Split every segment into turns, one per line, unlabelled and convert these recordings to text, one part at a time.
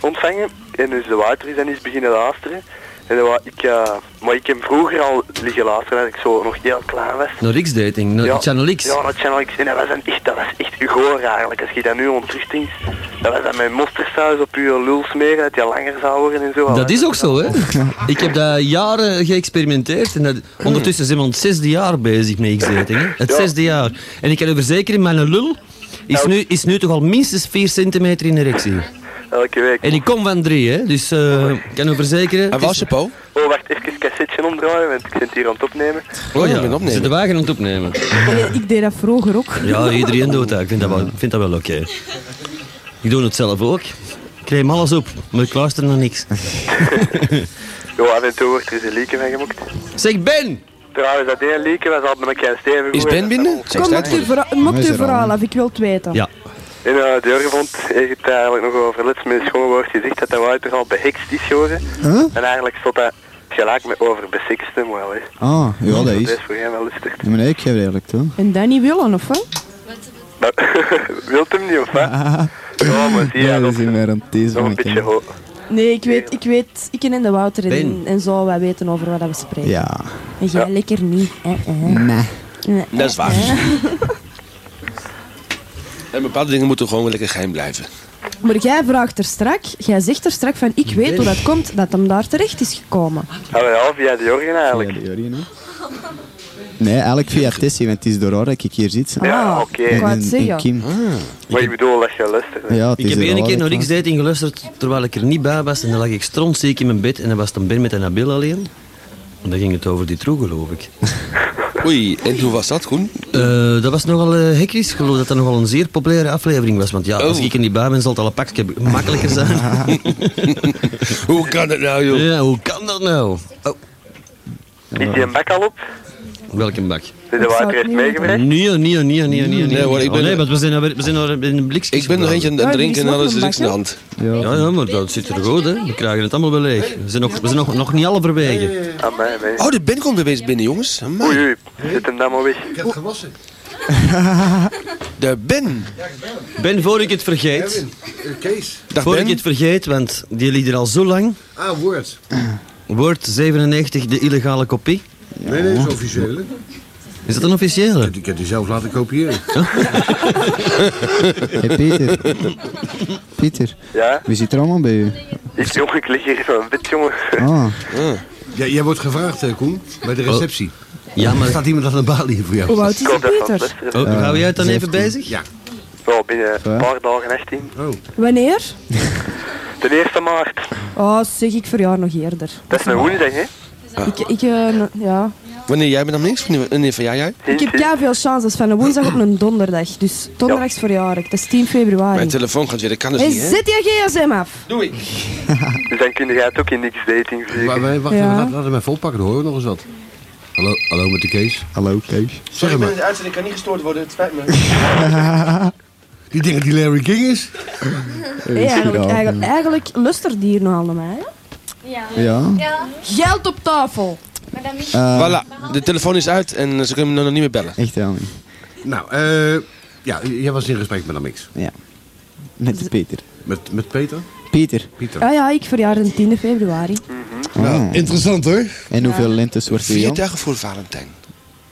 ontvangen. En dus de water is dan eens beginnen luisteren. En dan wou ik, eh, maar ik heb vroeger al liggen luisteren als ik zo nog heel klein was.
Naar X-dating, naar Channel X.
Ja, naar Channel X. En dat was, een echt, dat was echt goor eigenlijk. Als je dat nu ontruchting... Dat was dan met mosterdsaus op je lul smeren, dat je langer zou worden en zo.
Dat is ook zo, hè? Ik heb daar jaren geëxperimenteerd. En dat, ondertussen zijn we ons zesde jaar bezig met X-dating. hè. Het
Ja.
zesde jaar. En ik kan u verzekeren, mijn lul is nu, is nu toch al minstens 4 centimeter in erectie.
Elke week.
En ik kom van drie, hè? Dus eh, ik kan u verzekeren.
En
het
was
is-
je po?
Oh, wacht, even het cassetje omdraaien, want ik ben het hier aan het opnemen.
Oh
Ik ben
ja,
opnemen.
zit de wagen aan het opnemen.
Ja, Ik deed dat vroeger ook.
Ja, iedereen doet dat. Ik vind dat wel, ik vind dat wel oké. Ik doe het zelf ook. Ik neem alles op, maar ik luister naar niks.
Jo, af en toe wordt er eens een lieke van gemokt.
Zeg Ben!
Trouwens, dat één lieke was al met elkaar steven.
Is Ben binnen? Zeg,
Kom,
staat
mokt
hij?
uw verha- mokt
Is
uw
er al
verhaal
een-
af, ik wil het weten.
Ja,
En uh, Jurgen vond, heeft het eigenlijk nog over let's met een schoon woord gezegd dat dat water al behext is geworden. En eigenlijk stond dat gelijk met over besikste, maar wel hè.
Ah, ja, dat
Dat
is.
is voor hem wel lustig.
Ja, maar nee, ik geef het eerlijk toe.
En dat niet willen, of wat?
Nou, wilt hem niet of wat? Ja, maar zie je,
Ja,
dat
dat
is
is in mijn
nog een beetje
rantese.
hoog.
Nee, ik weet, ik weet, ik en de Wouter en,
Ben.
en zo, wij weten over wat dat we spreken.
Ja.
En jij lekker niet. Eh, eh.
Nee.
Eh, eh,
Dat is waar.
eh.
En bepaalde dingen moeten gewoon lekker geheim blijven.
Maar jij vraagt er strak, jij zegt er strak van ik weet hoe dat komt dat hem daar terecht is gekomen.
Ah, maar ja, via de Jorgen eigenlijk.
Via de Jurgen, hè. Nee, eigenlijk via Tessie, want het is door haar dat ik hier zit. hè.
Ja,
Ah,
oké.
Ik
En,
wou het
en, en
zeggen.
Kim.
Ah.
Maar ik bedoel dat je lustig bent.
Ja, het
ik
is
heb
door
één
haar
keer
dat
naar
ik-
X-dating geluisterd terwijl ik er niet bij was. En dan lag ik strontziek in mijn bed en dan was dan Ben met een Nabil alleen. En dan ging het over die troe, geloof ik.
Oei, en hoe was dat, Koen?
Eh, dat was nogal eh hekkies. Ik geloof dat dat nogal een zeer populaire aflevering was. Want ja, als
Oh.
ik er niet bij ben, zal het al een pakje makkelijker zijn.
Hoe kan dat nou, joh?
ja, hoe kan dat nou? Oh,
Is die een bak al op?
welke bak?
Zit de
Ik zou
water
het
heeft
niet
meegebracht?
Nee, nee, nee, nee, nee, nee.
Nee, hoor, ik
Oh,
ben-
nee, want we zijn al we zijn al in een bliksem.
Ik ben nog eentje aan
Ja,
het
die
drinken en
is nog
alles
een
is niks aan de
bak,
hand.
Ja, ja, maar dat zit er goed, hè. We krijgen het allemaal wel leeg. We zijn nog, we zijn nog, nog niet halverwege.
Aan mij, mij.
Oh, de Ben komt opeens binnen, jongens. Amai.
Oei, oei. Zit hem dan maar weg.
De Ben.
Ben, voor ik het vergeet,
eh, Kees.
Dag
voor ik
Ben.
het vergeet, want die ligt er al zo lang,
Ah, woord.
wordt 97 de illegale kopie. Oh.
Nee, nee, dat is officieel.
Is dat een officiële?
Ik heb die zelf laten kopiëren.
Hey, Pieter. Pieter,
Ja?
wie zit er allemaal bij u?
Ik, jongen, ik lig hier in mijn bed, jongen.
Ah,
Ja, jij wordt gevraagd, hè, Koen, bij de receptie.
Oh. Ja, maar...
Er staat iemand aan de balie voor jou.
Hoe oud is
Ik
het,
hoop dat van
Peter?
lustig is.
Oh, gaan we jij het dan even
17.
bezig?
Ja.
Wel, binnen een paar dagen 18.
Wanneer?
De 1 maart.
Oh, zeg ik verjaar nog eerder.
Dat is een woensdag, hè?
Ik, ik, eh, n- ja.
Ah. Wanneer jij bent dan niks? Wanneer- Wanneer verjaar jij?
ik heb ja veel chances van een woensdag op een donderdag. Dus donderdags verjaar ik. Dat is 10
Mijn
februari.
telefoon gaat weer, dat kan dus
Hey,
niet, hè?
zet je gsm af.
Doei.
Dus dan kun je het ook in niks dating
Maar,
vliegen.
maar, wacht
Ja.
even, laat, laat hem even oppakken, dan horen we nog eens wat. Hallo, hallo met de Kees.
hallo, Kees.
Zeg hem maar,
de uitzending kan niet gestoord worden, het spijt me.
die denkt dat die Larry King is?
Hey, eigenlijk, eigenlijk, eigenlijk lustert die hier nogal naar mij. hè?
Ja.
Ja.
Ja,
Geld op tafel.
maar dan moet je...
Eh,
Voilà, de telefoon is uit en ze kunnen me nog niet meer bellen.
Echt wel niet.
Nou, eh... Ja, jij was in gesprek met Amix.
Ja. Met Peter.
Met, met Peter?
Pieter.
Pieter.
Ah ja, ik verjaar de 10 februari.
Mm-hmm.
Ah.
Nou, Interessant, hoor.
En hoeveel lentes wordt u
Vier
jong?
dagen voor Valentijn.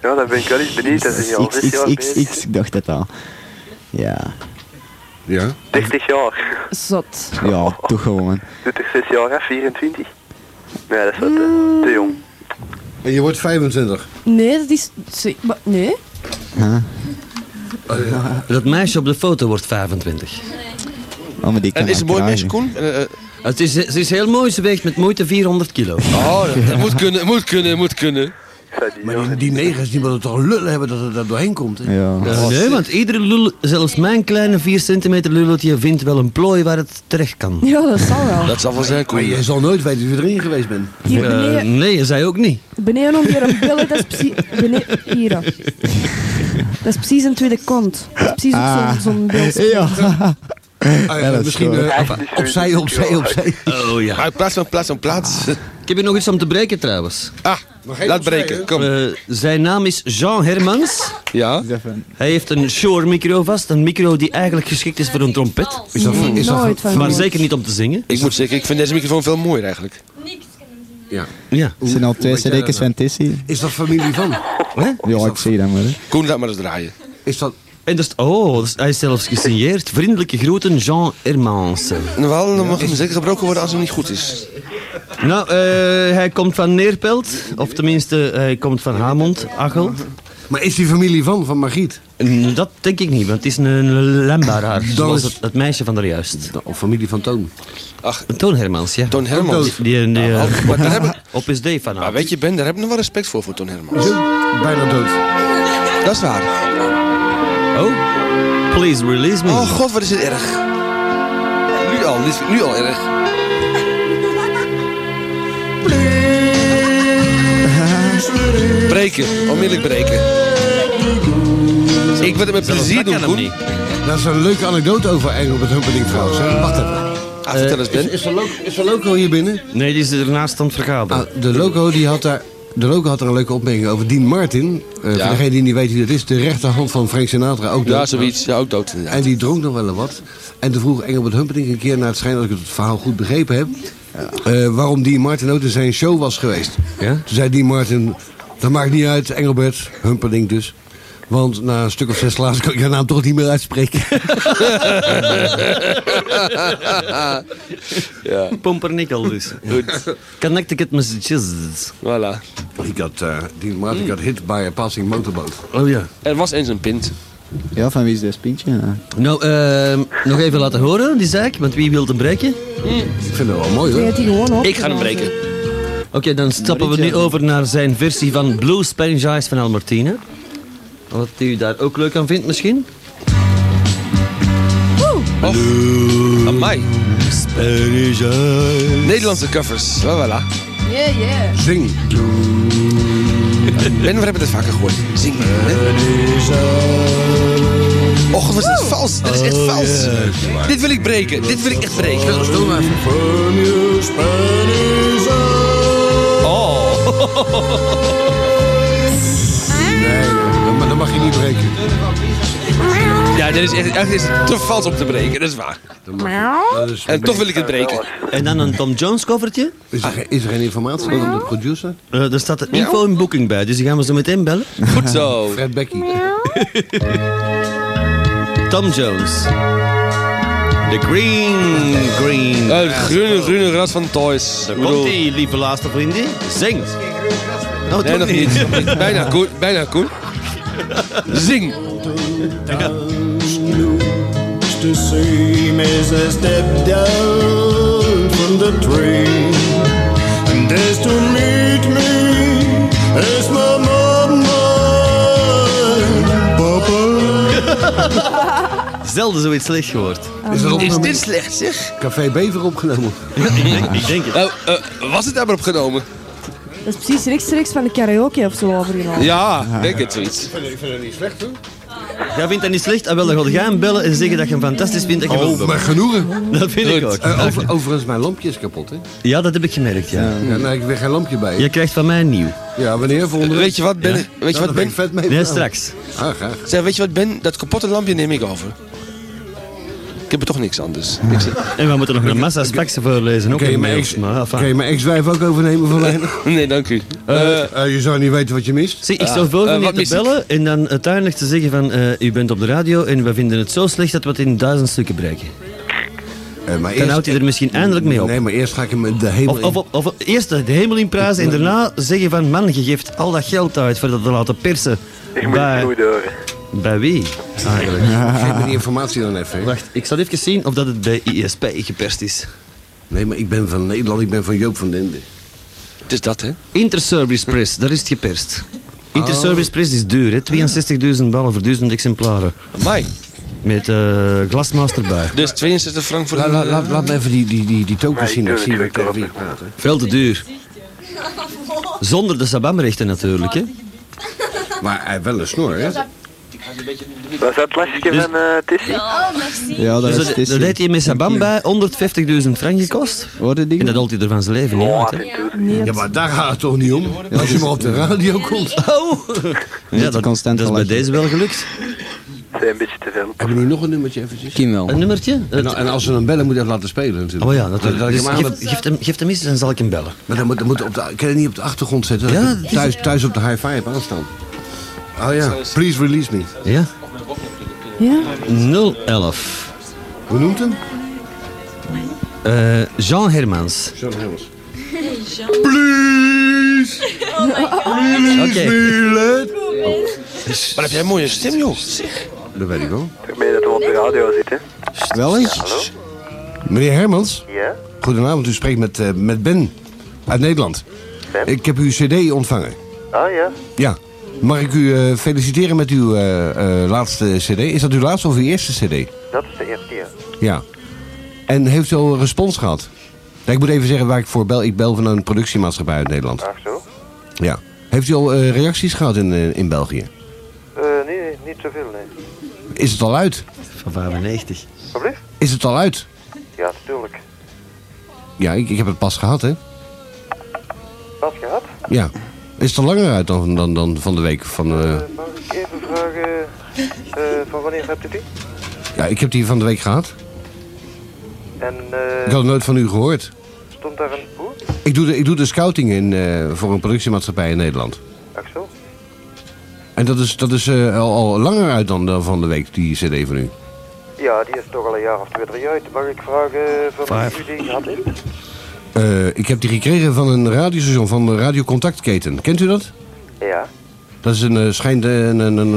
Ja, dan ben ik wel eens benieuwd. Dat is hier al 6 jaar bezig.
XXXX, ik dacht het al. Ja.
Ja.
30 jaar.
Zot.
Ja, toch gewoon.
Doet er 6 jaar af, 24. Nee, dat is wat eh, te jong.
En je wordt 25.
Nee, dat is... ze- maar- Nee?
Oh, Dat meisje op de foto wordt 25.
Oh, maar die kan
En is
ik
een mooi
dragen.
meisje, Koen? Eh, eh,
Het is, ze is heel mooi, ze weegt met moeite 400 kilo.
Oh, dat- dat moet kunnen, moet kunnen, moet kunnen.
Ik zou die
Maar
jongen-
die, die negers, die moeten toch lullen hebben dat het daar doorheen komt, hè?
Ja.
Eh, nee, want iedere lul, zelfs mijn kleine 4 centimeter lulletje, vindt wel een plooi waar het terecht kan.
Ja, dat zal wel.
Dat zal wel zijn,
Maar
Koen.
je zal nooit weten wie erin geweest bent.
Hier
Eh,
beneden,
nee, zij ook niet.
beneden onder een billen, dat is precies... Beneden, hier. hè.
Ah,
Dat is precies een tweede kont. Dat is precies ook zo'n- zo'n beeld.
Ah. Ja.
Ah,
dat is
misschien
goed.
eh,
Ja,
af-
dat is goed.
opzij, opzij, opzij.
Oh ja.
Maar Ah, plaats van plaats van plaats.
Ah. Ik heb hier nog iets om te breken trouwens.
Ah,
Maar hij
laat
moet
breken.
zeggen.
Kom.
Eh, zijn naam is Jean Hermans.
Ja.
Is even-
Hij heeft een Shure micro vast, een micro die eigenlijk geschikt is voor een trompet.
Is dat, van- is dat van-
Nooit van
Maar
gehoord.
zeker niet om te zingen.
Ik moet zeggen, ik vind deze microfoon veel mooier eigenlijk.
Ja.
Ja.
Het zijn al
Hoe-
twee
hoe weet jij
cd's
dat
van Tessie.
Is dat familie van?
Ja, ik zie dat maar. hè.
Koen, laat maar eens draaien.
Is dat...
En dus, oh, dus hij is zelfs gesigneerd. Vriendelijke groeten, Jean Hermans.
Wel, dan mag Nou, hem zeker gebroken worden als hij niet goed is.
Nou, eh, hij komt van Neerpelt. Of tenminste, hij komt van Hamond, Achel.
Maar is die familie van, van Margriet?
En Dat denk ik niet, want het is een lembaraar. Zoals
is-
het, het meisje van daar juist.
Of familie van Toon?
Ach,
Toon Hermans, ja.
Toon Hermans.
Die, die, eh,
Oh, maar daar heb ik-
op SD van
Maar weet je, Ben, daar heb ik nog wel respect voor, voor Toon Hermans.
Bijna dood.
Dat is waar.
Oh, please release me.
Oh god, wat is dit erg. Nu al, dit is nu al erg. Breken, onmiddellijk breken. Ik wil het met
Zelfs
plezier doen,
dat kan hem
Koen.
niet.
Dat is een leuke anekdote over Engelbert Humperdinck trouwens. hè. Wacht even. Eh,
Ah, vertel eens, Ben.
Is, is, er loco, is er loco hier binnen?
Nee, die is ernaast aan het vergaderen.
Ah, de loco die had daar... De loco had er een leuke opmerking over. Dean Martin, eh,
Ja.
voor degene die niet weet wie dat is, de rechterhand van Frank Sinatra, ook
Ja,
dood.
zoiets. Ja, ook dood.
En die dronk nog wel een wat. En toen vroeg Engelbert Humperdinck een keer naar het schijn, als ik het verhaal goed begrepen heb, eh, waarom Dean Martin ook in zijn show was geweest.
Ja?
Toen zei Dean Martin, dat maakt niet uit, Engelbert Humperdinck dus. Want na een stuk of zes glazen kan ik haar naam toch niet meer uitspreken.
eh,
oh. Ja,
Pompernikkel dus.
goed.
Connected it messages.
Voilà.
Ik had, eh Dean Martin got hit by a passing motorboat.
Oh ja.
Er was eens een pint.
Ja, van wie is dit pintje? Ja.
Nou, ehm, nog even laten horen, die zaak. Want wie wil hem breken?
Ik vind het wel mooi
Je
hoor.
hebt die gewoon op.
Ik ga hem breken.
Oké, dan stappen we nu over naar zijn versie van Blue Spanish Eyes van Albertine. Wat u daar ook leuk aan vindt misschien.
Oh, amai.
Spanish Eyes.
Nederlandse covers. Wel, Voilà.
Yeah, yeah.
Zing.
Ben, we hebben het vaker gehoord. Zing. Och, was dit vals? Dit is echt
Oh,
vals. Dit wil ik breken. Dit wil ik echt breken.
Stil maar even.
Oh.
Nee, dat, ma- dat mag je niet breken.
Ja, dit is echt, echt dit is te vals om te breken. Dat is waar.
Dat is,
En toch wil ik het breken.
En dan een Tom Jones covertje.
is, er, geen- is er geen informatie van de producer?
Eh daar staat het info in boeking bij, dus die gaan we zo meteen bellen.
Goed zo.
Fred Becky.
Tom Jones. The Green Green.
Het groene, groene ras van Toys. Ik bedoel-
Komt-ie, lieve laatste vriendin. Zing. Nou,
Nee, nog niet. Nog niet. Bijna Koen. Bijna Koen. Zing.
looks the same as I step down from the train. And
Dus
there's to meet me as my mama and papa.
Zelden zoiets slecht gehoord.
Is dat op
Is dit slecht, zeg?
Café Bever opgenomen?
ik, denk, ik denk het.
Nou, eh, was het daar maar opgenomen?
Dat is precies rechtstreeks van de karaoke of zo overgenomen.
Ja, denk het zoiets.
Ik vind het niet slecht hoor.
Jij vindt dat niet slecht? Ah, wel, dan ga je hem bellen en zeggen dat je hem fantastisch vindt. Dat, je
Oh,
wel-
maar genoegen.
dat vind ik ook.
Goed.
Eh, over- overigens, mijn lampje is kapot, hè?
Ja, dat heb ik gemerkt, ja.
Ja, nee, ik heb weer geen lampje bij.
Je krijgt van mij een nieuw.
Ja, wanneer? Volgende
Weet je wat, Ben? Weet je wat, Ben?
ik vet mee.
Nee,
gedaan.
straks.
Ah, graag.
Zeg, weet je wat, Ben? Dat kapotte lampje neem ik over. Ik heb er toch niks anders. Dus Niks-
En we moeten nog een massa spaksen voorlezen. Ook
Kun je
in
mijn
mails,
ex-
maar enfin.
kun je mijn ex-wijf ook overnemen van Leijnen?
Nee, dank u.
Eh, je zou niet weten wat je mist.
Zie, ik stel voor
eh,
om je
wat
te
mis ik?
bellen en dan uiteindelijk te zeggen van... eh, u bent op de radio en we vinden het zo slecht dat we het in duizend stukken breken.
Eh, maar
Dan houdt hij er misschien eindelijk mee op.
Nee, maar eerst ga ik hem de hemel
Of, of, of, of eerst de hemel in prijzen en daarna zeggen van... Man, je geeft al dat geld uit voor dat te laten persen.
Ik moet het
Bij,
goed horen.
bij wie eigenlijk?
in. Geef me die informatie dan even. hè.
Wacht, ik zal even zien of dat het bij ISP geperst is.
Nee, maar ik ben van Nederland, ik ben van Joop van Dende.
Het is dat, hè?
Interservice Press, daar is het geperst.
Ah.
Interservice Press is duur, hè? 62.000 ballen voor 1000 exemplaren.
Amai.
Met eh glasmaster bij.
Dus 62 frank voor
La,
een...
la, la- laat me even die, die, die, die
Maar
tokens
ik
zien.
doe
Ik zie
het
wat
wel,
tegen wie
ik
ik praat. hè.
Veel te duur. Zonder de sabamrechten natuurlijk, hè?
Maar hij heeft wel een eh, snor, hè?
Was dat het lasje van eh Tissy?
Ja, dat
Dus
is
dat,
Tissy.
dat heeft hij met zijn band bij 150.000 frank gekost.
Hoorde die?
En dat haalt hij er van zijn leven niet uit, hè.
Nee, dat-
Ja, maar daar gaat het toch niet om? Als je maar op de radio komt.
Oh! Ja, dat, dat
constant
is bij
lachen.
deze wel gelukt.
Dat is een beetje te veel.
Hebben we nu nog een nummertje eventjes?
Kim wel.
Een nummertje?
En, en als ze hem bellen, moet je dat laten spelen natuurlijk.
Oh ja,
Dat, dat
natuurlijk.
ik
Dus
hem aan
geef,
dat-
geef, hem, geef hem eens en zal ik hem bellen.
maar dan moet, dan moet op de, kan je het niet op de achtergrond zetten.
Ja,
Dat
het
ik
is-
thuis, thuis op de high five aanstaan. Oh ja, please release me.
Ja?
Ja?
011.
Hoe noemt hem?
Eh, Jean Hermans.
John Helms.
Oké.
Maar heb jij een mooie stem, joh.
Dat weet ik wel.
Ik meen dat we op de radio zitten.
Wel eens?
Meneer Hermans,
Ja?
goedenavond. U spreekt met, eh, met Ben uit Nederland.
Ben?
Ik heb uw cd ontvangen.
Ah ja.
Ja. Mag ik u eh, feliciteren met uw eh, eh, laatste cd? Is dat uw laatste of uw eerste cd?
Dat is de eerste, ja.
Ja. En heeft u al een respons gehad? Nee, ik moet even zeggen waar ik voor bel. Ik bel van een productiemaatschappij uit Nederland.
Ach zo?
Ja. Heeft u al eh, reacties gehad in, eh, in België?
Eh, nee, niet zoveel, nee.
Is het al uit?
Van 95.
Alsjeblieft?
Is het al uit?
Ja, natuurlijk.
Ja, ik, ik heb het pas gehad, hè?
Pas gehad?
Ja. Is het al langer uit dan, dan, dan van de week? Van, eh,
Eh, mag ik even vragen eh, van wanneer hebt u die?
ja, ik heb die van de week gehad.
En
Ik
eh,
had het nooit van u gehoord.
stond daar een boer?
Ik doe de, ik doe de scouting in, eh, voor een productiemaatschappij in Nederland.
Ach zo?
En dat is, dat is eh, al, al langer uit dan eh, van de week, die cd van u.
Ja, die is toch al een jaar of twee, drie uit. Mag ik vragen van wanneer u die gehad heeft?
Eh, ik heb die gekregen van een radiostation, van de Radio Contactketen. Kent u dat?
Ja.
Dat is een, eh, schijnt eh, een, een, een,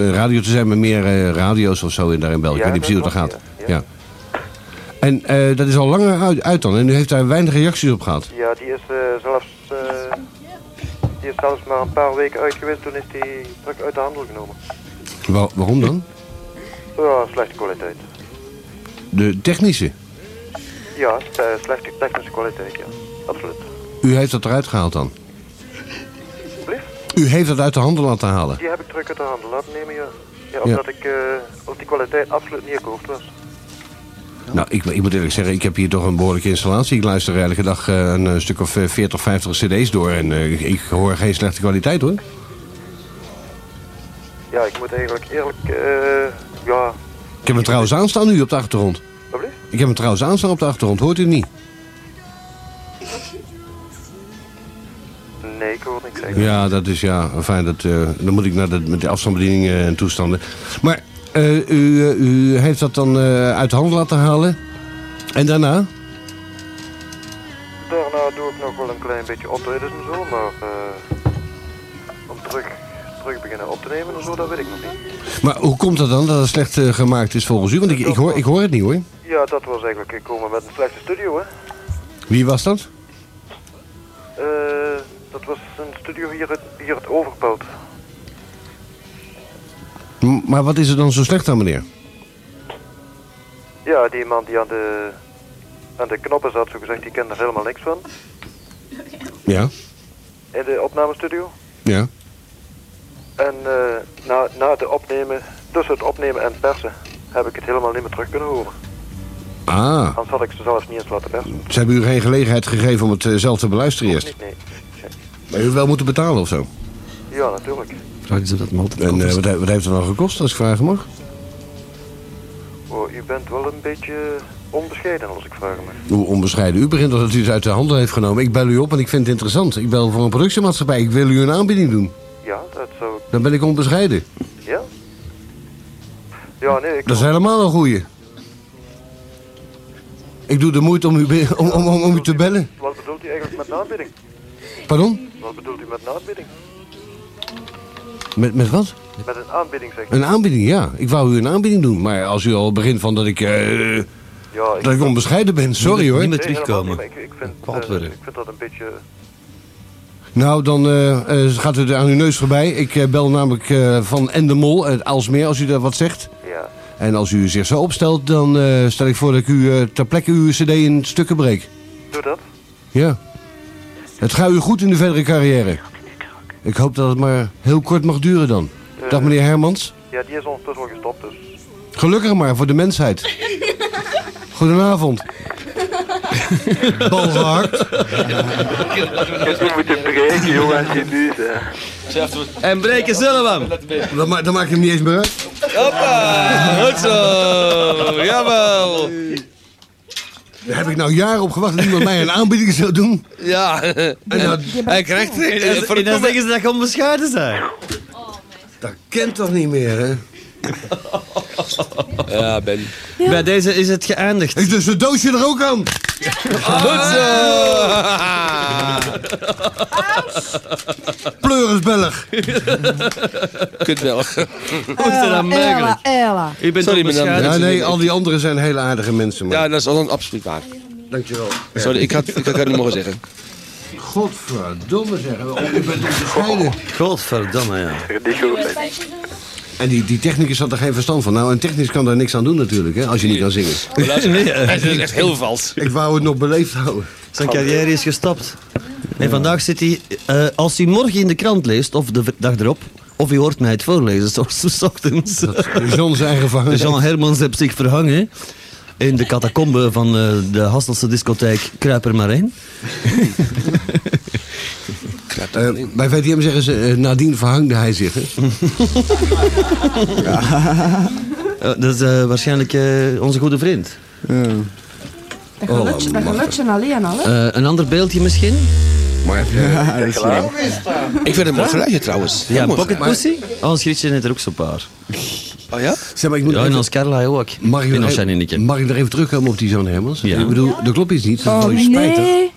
een radio te zijn met meer eh, radio's of zo in, daar in België.
Ja,
ik weet niet precies hoe
dat
dat gaat.
klopt,
Ja.
ja. Ja.
En eh, dat is al langer uit, uit dan. En u heeft daar weinig reacties op gehad.
Ja, die is eh, zelfs... eh, die is zelfs maar een paar weken uit geweest, toen is die druk uit de handel genomen.
Wa- waarom dan?
Ja, slechte kwaliteit.
De technische.
Ja, eh, slechte technische kwaliteit, ja. Absoluut.
U heeft dat eruit gehaald dan?
Alsjeblieft?
U heeft dat uit de handen laten halen.
Die heb ik druk uit de handel laten nemen, ja. Ja, omdat ik eh, op die kwaliteit absoluut niet akkoord was.
Nou, ik, ik moet eerlijk zeggen, ik heb hier toch een behoorlijke installatie. Ik luister elke dag eh, een, eh, stuk of eh, 40, 50 cd's door. En eh, ik, ik hoor geen slechte kwaliteit hoor.
Ja, ik moet eigenlijk eerlijk... eh ja,
Ik heb hem trouwens aanstaan nu op de achtergrond.
alsjeblieft?
Ik heb hem trouwens aanstaan op de achtergrond, hoort u het niet?
Nee, ik hoor niks zeggen.
Ja, dat is ja. Fijn, dat, eh, dan moet ik naar de, met de afstandsbediening eh, en toestanden. Maar eh, u, eh, u heeft dat dan eh, uit de hand laten halen. En daarna?
Daarna doe ik nog wel een klein beetje optredens en zo, maar... eh om terug, terug beginnen op te nemen en zo, dat weet ik nog niet.
Maar hoe komt dat dan dat het slecht eh, gemaakt is volgens u? Want ik, ik, hoor, ik hoor het niet hoor.
Ja, dat was eigenlijk gekomen met een slechte studio, hè.
Wie was dat?
Eh, dat was een studio hier, uit- hier het Overpoot.
M- maar wat is er dan zo slecht aan, meneer?
Ja, die man die aan de, aan de knoppen zat, zo gezegd, die kende er helemaal niks van.
Ja,
In de opnamestudio.
ja.
En eh, na, na het opnemen, tussen het opnemen en persen, heb ik het helemaal niet meer terug kunnen horen.
Ah,
Anders had ik ze zelfs niet eens laten persen.
ze hebben u geen gelegenheid gegeven om het eh, zelf te beluisteren eerst.
Niet, nee.
Maar u heeft wel moeten betalen of zo.
Ja, natuurlijk.
Vraag eens of dat hem altijd
En eh,
anders-
wat, he- wat heeft het dan gekost, als ik vragen mag?
Oh, u bent wel een beetje onbescheiden, als ik vragen mag.
Hoe onbescheiden. U begint dat u het uit de handen heeft genomen. Ik bel u op en ik vind het interessant. Ik bel voor een productiemaatschappij. Ik wil u een aanbieding doen.
Ja, dat zou ik...
Dan ben ik onbescheiden.
Ja? Ja, nee, ik...
Dat is helemaal een goeie. Ik doe de moeite om u, be- om, om, om, om u te bellen.
Wat bedoelt u eigenlijk met naadbidding?
Pardon?
Wat bedoelt u met naadbidding?
Met, met wat?
Met een aanbidding, zeg ik.
Een aanbieding, ja. Ik wou u een aanbieding doen. Maar als u al begint van dat ik, eh,
Ja, ik...
dat ik onbescheiden ben, sorry hoor.
Niet meer
Nee, helemaal
terugkomen.
niet, maar ik, ik, vind,
Kwaad
eh,
worden.
ik vind dat een beetje...
Nou, dan eh, eh, gaat het aan uw neus voorbij. Ik eh, bel namelijk eh, van En de Mol uit Aalsmeer als u daar wat zegt.
Ja.
En als u zich zo opstelt, dan eh, stel ik voor dat ik u eh, ter plekke uw cd in stukken breek.
Doe dat.
Ja. Het gaat u goed in de
Eh,
verdere carrière. Ik hoop dat het maar heel kort mag duren dan. Dag meneer Hermans.
Ja, die is ondertussen al gestopt, dus.
Gelukkig maar, voor de mensheid. Goedenavond. Bal gehakt.
Je moet hem breken, jongen, als je nu zegt.
En breken zullen we hem.
Dan, ma- dan maak je hem niet eens meer uit.
Hoppa! Goed zo! Jawel!
Daar heb ik nou jaren op gewacht dat iemand mij een aanbieding zou doen.
Ja,
En dat,
hij krijgt het. Eh,
En dan
verdomme.
zeggen ze dat je onbescheiden zijn.
dat kent toch niet meer, hè?
Ja, Ben.
Bij deze is het geëindigd.
Ik dus het doosje er ook aan.
Goed zo!
Ah.
Pleuris Belg.
Kut Belg.
dat
Eh, Ella,
mogelijk?
Ella.
U bent
Sorry,
onbescheiden.
madame.
Ja, nee, al die anderen zijn hele aardige mensen. Maar.
Ja, dat is al absoluut waar.
Dankjewel.
Sorry, ik had, ik had het niet mogen zeggen.
Godverdomme zeggen. Oh, je bent onderscheiden.
Godverdamme, ja.
Die goed.
En die, die technicus had er geen verstand van. Nou, een technicus kan daar niks aan doen natuurlijk, hè, als je niet kan zingen.
Het is echt heel vals.
Ik wou het nog beleefd houden.
Zijn carrière is gestapt. En vandaag zit hij, eh, als hij morgen in de krant leest, of de dag erop, of hij hoort mij het voorlezen, zoals s ochtends.
John zijn gevangenis.
Jean Hermans heeft zich verhangen in de catacombe van eh, de Hasselse discotheek Kruip er maar in.
Eh, bij VTM zeggen ze, eh, nadien verhangde hij zich. Hè?
Eh, dat is eh, waarschijnlijk eh, onze goede vriend. Oh,
Ja.
Dat
Oh,
gelutje, dat gelutje alleen al, hè?
Eh, een ander beeldje misschien?
Ja, dat is waar.
eh, Ik vind het mooi geluidje trouwens.
Ja,
mooi
Pocket Pussy. Oh, Ons Grietje heeft er ook zo'n paar.
geluid. Oh ja?
Zeg maar, ik moet
Ja, en
even-
ons Carla ook.
mag, ik
En
nog
ons Janinneke.
even, mag ik nog even terugkomen op die John Hermans?
Ja.
Ik bedoel, er klopt iets niet. Dat is
Oh,
wel iets spijtig.
nee. Die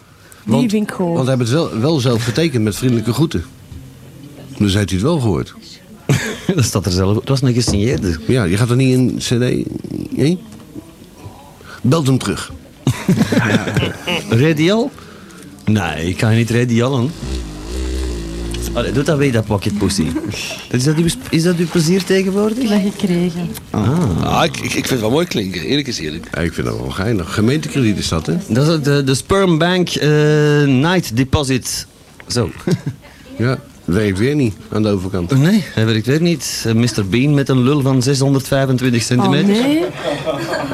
Want-
vind ik
Want
gewoon.
hij heeft het wel, wel zelf getekend met vriendelijke groeten. Dus heeft hij het wel gehoord.
Dat staat er zelf. Het was een gesigneerde.
Ja, je gaat er niet in cd... Nee? Belt hem terug.
Radial? Nee, ik ga niet radialen. Allee, doe dat weer, dat pocket pussy. Dat Is dat, uw, sp- is dat uw plezier
Die
tegenwoordig?
heb ik gekregen.
Ah, ik, ik, ik vind het wel mooi klinken. Eerlijk is eerlijk.
Ja, ik vind dat wel geinig. Gemeentekrediet is dat, hè?
Dat is ook de, de Sperm Bank eh, Night Deposit. Zo.
Ja, werkt weer niet aan de overkant.
Nee, dat werkt weer niet. Eh, Mr. Bean met een lul van 625
Oh
centimeter.
nee.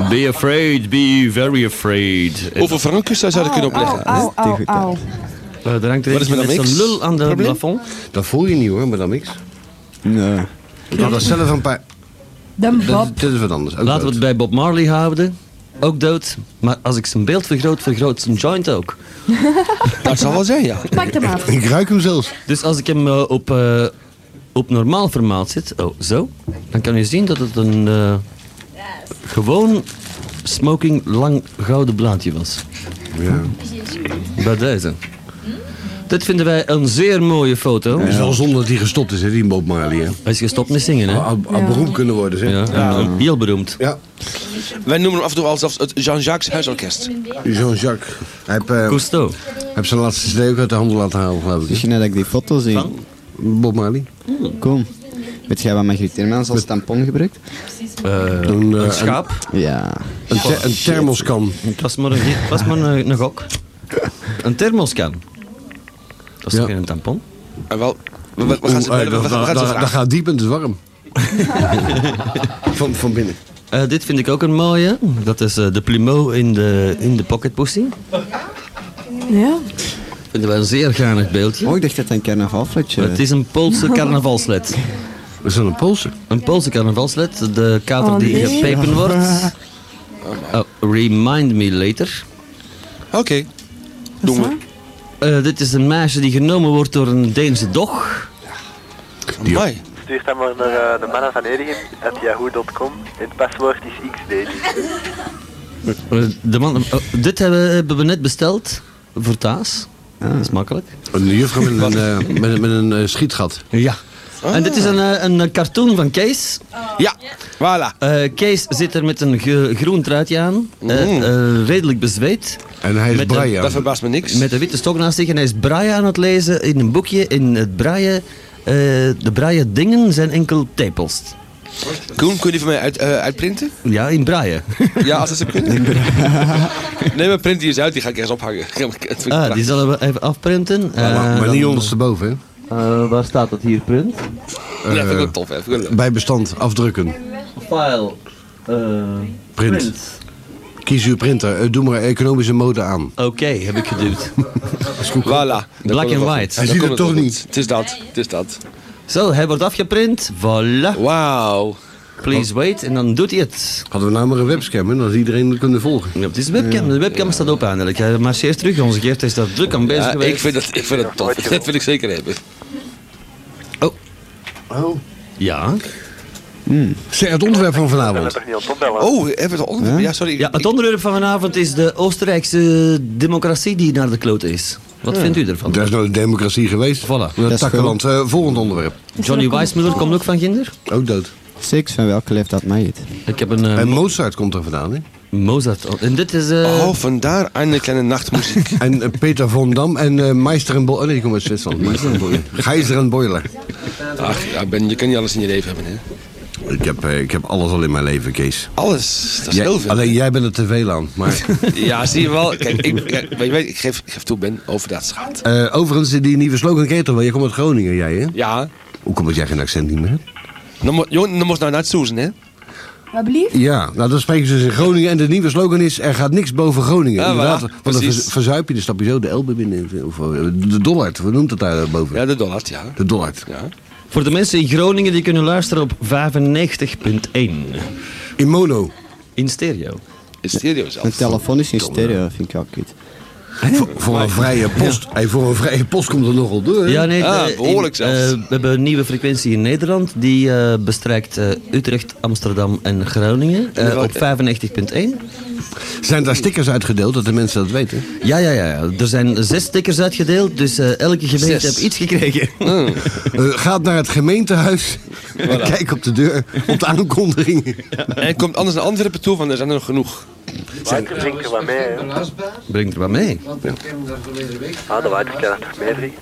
Be afraid, be very afraid. Eh,
Hoeveel francus daar zou je kunnen opleggen?
Au, au, au.
daar hangt Eh, er
Wat is
eentje
met
met
dat
zo'n
mix?
lul aan de
Probleem?
plafond.
Dat voel je niet, hoor, maar dan niks.
Nee.
Ik had dat zelf een paar...
Dan
Dat,
Bob.
is- dit is wat anders. Ook
Laten we het
dood.
bij Bob Marley houden. Ook dood. Maar als ik zijn beeld vergroot, vergroot zijn joint ook.
Dat zal wel zijn, ja.
Pak hem af.
Ik ruik hem zelfs.
Dus als ik hem eh, op, eh, op normaal formaat zet, oh, zo, dan kan u zien dat het een eh, gewoon smoking lang gouden blaadje was.
Ja.
Bij deze. Dit vinden wij een zeer mooie foto.
Het is wel zonde dat hij gestopt is, hè, die Bob Marley. Hè.
Hij is gestopt met zingen, hè?
Had- had beroemd kunnen worden, zeg.
Ja,
Ja.
en, eh, heel beroemd.
Wij noemen hem af en toe al zelfs het Jean-Jacques Huisorkest.
Jean-Jacques. Hij heeft, eh,
Cousteau.
hij heeft zijn laatste cd ook uit de handen laten halen, geloof ik. hè?
Misschien dat ik die foto zie. Hmm.
Van?
Bob Marley.
Kom. Weet jij wat Margriet Hermans als tampon gebruikt?
Een, eh,
Een schaap.
Ja.
Een, ther- een thermoskan.
Het was maar een, het was maar een, een gok. Een thermoscan. Dat is
Ja.
toch geen tampon?
En Ah, wel, we, we- we gaan ze, we,
Oeh, eh,
we- we- we
dat-
gaan ze
dat- dat- Dat
vragen.
gaat diep en het is warm. van, van binnen.
Eh, dit vind ik ook een mooie. Dat is eh, de plumeau in de, in de pocket pussy.
Ja.
Vinden wij een zeer gaanig beeldje.
Oh, ik dacht dat dat een carnavalfletje
Het is een Poolse carnavalslet.
Dat is wel een Poolse.
Een Poolse carnavalslet, de kater
Oh,
die
nee.
gepepen wordt. Oh, remind me later.
Oké, doen we.
Eh, dit is een meisje die genomen wordt door een Deense dog.
Amai.
Stuur dat maar naar eh, de mannen van Edegem, at yahoo.com. Het paswoord is xdating.
Eh, de man, oh, dit hebben, hebben we net besteld voor Taas. Dat is makkelijk.
Ah. Een juffrouw met een, eh, met, een- met een eh, schietgat.
Ja. En dit is een, eh, een cartoon van Kees.
Ah. Oh, Ja, voilà.
Eh, Kees zit er met een ge- groen truitje aan. eh, eh, redelijk bezweet.
En hij is
Met een-
Brian.
Mm. Dat verbaast me niks.
Met een witte stok naast zich en hij is braaien aan het lezen in een boekje. In het braaien, eh, de braaien dingen zijn enkel tepels.
Koen, kun je die van mij uit, eh, uitprinten?
Ja, in braaien.
Ja, als dat zou kunnen. Nee, maar print die eens uit, die ga ik ergens ophangen. Dat vind ik
Ah, die
prachtig.
zullen we even afprinten. Eh,
maar maar
dan-
niet ondersteboven, hè?
eh, waar staat dat hier, print?
eh,
Ja, vind ik ook tof. Hè. Vind ik ook leuk.
bij bestand afdrukken.
File. eh,
Print. Kies uw printer. Eh, doe maar economische mode aan.
Oké, heb ik geduwd.
Voilà. Dan
Black
komt het
and
wel
white.
goed.
Hij
Dan
ziet
komt
het
wel
toch
goed.
niet.
Het is dat. Het is dat.
Zo, hij wordt afgeprint. Voilà.
Wauw.
Please wait. En dan doet hij het.
Hadden we nou maar een webcam, hè, dan had iedereen het kunnen volgen.
Ja, het is de webcam. De webcam staat op eindelijk. Hij marcheert terug. Onze Geert is daar druk aan bezig
Ja,
geweest.
ik, vind dat, ik vind dat tof. Dat wil ik zeker hebben.
Ja.
Oh. Zeg, het ontwerp van
ben het
vanavond.
toch niet aan het opbellen?
Oh, even het onderwerp. Ja, sorry.
ja, het onderwerp van vanavond is de Oostenrijkse democratie die naar de klote is. Wat vindt u ervan?
Dat is nooit een democratie geweest.
Voilà.
Dat
is
takkenland. Eh, volgend onderwerp.
Johnny Weissmuller komt ook van Ginder.
Ook dood.
Seks van welke leeftijd mij het?
Ik heb een eh,
En Mozart komt er vandaan, hè?
Mozart. En dit is... eh,
Oh, vandaar een kleine nachtmuziek.
En eh, Peter van Dam en eh Meister en Boiler. Oh, nee, die komen uit Zwitserland. Meister en Boiler. Geizer en Boiler.
Ach, ja, ben, je kan niet alles in je leven hebben, hè?
Ik heb, eh, ik heb alles al in mijn leven, Kees.
Alles. Dat is
Jij-
heel veel.
alleen jij bent er te veel aan. Maar,
Ja, zie je wel. Kijk, ik, kijk, weet je, weet je, ik, geef, ik geef toe, Ben, over dat schaat.
eh, overigens, die nieuwe slogan ken je toch wel? Jij komt uit Groningen, jij, hè?
Ja.
Hoe komt dat jij geen accent niet meer hebt?
Dan mo- Jongen, dan moest nou naar het Soezen, hè?
Wat blieft?
Ja, nou dat spreken ze dus in Groningen. En de nieuwe slogan is, er gaat niks boven Groningen.
Ja,
Inderdaad,
voilà,
want dan
precies.
verz- verzuip je, dan stap je zo de Elbe binnen. Of eh, de Dollard, hoe noemt het daar boven?
Ja, de dollar, ja.
De Dollard.
Ja.
Voor de mensen in Groningen die kunnen luisteren op 95.1.
In mono.
In stereo.
In stereo zelfs.
Een telefoon is in stereo, vind ik wel kut.
Voor, voor een vrije post. Hey, voor een vrije post komt er nogal door. hè?
Ja, nee,
Ah,
de- in-
behoorlijk zelfs.
eh, we hebben een nieuwe frequentie in Nederland. Die eh, bestrijkt eh, Utrecht, Amsterdam en Groningen. eh,
welke-
op 95.1.
Zijn daar stickers uitgedeeld dat de mensen dat weten?
Ja, ja, ja, ja. Er zijn zes stickers uitgedeeld. Dus eh, elke gemeente
Zes.
heeft iets gekregen.
Eh, gaat naar het gemeentehuis. en Kijk op de deur. Op de aankondigingen.
En komt anders naar Antwerpen toe, want er zijn er nog genoeg.
Wouter drinken wat mee, hè?
Breng er wat mee.
Ah, de Wouter kan er toch mee drinken?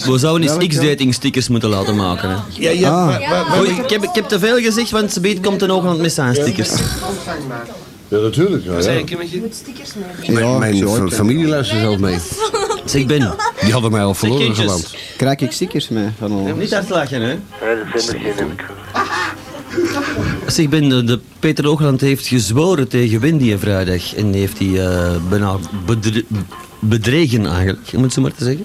Eh, we zouden eens X-dating stickers moeten laten maken. Hè.
Ja, ja.
Ah.
Goh, ik, heb, ik heb te veel gezegd, want ze komt een oogland met zijn stickers.
Ja, natuurlijk. Mijn,
Ja,
mijn
zo,
fa-
ik-
familie luistert zelf mee.
Zeg Ben,
Die hadden mij al verloren
kindjes.
gewand.
Krijg ik stickers mee? Van al...
niet hard lachen hè.
Nee, er zijn er geen in de crew.
Zeg Ben, de, de Peter Oogland heeft gezworen tegen Windy en vrijdag. En die heeft hij eh, bijna bedre- bedregen eigenlijk, om het zo maar te zeggen.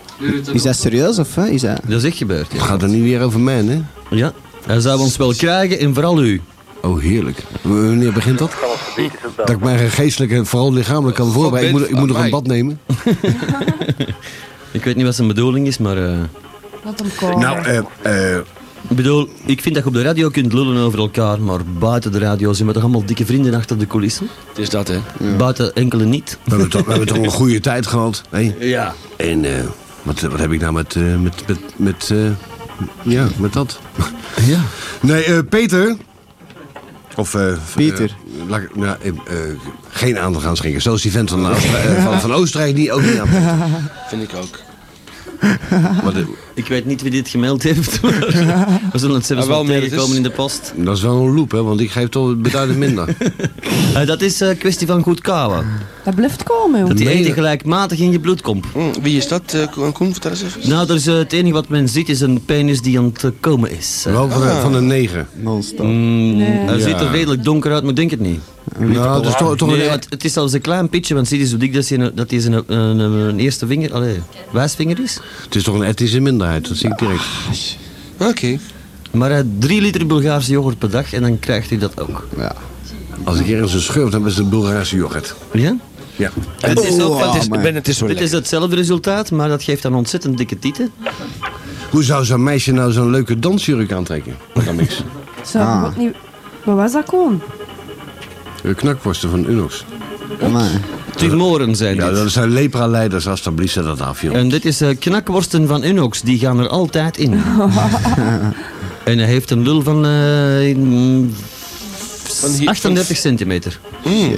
Is dat serieus of hè? Is dat...
Dat is echt gebeurd,
Het
ja.
gaat er niet weer over mij, hè?
ja. Hij zou ons wel krijgen en vooral u.
Oh, heerlijk. W- Wanneer begint dat?
Kan ons verbieden, is het
Dat
wel.
ik mij geestelijk en vooral lichamelijk kan voorbereiden. Ik moet, ik moet nog een bad nemen.
Ik weet niet wat zijn bedoeling is, maar... eh,
Laat hem komen.
Nou,
eh, eh,
Ik bedoel, ik vind dat je op de radio kunt lullen over elkaar, maar buiten de radio zijn we toch allemaal dikke vrienden achter de coulissen?
Het is dat, hè.
Buiten enkele niet.
we, hebben toch, we hebben toch een goede tijd gehad. hè?
Ja.
En eh, wat, wat heb ik nou met... eh, met, met, met eh, ja, met dat.
Ja.
Nee, eh, Peter. Of eh,
Pieter.
eh, laat ik- nou, eh, eh, geen aandacht aan schenken. Zoals die vent van, eh, van, van Oostenrijk die ook niet aan.
Vind ik ook.
Maar de-
Ik weet niet wie dit gemeld heeft, maar we zullen het zelfs
Maar Ah, wel
wel
meer, het
tegenkomen
is-
in de post.
dat is wel een loop, hè? Want ik geef toch beduidend minder.
Eh, dat is een kwestie van goed kouwen.
Dat blijft komen, joh.
Dat die
meen
eten
je?
gelijkmatig in je bloed komt.
Hm, wie is dat, eh, Ko- Koen? Vertel eens even.
Nou, dat is, eh, het enige wat men ziet is een penis die aan het eh, komen is. Eh,
Wel van, een- van een negen.
Non-stop.
mm, Hij
Ja.
ziet er redelijk donker uit, maar ik denk het niet.
Nou, dat is toch, toch
e-
Nee,
een,
want het is zelfs een klein pitje, want zie je zo dik dat hij een, dat hij zijn, een, een, een eerste vinger, allee, wijsvinger is.
het is toch een etnische minderheid. Dat zie ik direct.
Oké.
Ah, Maar hij had drie liter Bulgaarse yoghurt per dag en dan krijgt hij dat ook.
Ja.
Als ik ergens een schurf, dan is het Bulgaarse yoghurt.
Ja?
Ja.
Het is ook,
Oh,
het is,
man.
ben, het is zo
Dit is
lekker.
hetzelfde resultaat, maar dat geeft dan ontzettend dikke tieten.
Hoe zou zo'n meisje nou zo'n leuke dansjurk aantrekken? Dan niks.
Zou
Ah.
ik ook niet... Wat was dat gewoon?
De knakworsten van Unox.
Amai.
Tumoren zijn
Ja,
dit.
dat zijn lepra-leiders, alsjeblieft, zet dat af, joh.
En dit is eh, knakworsten van Unox, die gaan er altijd in. en hij heeft een lul van, eh, mm,
Van hier-
38 centimeter.
Mm.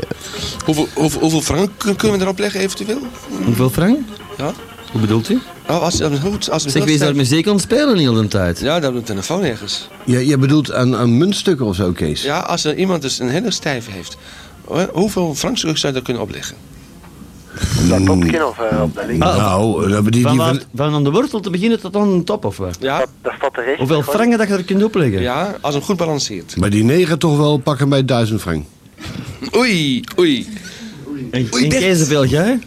Hoeveel, hoeveel, hoeveel frank kun- kunnen we erop leggen, eventueel?
Hoeveel frank?
Ja.
Hoe bedoelt u?
Nou, als, als, als, als
Zeg, wie is daar muziek aan het spelen heel de tijd?
Ja, dan op de telefoon ergens.
Ja, jij bedoelt aan, aan muntstukken of zo, Kees?
Ja, als er iemand dus een hele stijve heeft. Hoeveel frankstuk zou je daar kunnen opleggen?
Dat topkin of eh, op de link.
Nou, eh, die, die,
Van,
van-
waar- van aan de wortel te beginnen tot aan de top of wat?
Ja,
Dat, dat staat terecht.
Hoeveel
Gewoon-
frangen dat je er kunt opleggen?
ja, als hem goed balanceert.
maar die negen toch wel pakken bij duizend frank.
Oei, oei.
En,
Oei,
en
Bert.
keizer veel jij?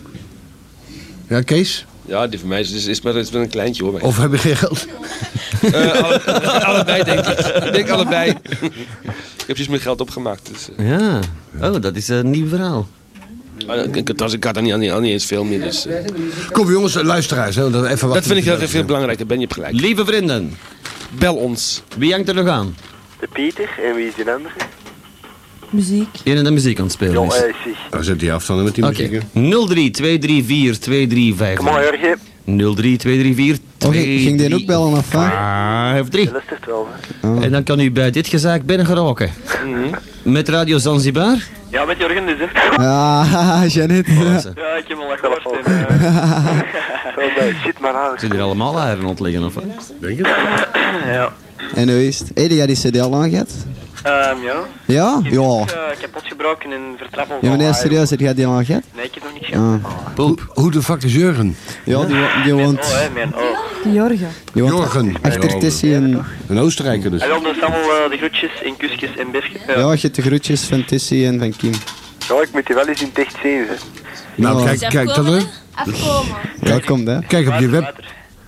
Ja, Kees?
Ja, die voor mij is, is, is, maar, is maar een kleintje hoor.
Of heb je geen geld?
Eh, alle- allebei denk ik. Ik denk allebei. ik heb precies mijn geld opgemaakt. Dus, eh.
Ja. Oh, dat is een nieuw verhaal.
Maar eh, ik, ik, als ik had er niet, aan- niet, aan- niet eens veel meer. Dus, eh.
Kom jongens, luisteraars. Hè, want even
dat
wachten
vind ik
met
heel,
de
veel
telefoon.
belangrijker. Ben je hebt gelijk.
Lieve vrienden,
Bel ons.
wie hangt er nog aan?
De Pieter en wie is die andere?
Muziek.
Die aan de muziek aan het spelen
Jong,
is.
eh, zie.
Nou, zet die afstanden met die
Oké.
muziek. hè.
03 234
Kom maar,
2355.
Jurgen.
03 234
Of ging die ook bellen of wat?
3.
Je luistert wel. hè?
Ah,
Ah.
Mhm.
En dan kan u bij dit gezaak binnen geraken. Met Radio Zanzibar.
Ja, met Jurgen dus, hè.
Ah, Janet.
Oh,
Ja.
Ja, ik heb hem al gehoord.
Telefoon.
en, eh,
Zo bij. Shit, maar uit.
Zitten er allemaal eieren ontleggen of wat?
Denk je?
ja.
En hoe is het? Hey, die had die CD al aangehad?
Ehm, ja.
Ja?
Ik heb
Ja.
het, eh, kapotgebroken en vertrappeld.
Ja,
van
meneer,
haar.
serieus, heb jij die al aangehad?
Nee, ik heb nog niks gedaan.
Hoe, hoe de fuck is Jurgen?
Ja, die, wo- die
Mijn oh,
woont,
hè, mijn oh.
De Jorgen.
die woont
Jorgen.
achter Tessie en...
Een Oostenrijker dus.
Hij wil dus allemaal eh, de groetjes en kusjes en bergjes. Ja.
Ja, je hebt de groetjes van Tessie en van Kim.
Ja, ik moet die wel eens in dicht zien. Ze.
Nou, kijk, kijk, dat, hè.
Afkomen.
Welkom, hè?
kijk op je web.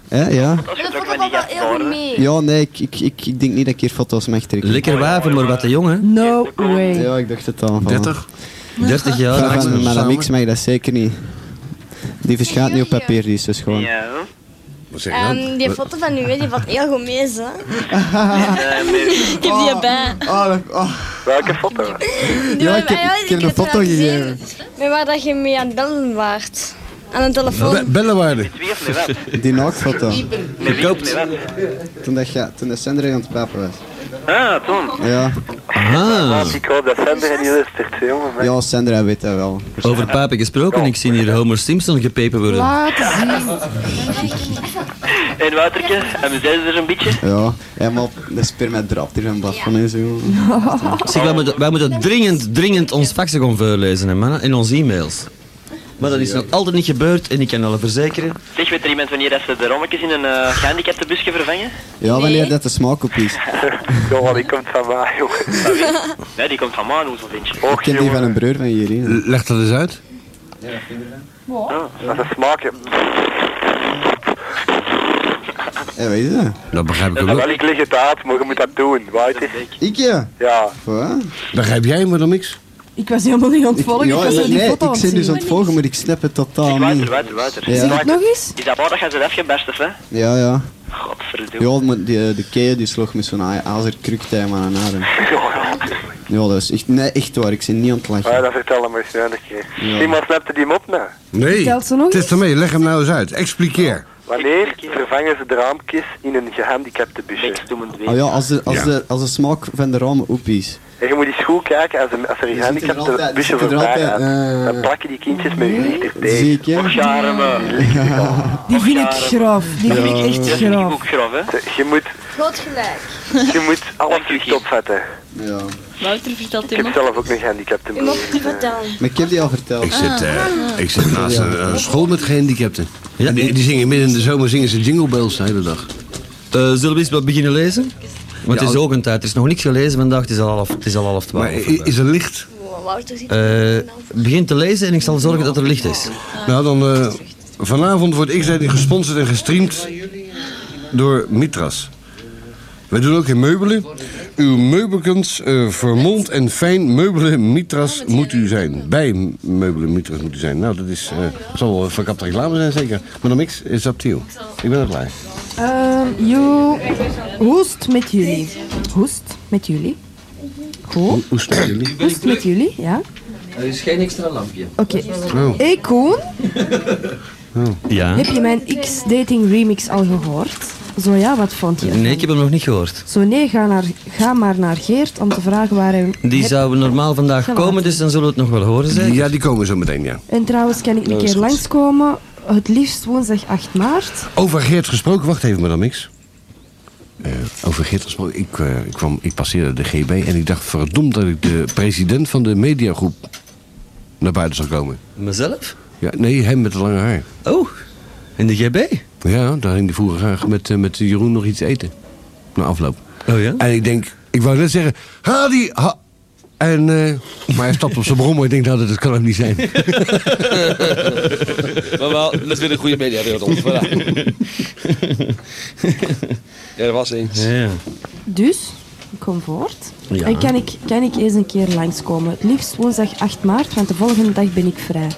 Hè, ja?
Als je
Dat
het ook
vond
maar
ik
niet
ook wel
gaat
heel goed
horen.
mee.
Ja, nee, ik, ik, ik, ik denk niet dat ik hier foto's mag trekken.
Lekker waven, maar wat de jongen.
No way.
Ja, ik dacht het al. van-
30.
30
Van,
jaar.
van, maar dat
samen.
mix mag dat zeker niet. Die verschijnt niet op papier, die is dus gewoon...
Ja, hè.
Wat zeg je
Ehm,
dan?
die foto van u, hè, die valt heel goed mee, zo.
Eh, nee.
Ik heb die erbij.
Oh, dat- oh.
Welke foto?
Die
Ja,
van
ik heb-
mij,
ik heb een
het
foto
eraan gezien. Met waar dat je mee aan het bellen waart. Aan de telefoon.
Be- Bellenwaarde.
Twee of nee, wat?
Die naaktfoto.
Nee, wie of nee, wat?
Toen, dat, ja, toen de Sandra aan het papen was.
Ah, Tom.
Ja,
Ah,
Ik hoop dat Sander en die luistert, hè, jongen.
ja Sandra weet dat wel.
over papen gesproken. Ik zie hier Homer Simpson gepepen worden.
Laat zien.
En Wouterke, amuseren ze er een beetje?
Ja, helemaal de sperma draapt hier een blad van en zo.
Zeg, wij moeten, wij moeten dringend, dringend ons faxen gaan voorlezen, hè, mannen. En onze e-mails. Maar dat is nog altijd niet gebeurd. En ik kan alle verzekeren.
Zeg, weet er iemand wanneer dat ze de rommetjes in een eh gehandicapte busje vervangen?
Ja, wanneer dat de smaak op is.
Jongen, die komt van mij, jongen.
Ah, Nee, die komt van Maan, hoeveel vindje?
Ik ken die van een broer van hier. hè.
Leg dat eens uit.
Dat is een smaakje.
Ja, weet je dat?
Dat begrijp ik ook.
Wel, ik lig het uit, maar je moet dat doen, weet je?
Ik ja.
Ja.
Wat?
Begrijp jij me dan niks?
Ik was helemaal niet aan het volgen. Ik
ja,
was
nee,
aan die
nee,
foto aan
ik
het
zit dus aan
zien.
het volgen, maar ik snap het totaal
Zeg, Wouter,
niet.
Wouter, Wouter.
Ja.
Zeg het nog eens.
Is dat waar dat je ze afgeberst hebt, hè?
Ja, ja.
Godverdomme.
Ja, maar die, eh, de kei die sloeg met zo'n azerkruk tegen mijn adem. Ja, dat is echt, nee, echt waar, ik zit niet aan het
Ah,
Ja,
lachen.
Ah, dat vertel hem eens een keer. Iemand snapte die mop nou.
Nee.
Vertelt ze nog
Het is
iets?
ermee. Leg hem nou eens uit. Expliqueer.
Wanneer vervangen ze de raamkist in een gehandicapte busje?
Bekstoemend
Ah
weer.
ja, als de, als,
Ja.
de, als de smaak van de ramen op is.
En je moet eens goed kijken als, een- als er een
Die zitten er
gehandicapte
altijd-
busje
die zitten er
voorbij gaat.
altijd, eh.
Dan plakken die kindjes met hun gezicht er
Zie
tegen.
ik, hè?
Och, charme.
Die vind ik graf. Die vind ik echt
Dat vind ik
graf.
ook grof, hè?
Ze- Je moet,
Groot gelijk.
je moet alles
u,
terug
Guy.
opvatten.
Ja.
Wouter vertelt
Ik heb zelf ook een gehandicapte
Je mag
broer.
het niet vertellen.
Maar ik heb die al verteld. Ah.
Ik zit, eh, ik zit naast een, een school met gehandicapten.
Ja.
En die, die zingen midden in de zomer zingen ze jingle bells de hele dag.
Eh, zullen we eens wat beginnen lezen? Want het is ook een tijd. Er is nog niks gelezen vandaag. Het is al half, het is al half twaalf.
Maar i- is er licht?
Wow, Wouter ziet
Eh, begin te lezen en ik zal zorgen dat er licht is.
Nou, dan eh, vanavond wordt X-Dating gesponsord en gestreamd door Mitras. Wij doen ook in meubelen. Uw meubelkens eh vermomd en fijn meubelen Mitras moet u zijn. Bij meubelen Mitras moet u zijn. Nou, dat is, eh zal wel verkapte reclame zijn, zeker. Maar dan niks, is up to you. Ik ben er klaar.
Ehm, yo. Hoest met jullie. Hoest met jullie. Goed.
Hoe staan jullie?
Hoest met jullie, ja.
Er is geen extra lampje.
Oké.
Oh.
Oh,
Hey Koen,
Ja?
heb je mijn X-dating remix al gehoord? Zo ja, wat vond je?
Nee, ik heb hem nog niet gehoord.
Zo nee, ga, naar, ga maar naar Geert om te vragen waar hij...
Die zouden normaal vandaag
Gelaten.
komen, dus dan zullen we het nog wel horen zijn.
Ja, die komen zo meteen, ja.
En trouwens kan ik een
Nou,
keer langskomen. Het liefst woensdag 8 maart.
Over Geert gesproken, wacht even, madame Mix. Eh, over Geert gesproken, ik, eh, ik, kwam, ik passeerde de GB en ik dacht verdomd dat ik de president van de mediagroep naar buiten zou komen.
Mezelf?
Ja, nee, hem met het lange haar.
Oh, in de GB?
Ja, daar ging hij vroeger graag met, eh, met Jeroen nog iets eten. Na afloop.
Oh ja?
En ik denk, ik wou net zeggen, ha die... Ha. En, eh, maar hij stapt op zijn brommer. Ik denk, nou, dat, dat kan ook niet zijn.
Maar wel, dat is weer een goede mediawereld ons. Voilà. ja, dat was eens.
Ja.
Dus, kom voort.
Ja.
En kan ik, kan ik eens een keer langskomen? Het liefst woensdag 8 maart, want de volgende dag ben ik vrij.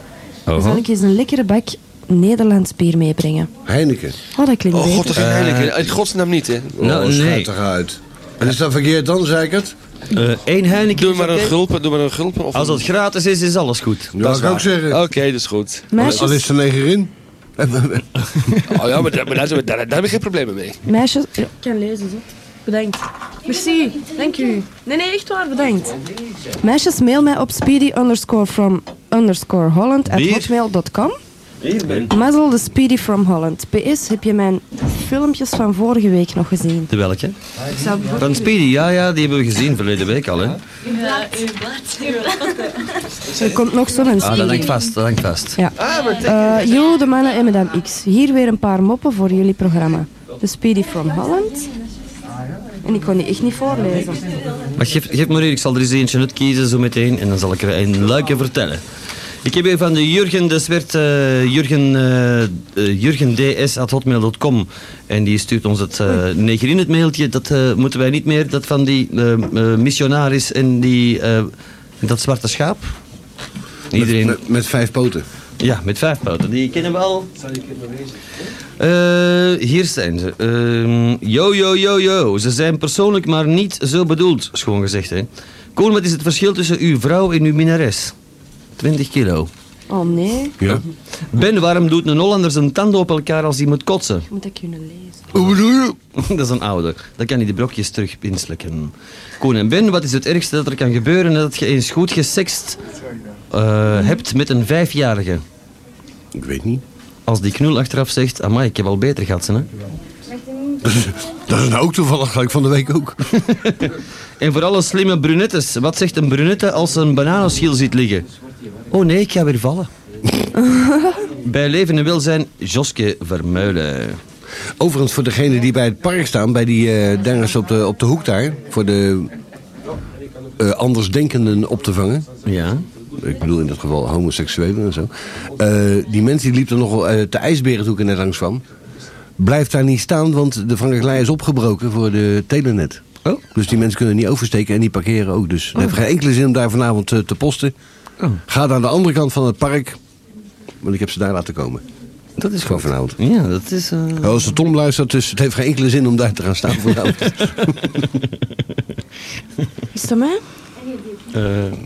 Dan zal ik eens een lekkere bak Nederlands bier meebrengen.
Heineken.
Oh, dat klinkt
Oh god,
beter.
dat ging eigenlijk. In godsnaam niet, hè.
Eh,
Oh,
Nou, nee.
schuit eruit. En is dat verkeerd dan, zei ik het?
Eh, Eén Heineken.
Doe
is
maar een
oké.
gulpen, doe maar een gulpen. Of
Als dat gratis is, is alles goed.
Dat zou ik ook zeggen.
Oké, dat is goed.
Meisjes,
Al is er negen in.
Oh ja, maar, daar, maar daar, zijn we- daar, daar heb ik geen problemen mee.
meisjes... Ja, ik kan lezen, zo. Bedankt. Merci, dank u. Nee, nee, echt waar, bedankt. Meisjes, mail mij op speedy underscore from underscore Holland at
Bier?
hotmail.com. Mazzel de Speedy from Holland. PS, heb je mijn filmpjes van vorige week nog gezien?
De welke?
Ik zou Nou,
Van Speedy, ja, ja, die hebben we gezien verleden week al. Hè?
Er komt nog zo'n
Ah, dat
serie.
hangt vast, Ah, dat hangt vast.
Ja. Eh, Jo, de mannen en Madame X. Hier weer een paar moppen voor jullie programma. De Speedy from Holland. En ik kon die echt niet voorlezen.
Maar geef, geef maar hier, ik zal er eens eentje uitkiezen zo meteen en dan zal ik er een luikje vertellen. Ik heb hier van de Jurgen, dus werd eh, Jurgen, eh, eh, Jurgen DS at hotmail.com en die stuurt ons het eh neger in het mailtje. Dat eh, moeten wij niet meer, dat van die eh, eh, missionaris en die, eh, dat zwarte schaap. Iedereen,
Met, met vijf poten.
ja, met vijf poten, die kennen we al. Eh, hier zijn ze. Ehm, yo, yo, yo, yo. Ze zijn persoonlijk maar niet zo bedoeld, schoon gezegd. Hè. Koen, wat is het verschil tussen uw vrouw en uw minnares? 20 kilo.
Oh nee,
Ja.
Ben, waarom doet een Hollander zijn tanden op elkaar als hij moet kotsen?
moet ik kunnen lezen.
Hoe bedoel je?
dat is een oude. Dan kan hij de brokjes terug inslikken. Koen en Ben, wat is het ergste dat er kan gebeuren nadat je eens goed gesext eh, hebt met een vijfjarige?
Ik weet niet.
Als die knul achteraf zegt, amai, ik heb al beter gehad, hè.
Dat is nou ook toevallig gelijk van de week ook.
En voor alle slimme brunettes, wat zegt een brunette Eh, als ze een bananenschil ziet liggen? Oh nee, ik ga weer vallen. Bij leven en welzijn, Joske Vermeulen.
Overigens, voor degenen die bij het park staan, bij die eh dingers op de, op de hoek daar, voor de eh, andersdenkenden op te vangen.
Ja.
Ik bedoel in dit geval homoseksuelen en zo. Eh, die mensen die liepen er nogal eh, te ijsberen toen ik er net langs kwam. Blijf daar niet staan, want de Frankrijk is opgebroken voor de telenet.
Oh.
Dus die mensen kunnen niet oversteken en die parkeren ook. Dus het heeft geen enkele zin om daar vanavond eh, te posten.
Oh.
Ga naar de andere kant van het park. Want ik heb ze daar laten komen.
Dat is
Gewoon
goed.
vanavond. Oh,
Ja, dat is... eh,
Als de Tom luistert, dus het heeft geen enkele zin om daar te gaan staan vanavond.
Is dat mij?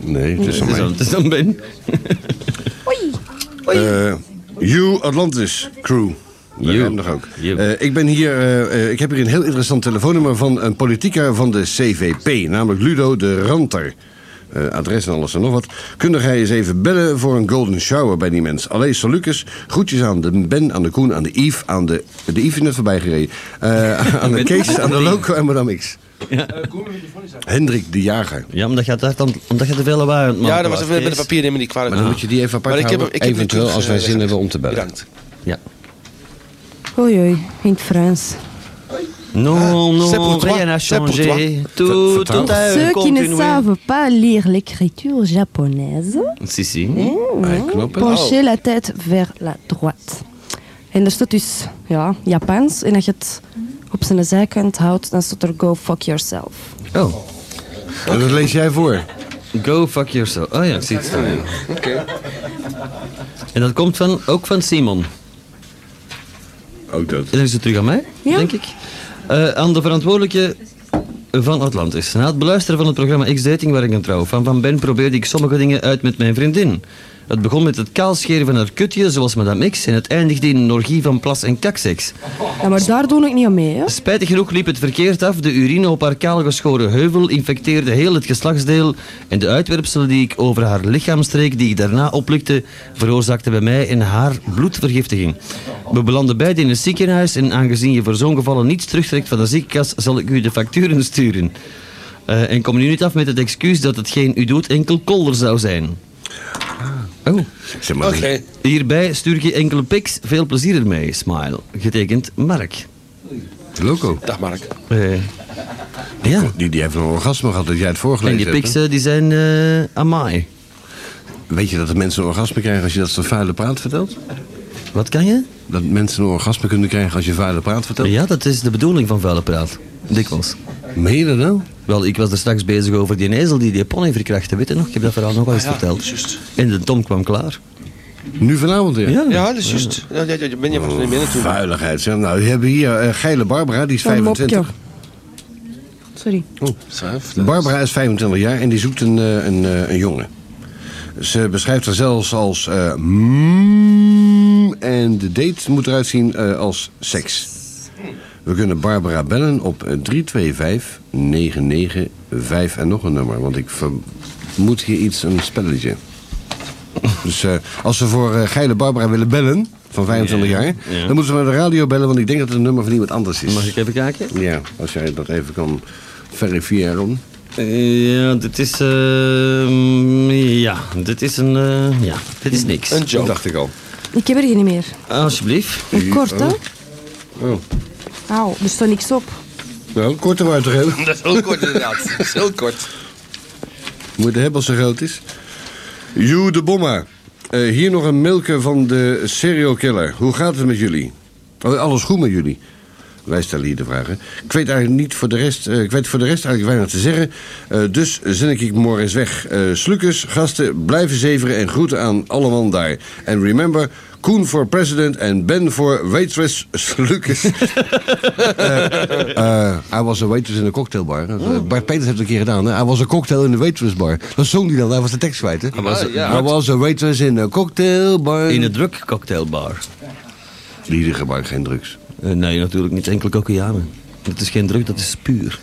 Nee, het
Eh,
is
het
aan
is
mij.
dan- het is dan Ben.
Eh, you Atlantis Crew.
You.
You. Nog ook.
You.
Eh, ik, ben hier, eh, eh, ik heb hier een heel interessant telefoonnummer van een politica van de CVP, namelijk Ludo de Ranter. Eh, adres en alles en nog wat. Kunnen jij eens even bellen voor een golden shower bij die mens? Allee, Salucus, groetjes aan de Ben, aan de Koen, aan de Yves, aan de... De Yves is net voorbij gereden. Eh, aan de Kees, aan de Loco en Madame X. Hendrik de Jager.
Ja, omdat je, dat, omdat je te veel lawaai aan het maken
Ja, dat was
Kees.
even met de papieren nemen die kwalijk.
Maar dan moet je die even apart
Maar ik heb hem-
houden,
ik heb hem
eventueel
natuurlijk,
als wij
eh,
zin hebben om te bellen.
Bedankt.
Ja.
Oei oei, in het Frans.
Non,
c'est
non,
pour toi,
rien n'a
c'est pour
changé.
toi.
Tout,
Vertaal.
tout a
Ceux qui ne
continué.
savent pas lire l'écriture japonaise, eh,
Si, si.
Ah,
ah,
Oh.
Oh.
penchez la tête vers la droite. En daar staat dus ja, Japans. En als je het op zijn zijkant houdt, dan staat er go fuck yourself.
Oh,
En dat lees jij voor.
go fuck yourself. Oh ja, ik zie het staan. ja. En dat komt van, ook van Simon.
Ook dat.
En dan is het terug aan mij,
Ja.
denk ik. Eh, aan de verantwoordelijke van Atlantis. Na het beluisteren van het programma X-Dating, waar ik een trouw van van ben, probeerde ik sommige dingen uit met mijn vriendin. Het begon met het kaalscheren van haar kutje, zoals Madame X, en het eindigde in een orgie van plas- en kakseks.
Ja, maar daar doe ik niet aan mee, hè.
Spijtig genoeg liep het verkeerd af. De urine op haar kaalgeschoren heuvel infecteerde heel het geslachtsdeel. En de uitwerpselen die ik over haar lichaam streek, die ik daarna oplikte, veroorzaakte bij mij en haar bloedvergiftiging. We belanden beiden in een ziekenhuis en aangezien je voor zo'n gevallen niets terugtrekt van de ziekenkast, zal ik u de facturen sturen.
Ah.
Eh, en kom nu niet af met het excuus dat hetgeen u doet enkel kolder zou zijn. Oh.
Zeg maar,
Oké.
Hierbij stuur ik je enkele pics. Veel plezier ermee, smile. Getekend Mark.
Loco.
Dag Mark.
Eh, ja.
Die, die heeft een orgasme gehad dat jij het
En
voorgelezen
die
hebt.
pics eh, die zijn eh amai.
hè? Weet je dat de mensen een orgasme krijgen als je dat ze vuile praat vertelt?
Wat kan je?
Dat mensen een orgasme kunnen krijgen als je vuile praat vertelt?
Ja, dat is de bedoeling van vuile praat. Dikwijls.
Meen je dat nou?
Wel, ik was er straks bezig over die ezel die die pony verkrachtte. Weet je nog? Ik heb dat verhaal nog wel eens
Ah ja,
verteld.
juist.
En de Tom kwam klaar.
Nu vanavond weer?
Ja, dat is juist. Ja, ja, ja, ben je vast niet meer naartoe.
Vuiligheid. Zeg. Nou, we hebben hier eh Geile Barbara, die is
Van
25.
Mopje. Sorry.
Schuif, dat-
Barbara is 25 jaar en die zoekt een, eh, een, eh, een jongen. Ze beschrijft haar zelfs als eh, mm, en de date moet eruit zien eh, als seks. We kunnen Barbara bellen op eh, 325 995 en nog een nummer, want ik vermoed hier iets, een spelletje. Dus eh, als ze voor eh, Geile Barbara willen bellen, van 25 jaar,
ja.
dan moeten ze naar de radio bellen, want ik denk dat het een nummer van iemand anders is.
Mag ik even kijken?
Ja, als jij dat even kan verifiëren.
Ja, dit is... eh, ja, dit is een... eh, ja, dit is niks.
Een
Dat
joke.
dacht ik al.
Ik heb er geen meer.
Alsjeblieft.
Een kort, hè?
Oh.
Auw, er stond niks op.
Nou, korter uit te hebben.
Dat is heel kort inderdaad. Dat is heel kort.
Moet je hebben als ze groot is. Joe de Bomma. Eh, hier nog een mailke van de serial killer. Hoe gaat het met jullie? Oh, alles goed met jullie? Wij stellen hier de vragen. Ik weet eigenlijk niet voor de rest, eh, ik weet voor de rest eigenlijk weinig te zeggen. Eh, dus zend ik morgen eens weg. Eh slukkers, gasten, blijven zeveren en groeten aan alle man daar. En remember, Koen voor president en Ben voor waitress slukkers. Eh, hij was een waitress in een cocktailbar. Dat, eh, Bart Peters heeft het een keer gedaan. Hè? Hij was een cocktail in een waitressbar. Dat zong hij dan, hij was de tekst kwijt. Hè? Hij
was-
hij was een waitress in een cocktailbar.
Ah, In een druk cocktailbar.
Lieden gebruikt geen drugs.
Eh, nee, natuurlijk niet. Enkel kokianen. Dat is geen druk, dat is puur.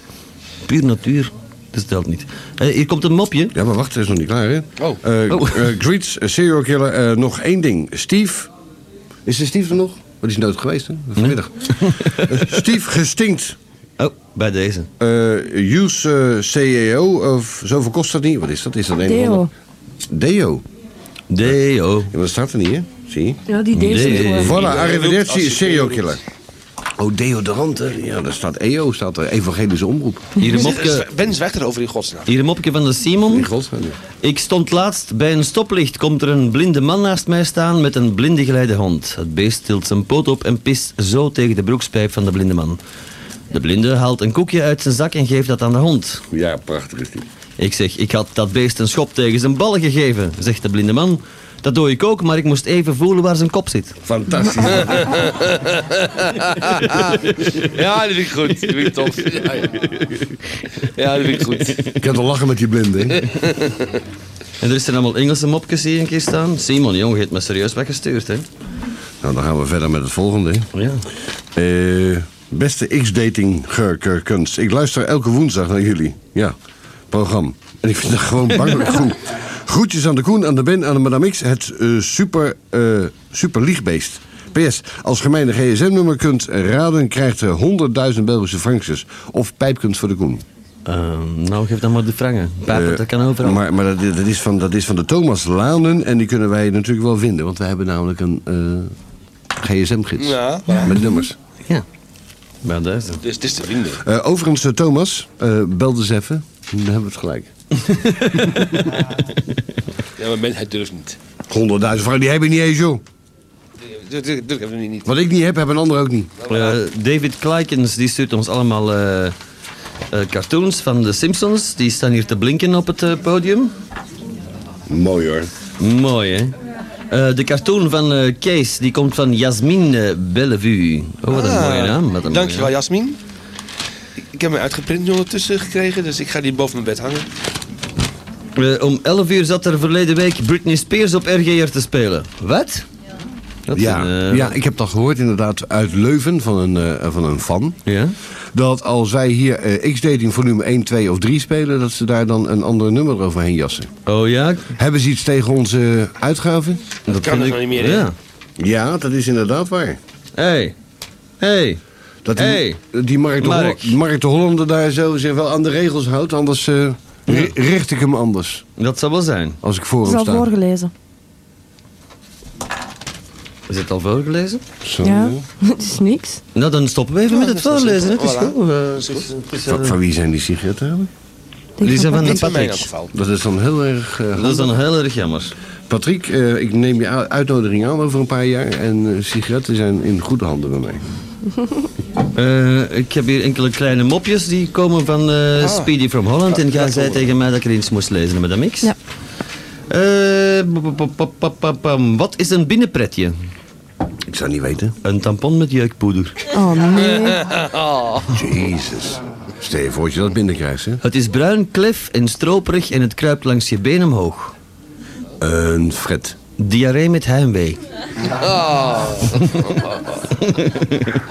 Puur natuur. Dat stelt niet. Eh, hier komt een mopje.
Ja, maar wacht, hij is nog niet klaar, hè?
Oh.
Eh,
Oh.
eh, Greets, eh, serial killer. eh, nog één ding. Steve. Is er Steve er nog? Wat is dood geweest, hè? Vanmiddag. Eh, Steve gestinkt.
Oh, bij deze.
Eh use eh, CAO, of zoveel kost dat niet. Wat is dat? Is dat een of
Deo.
ander? Deo.
Deo.
Ja, maar dat staat er niet, hè? Zie je?
Ja, die deed
Nee.
ze gewoon.
Voilà,
Als
arrivederci,
je-
serial killer. Oh, deodorant, hè? Ja, daar staat EO, staat er. Evangelische omroep.
Hier een mopje.
Zwe- Ben zwijgt erover in godsnaam.
Hier een mopje van de
In
Simon.
godsnaam.
Ik stond laatst bij een stoplicht. Komt er een blinde man naast mij staan met een blinde geleide hond. Het beest tilt zijn poot op en pist zo tegen de broekspijp van de blinde man. De blinde haalt een koekje uit zijn zak en geeft dat aan de hond.
Ja, prachtig is die.
Ik zeg, ik had dat beest een schop tegen zijn ballen gegeven, zegt de blinde man. Dat doe ik ook, maar ik moest even voelen waar zijn kop zit.
Fantastisch.
Ja, dat vind ik goed. Dat vind ik tof. Ja, ja. ja dat vind ik goed.
Ik heb al lachen met die blinden. hè?
En er zijn allemaal Engelse mopjes hier een keer staan. Simon, jongen, je hebt me serieus weggestuurd, hè?
Nou, dan gaan we verder met het volgende. hè.
Oh Ja.
Eh, beste X-dating ge- ge- kunst. Ik luister elke woensdag naar jullie. Ja, programma. En ik vind het gewoon bangelijk goed. Groetjes aan de Koen, aan de Ben, aan de Madame X. Het eh, super, eh super liegbeest. PS, als je mijn gsm-nummer kunt raden... krijgt er 100.000 Belgische frankjes. Of pijpkunt voor de Koen.
Ehm, nou, geef dan maar de frangen. Pijpen,
Eh,
dat kan overal.
Maar, maar dat, dat, is van, dat is van de Thomas Lanen. En die kunnen wij natuurlijk wel vinden. Want wij hebben namelijk een eh, gsm-gids.
Ja,
Met nummers.
Ja. Bij duizend.
Dus het is te vinden.
Eh, overigens, eh, Thomas, eh bel dus even. Dan hebben we het gelijk.
Ja, maar men, hij durft niet.
100.000 frank, die heb ik niet eens, joh.
Durf durf hem niet.
Oh,
Wat ik niet heb, hebben een ander ook niet.
Eh, David Kleikens die stuurt ons allemaal eh, eh, cartoons van de Simpsons. Die staan hier te blinken op het eh, podium.
Mooi hoor.
Mooi, hè? Eh, de cartoon van eh, Kees die komt van Jasmine Bellevue. Oh, wat een
Ah.
mooie naam. Wat een
Dankjewel,
mooie
Jasmin. Ik- Ik heb hem uitgeprint nu ondertussen gekregen, dus ik ga die boven mijn bed hangen.
naam. Eh, om 11 uur zat er verleden week Britney Spears op RGR te spelen. Wat? Dat
Ja,
is een, eh,
ja, ik heb dat gehoord inderdaad uit Leuven van een, eh, van een fan.
ja?
Dat als wij hier eh, X-Dating volume 1, 2 of 3 spelen... dat ze daar dan een ander nummer overheen jassen.
Oh ja?
Hebben ze iets tegen onze uitgaven?
Dat
kan
vind
dus
ik-
nog niet meer, hè?
Ja.
Ja, dat is inderdaad waar.
Hey. Hey.
Dat die,
Hey,
die Mark, de
Mark.
Hollander, Mark de Hollander daar zo zich wel aan de regels houdt. Anders eh, ri- richt ik hem anders.
Dat zal wel zijn.
Als ik voor
Het is
hem
al
sta.
voorgelezen.
Is het al voorgelezen?
Zo.
Ja, het is niks.
Nou, dan stoppen we even met het voorlezen. Het is
Voilà.
goed. eh, het is-
dus
het is, eh,
Van, van wie zijn die sigaretten eigenlijk?
Denk
Lisa van der
Niet van mij in elk
Patrick.
geval.
Dat is dan heel erg... eh,
Dat is dan heel erg jammer.
Patrick, eh, ik neem je a- uitnodiging aan over een paar jaar. En eh, sigaretten zijn in goede handen bij mij.
Eh, ik heb hier enkele kleine mopjes die komen van eh, Speedy from Holland. en jij zei tegen mij dat ik er eens moest lezen met een X.
Ja.
Eh, pa- pa- pa- pa- pa- pam. wat is een binnenpretje?
Ik zou niet weten.
Een tampon met jeukpoeder.
Oh nee.
Oh. Jezus. Stel je voor dat je dat binnenkrijgt, hè?
Het is bruin, klef en stroperig en het kruipt langs je been omhoog.
Een fret.
Diarree met heimwee.
Ah.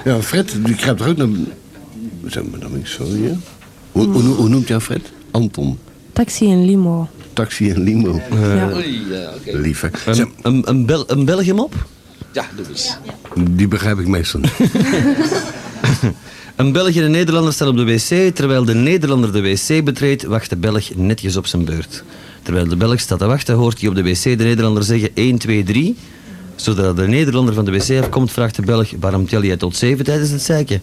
Ja, een fret, die kruipt er ook naar... Zeg maar, dan ben ik sorry, hè? Hoe, hoe, hoe, noemt jou Fred? Anton.
Taxi en limo.
Taxi en limo.
Ja.
Oei, ja, oké.
Lief, hè? Zeg,
Een, een, een, Bel, een Belgium op?
Ja, doe eens.
die begrijp ik meestal niet.
Een Belg en een Nederlander staan op de wc. Terwijl de Nederlander de wc betreedt, wacht de Belg netjes op zijn beurt. Terwijl de Belg staat te wachten, hoort hij op de wc de Nederlander zeggen 1, 2, 3. Zodra de Nederlander van de wc afkomt, vraagt de Belg waarom tel jij tot 7 tijdens het zeiken?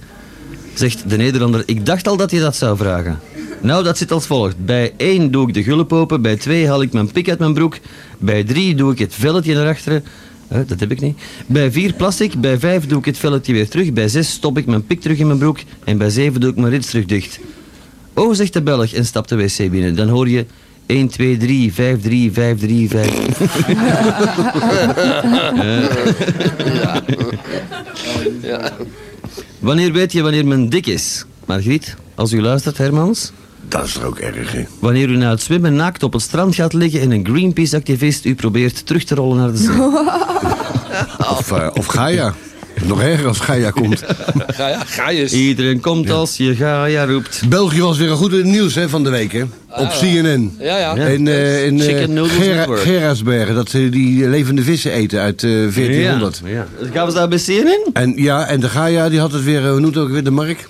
Zegt de Nederlander, ik dacht al dat je dat zou vragen. Nou, dat zit als volgt. Bij 1 doe ik de gulp open, bij 2 haal ik mijn pik uit mijn broek, bij 3 doe ik het velletje naar achteren. Eh, dat heb ik niet. Bij 4 plas ik, bij 5 doe ik het velletje weer terug, bij 6 stop ik mijn pik terug in mijn broek en bij 7 doe ik mijn rits terug dicht. Oh, zegt de Belg en stapt de wc binnen. Dan hoor je 1, 2, 3, 5, 3, 5, 3, 5. Eh. Wanneer weet je wanneer men dik is? Margriet, als u luistert, Hermans.
Dat is toch ook erg, hè?
Wanneer u na het zwemmen naakt op het strand gaat liggen en een Greenpeace-activist u probeert terug te rollen naar de zee.
Of, eh, of Gaia. Nog erger als Gaia komt.
Ga, ja, ga je eens.
Iedereen komt als je Gaia roept.
België was weer een goed in het nieuws hè, van de week, hè? Op CNN.
Ja, ja.
Ah. Ja.
En, eh in eh,
Chicken noodles
Gera-
at work.
Gerardsbergen, dat ze die levende vissen eten uit eh, 1400.
Ja, ja. Gaan we daar bij CNN?
En ja, en de Gaia die had het weer, eh, hoe noemt ook weer de Mark?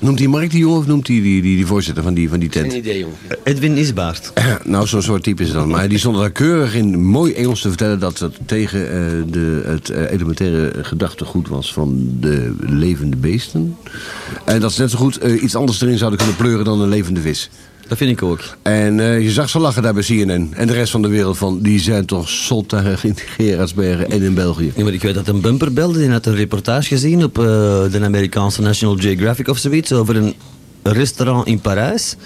Noemt die Mark die jongen of noemt die, die, die, die voorzitter van die, van die
Geen
tent?
idee, jongen.
Edwin Isbaard.
nou, zo'n soort type is het dan. Maar die stond daar keurig in mooi Engels te vertellen dat het tegen eh, de, het eh, elementaire gedachtegoed was van de levende beesten. En dat ze net zo goed eh, iets anders erin zouden kunnen pleuren dan een levende vis.
Dat vind ik ook.
En eh, je zag ze lachen daar bij CNN. En de rest van de wereld van, die zijn toch zot daar in Gerardsbergen en in België.
Ja, maar ik weet dat een bumper belde. Die had een reportage gezien op eh, de Amerikaanse National Geographic of zoiets. Over een restaurant in Parijs.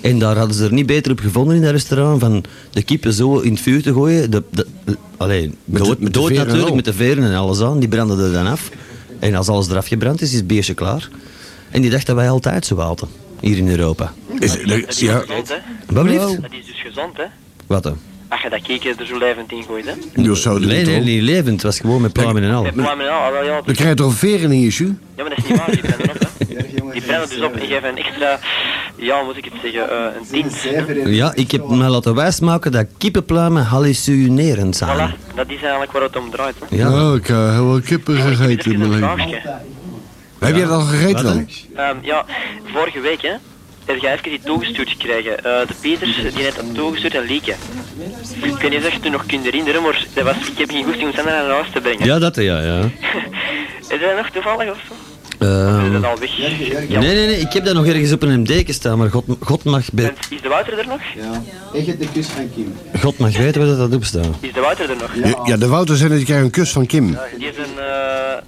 En daar hadden ze er niet beter op gevonden in dat restaurant. Van de kippen zo in het vuur te gooien. De, de, de- alleen,
Met de-
dood,
met de
dood
veren en
natuurlijk,
al.
met de veren en alles aan. Die branden er dan af. En als alles eraf gebrand is, is het beestje klaar. En die dacht dat wij altijd zo hadden. Hier in Europa.
Is,
Dat is
ja,
gezond, hè?
Wat blieft?
Dat is dus gezond, hè?
Wat dan?
Als je dat keken er zo levend in gooit, hè?
dus zo
Nee, nee, niet levend. Het was gewoon met pluimen en al.
Met pluimen en al, ah, wel, ja,
Dan krijg je toch een veren in je shoe?
Ja, maar dat is niet waar, die brengen op, hè? Die brengen dus op en geven een extra, ja, hoe moet ik het zeggen, eh, een tint.
Ja, ik heb me laten wijsmaken dat kippenpluimen hallucinerend zijn.
Voilà, dat is eigenlijk waar het om draait, hè?
Ja.
Oh, ik eh, heb wel kippen
Dit
gegeten
is
in mijn
een
leven.
vraagje.
Heb jij dat al gegeten dan?
Ehm, ja, vorige week, hè, heb jij even iets toegestuurd gekregen. Eh, de Peters, die heeft dat toegestuurd aan Lieke. Ik weet niet of je het je nog kunt herinneren, maar dat was, ik heb geen goesting om ze naar huis te brengen.
Ja, dat ja, ja.
Is dat nog toevallig of zo?
Ehm,
Is dat al weg? Ja.
nee, nee, nee, ik heb dat nog ergens op een MD staan, maar God, God, mag, be-
En Is de Wouter er nog?
Ja. Ik heb de kus van Kim.
God mag weten waar dat op staat.
Is de Wouter er nog?
Ja, ja, de Wouter zei dat je krijgt een kus van Kim.
Die zijn, eh,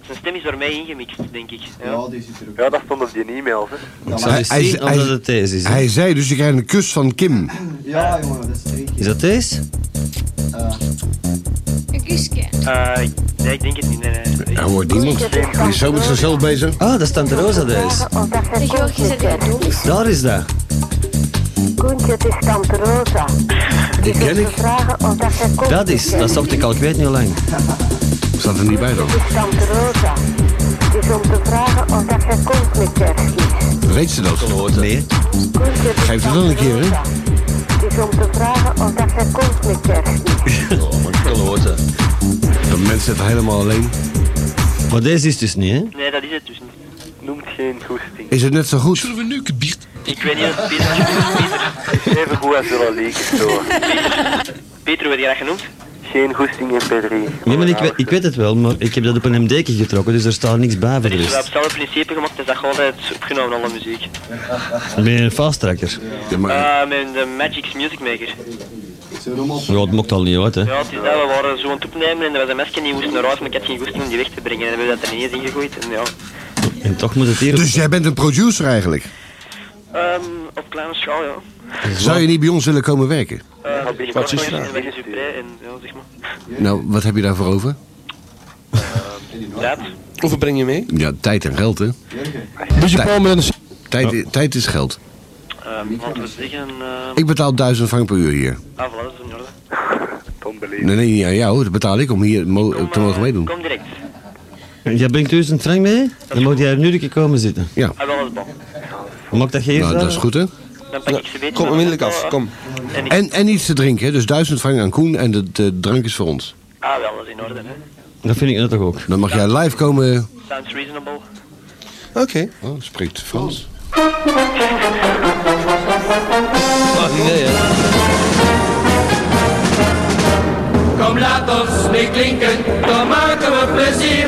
zijn stem is door mij ingemixt, denk ik. Ja.
Ja, die zit er ook.
Ja, dat stond op die e-mail. hè.
Ik zal eens
Hij- hij-
zien of
hij-
dat het deze is. hè.
Hij zei dus, je krijgt een kus van Kim.
Ja, jongen, dat is twee
Is
keer.
dat deze?
Een kusje.
Eh, nee, ik denk het niet. Nee, nee.
Er hoort niemand. Hij is zo met zichzelf bezig.
Ah, dat is Tante Rosa deze.
De Georgie zit er doos.
Daar is dat.
Koentje, het is Tante Rosa.
Die ken ik.
Vragen of dat je komt.
Dat is, dat zocht ik al, ik weet niet hoe lang.
Staat er niet bij dan.
Het is Tante Rosa. Het is om te vragen of dat je komt met kerstmis.
Weet ze dat?
Nee.
Koentje, het is
Geef het dan een
Tante
keer, hè?
Rosa. Het is om te vragen of dat je komt met kerstmis.
De mens zit helemaal alleen.
Maar deze is dus niet, hè?
nee, dat is het dus niet.
Noemt geen goesting.
Is het net zo goed?
we nu gebied?
Ik weet niet of het Peter... Peter,
Even goed als wel een leek is, hoor.
Peter, hoe heb je dat genoemd?
geen goesting in P3.
Nee, maar ik, we- ik weet het wel, maar ik heb dat op een MD'tje getrokken, dus er staat niks bij voor de
Dus we hebben
rest.
hetzelfde principe gemaakt en dat gewoon altijd opgenomen, alle muziek.
Dan ben je een fasttracker. Ja,
Eh, met de Magic's Music Maker.
het mocht al niet uit, hè.
Ja, het is dat, we waren zo aan het opnemen en er was een mesje die moest naar huis, maar ik had geen goesting om die weg te brengen. En hebben we dat er ineens ingegooid en ja.
En toch moet het hier...
Dus jij bent een producer eigenlijk.
Ehm, op kleine schaal, ja.
Zou je niet bij ons willen komen werken?
Eh,
Wat is
binnenkort nog eens
dat?
in Wagnes Uprij en ja, zeg maar.
Nou, wat heb je daarvoor over?
Dat.
Hoeveel breng je mee?
Ja, tijd en geld, hè? Tijd- Tijd, tijd is geld.
Ehm, laten we zeggen... ehm,
Ik betaal 1000 frank per uur hier.
Ah, voilà, dat is in orde.
Nee, nee, niet aan jou. Dat betaal ik om hier mo- te mogen meedoen.
Kom direct.
Jij brengt duizend frank mee, dan mag jij er nu een keer komen zitten.
Ja.
Ah, wel, is bon.
Mag ik dat geven?
Nou, dat is goed, hè?
Dan pak ik ze beter.
Kom onmiddellijk af, kom.
En ik...
En, en iets te drinken, hè? Dus 1000 frank aan Koen en de, de drank is voor ons.
Ah, wel, dat is in orde, hè.
Dat vind ik net toch ook.
Dan mag jij live komen.
Sounds reasonable.
Oké.
Oh, spreekt Frans.
Kom laat ons mee klinken, dan maken we plezier.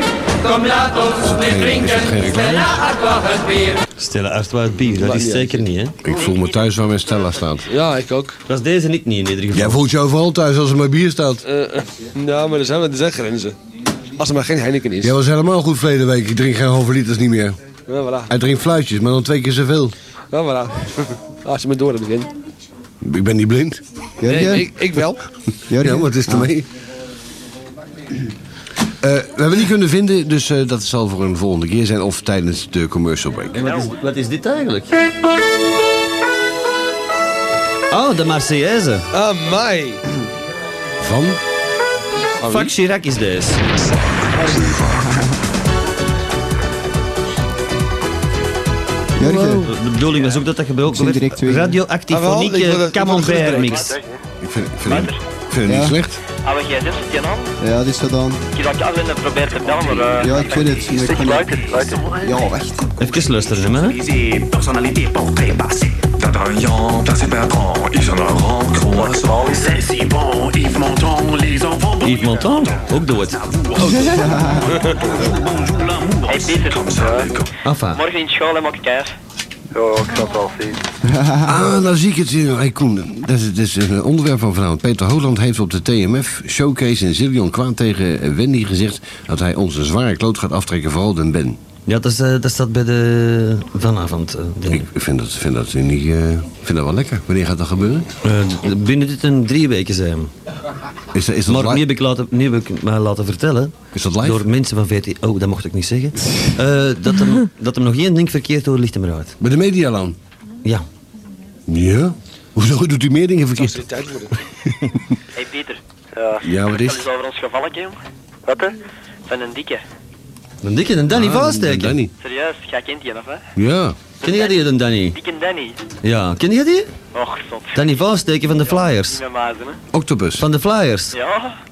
Kom laat ons mee drinken, Stella Artois het bier.
Stella Artois het bier, dat is zeker niet, hè.
Ik voel me thuis waar mijn Stella staat.
Ja, ik ook.
Dat is deze niet, niet in ieder geval.
Jij voelt je overal thuis als er maar bier staat.
Eh, eh, nou, maar er zijn, er zijn grenzen. Als er maar geen Heineken is.
Jij was helemaal goed verleden week. Ik drink geen halve liters niet meer.
Ja, voilà.
Hij drinkt fluitjes, maar dan twee keer zoveel.
Ja, voilà. Ah, Als je me door hebt, Win.
Ik ben niet blind.
Nee, ik, ik wel.
Ja, nou, wat is ermee? Eh, we hebben niet kunnen vinden, dus eh, dat zal voor een volgende keer zijn of tijdens de commercial break.
En wat is, wat is dit eigenlijk? Oh, de Marseillaise.
Ah, mij.
Van?
Fuck Chirac is deze.
Jurgen.
De bedoeling was ook dat dat gebroken
Zijn direct
werd.
twee.
Ah, wel, ik wil
Radioactionieke
dat- ik
camembert
wil
mix.
Ik vind, ik vind, ik vind het
Ja.
niet slecht.
Ah, we gsm zit je aan?
Ja, dat is gedaan.
Ik heb al Calvin en probeer te bellen, maar... eh,
Ja, ik weet het. maar ik
Zeg,
kan niet-
luister, luister.
Ja, wacht.
Even luisteren, hè.
Personnalité portrait passé. D'Adrien, c'est patron, ils en auront croissant. C'est si bon, Yves Montand, les enfants
Yves Montand, ook dood.
Hey, Peter.
Enfin.
Morgen in school, hè, maak ik uit.
Ja, ik zal het wel zien.
Ah, nou zie ik het. hier. Hey, Koen, dat is, dat is een onderwerp van vanavond. Peter Holand heeft op de TMF showcase in Zillion kwaad tegen Wendy gezegd dat hij ons een zware kloot gaat aftrekken, vooral den Ben.
Ja, dat, is, eh, dat staat bij de vanavond. eh, ding.
Ik vind dat, vind dat, niet, eh, vind dat wel lekker. Wanneer gaat dat gebeuren?
Eh, d- binnen dit en drie weken zijn. we.
Is, dat- is, dat
Maar nu
live,
heb ik, laten, nu heb ik mij laten vertellen.
is dat live?
Door mensen van VT. Oh, dat mocht ik niet zeggen. Eh, dat, hem, dat hem nog één ding verkeerd door ligt hem eruit.
Bij de Medialaan?
Ja.
Ja. Hoezo doet u meer dingen verkeerd?
Die tijd worden.
Hey, Peter.
Ja, wat
Dat
is
is over ons gevalletje, jong.
Wat hè?
Van een dikke.
Dan dikke, dan Danny
Ah,
vaststeken.
Danny.
Serieus, jij kent die af, hè?
Ja.
Ken jij die, dan Danny?
Dikke Danny.
Ja, ken jij die?
Och, zot.
Danny Vaalsteken van de Flyers.
Niet met mazen, hè?
Octopus.
Van de Flyers.
Ja,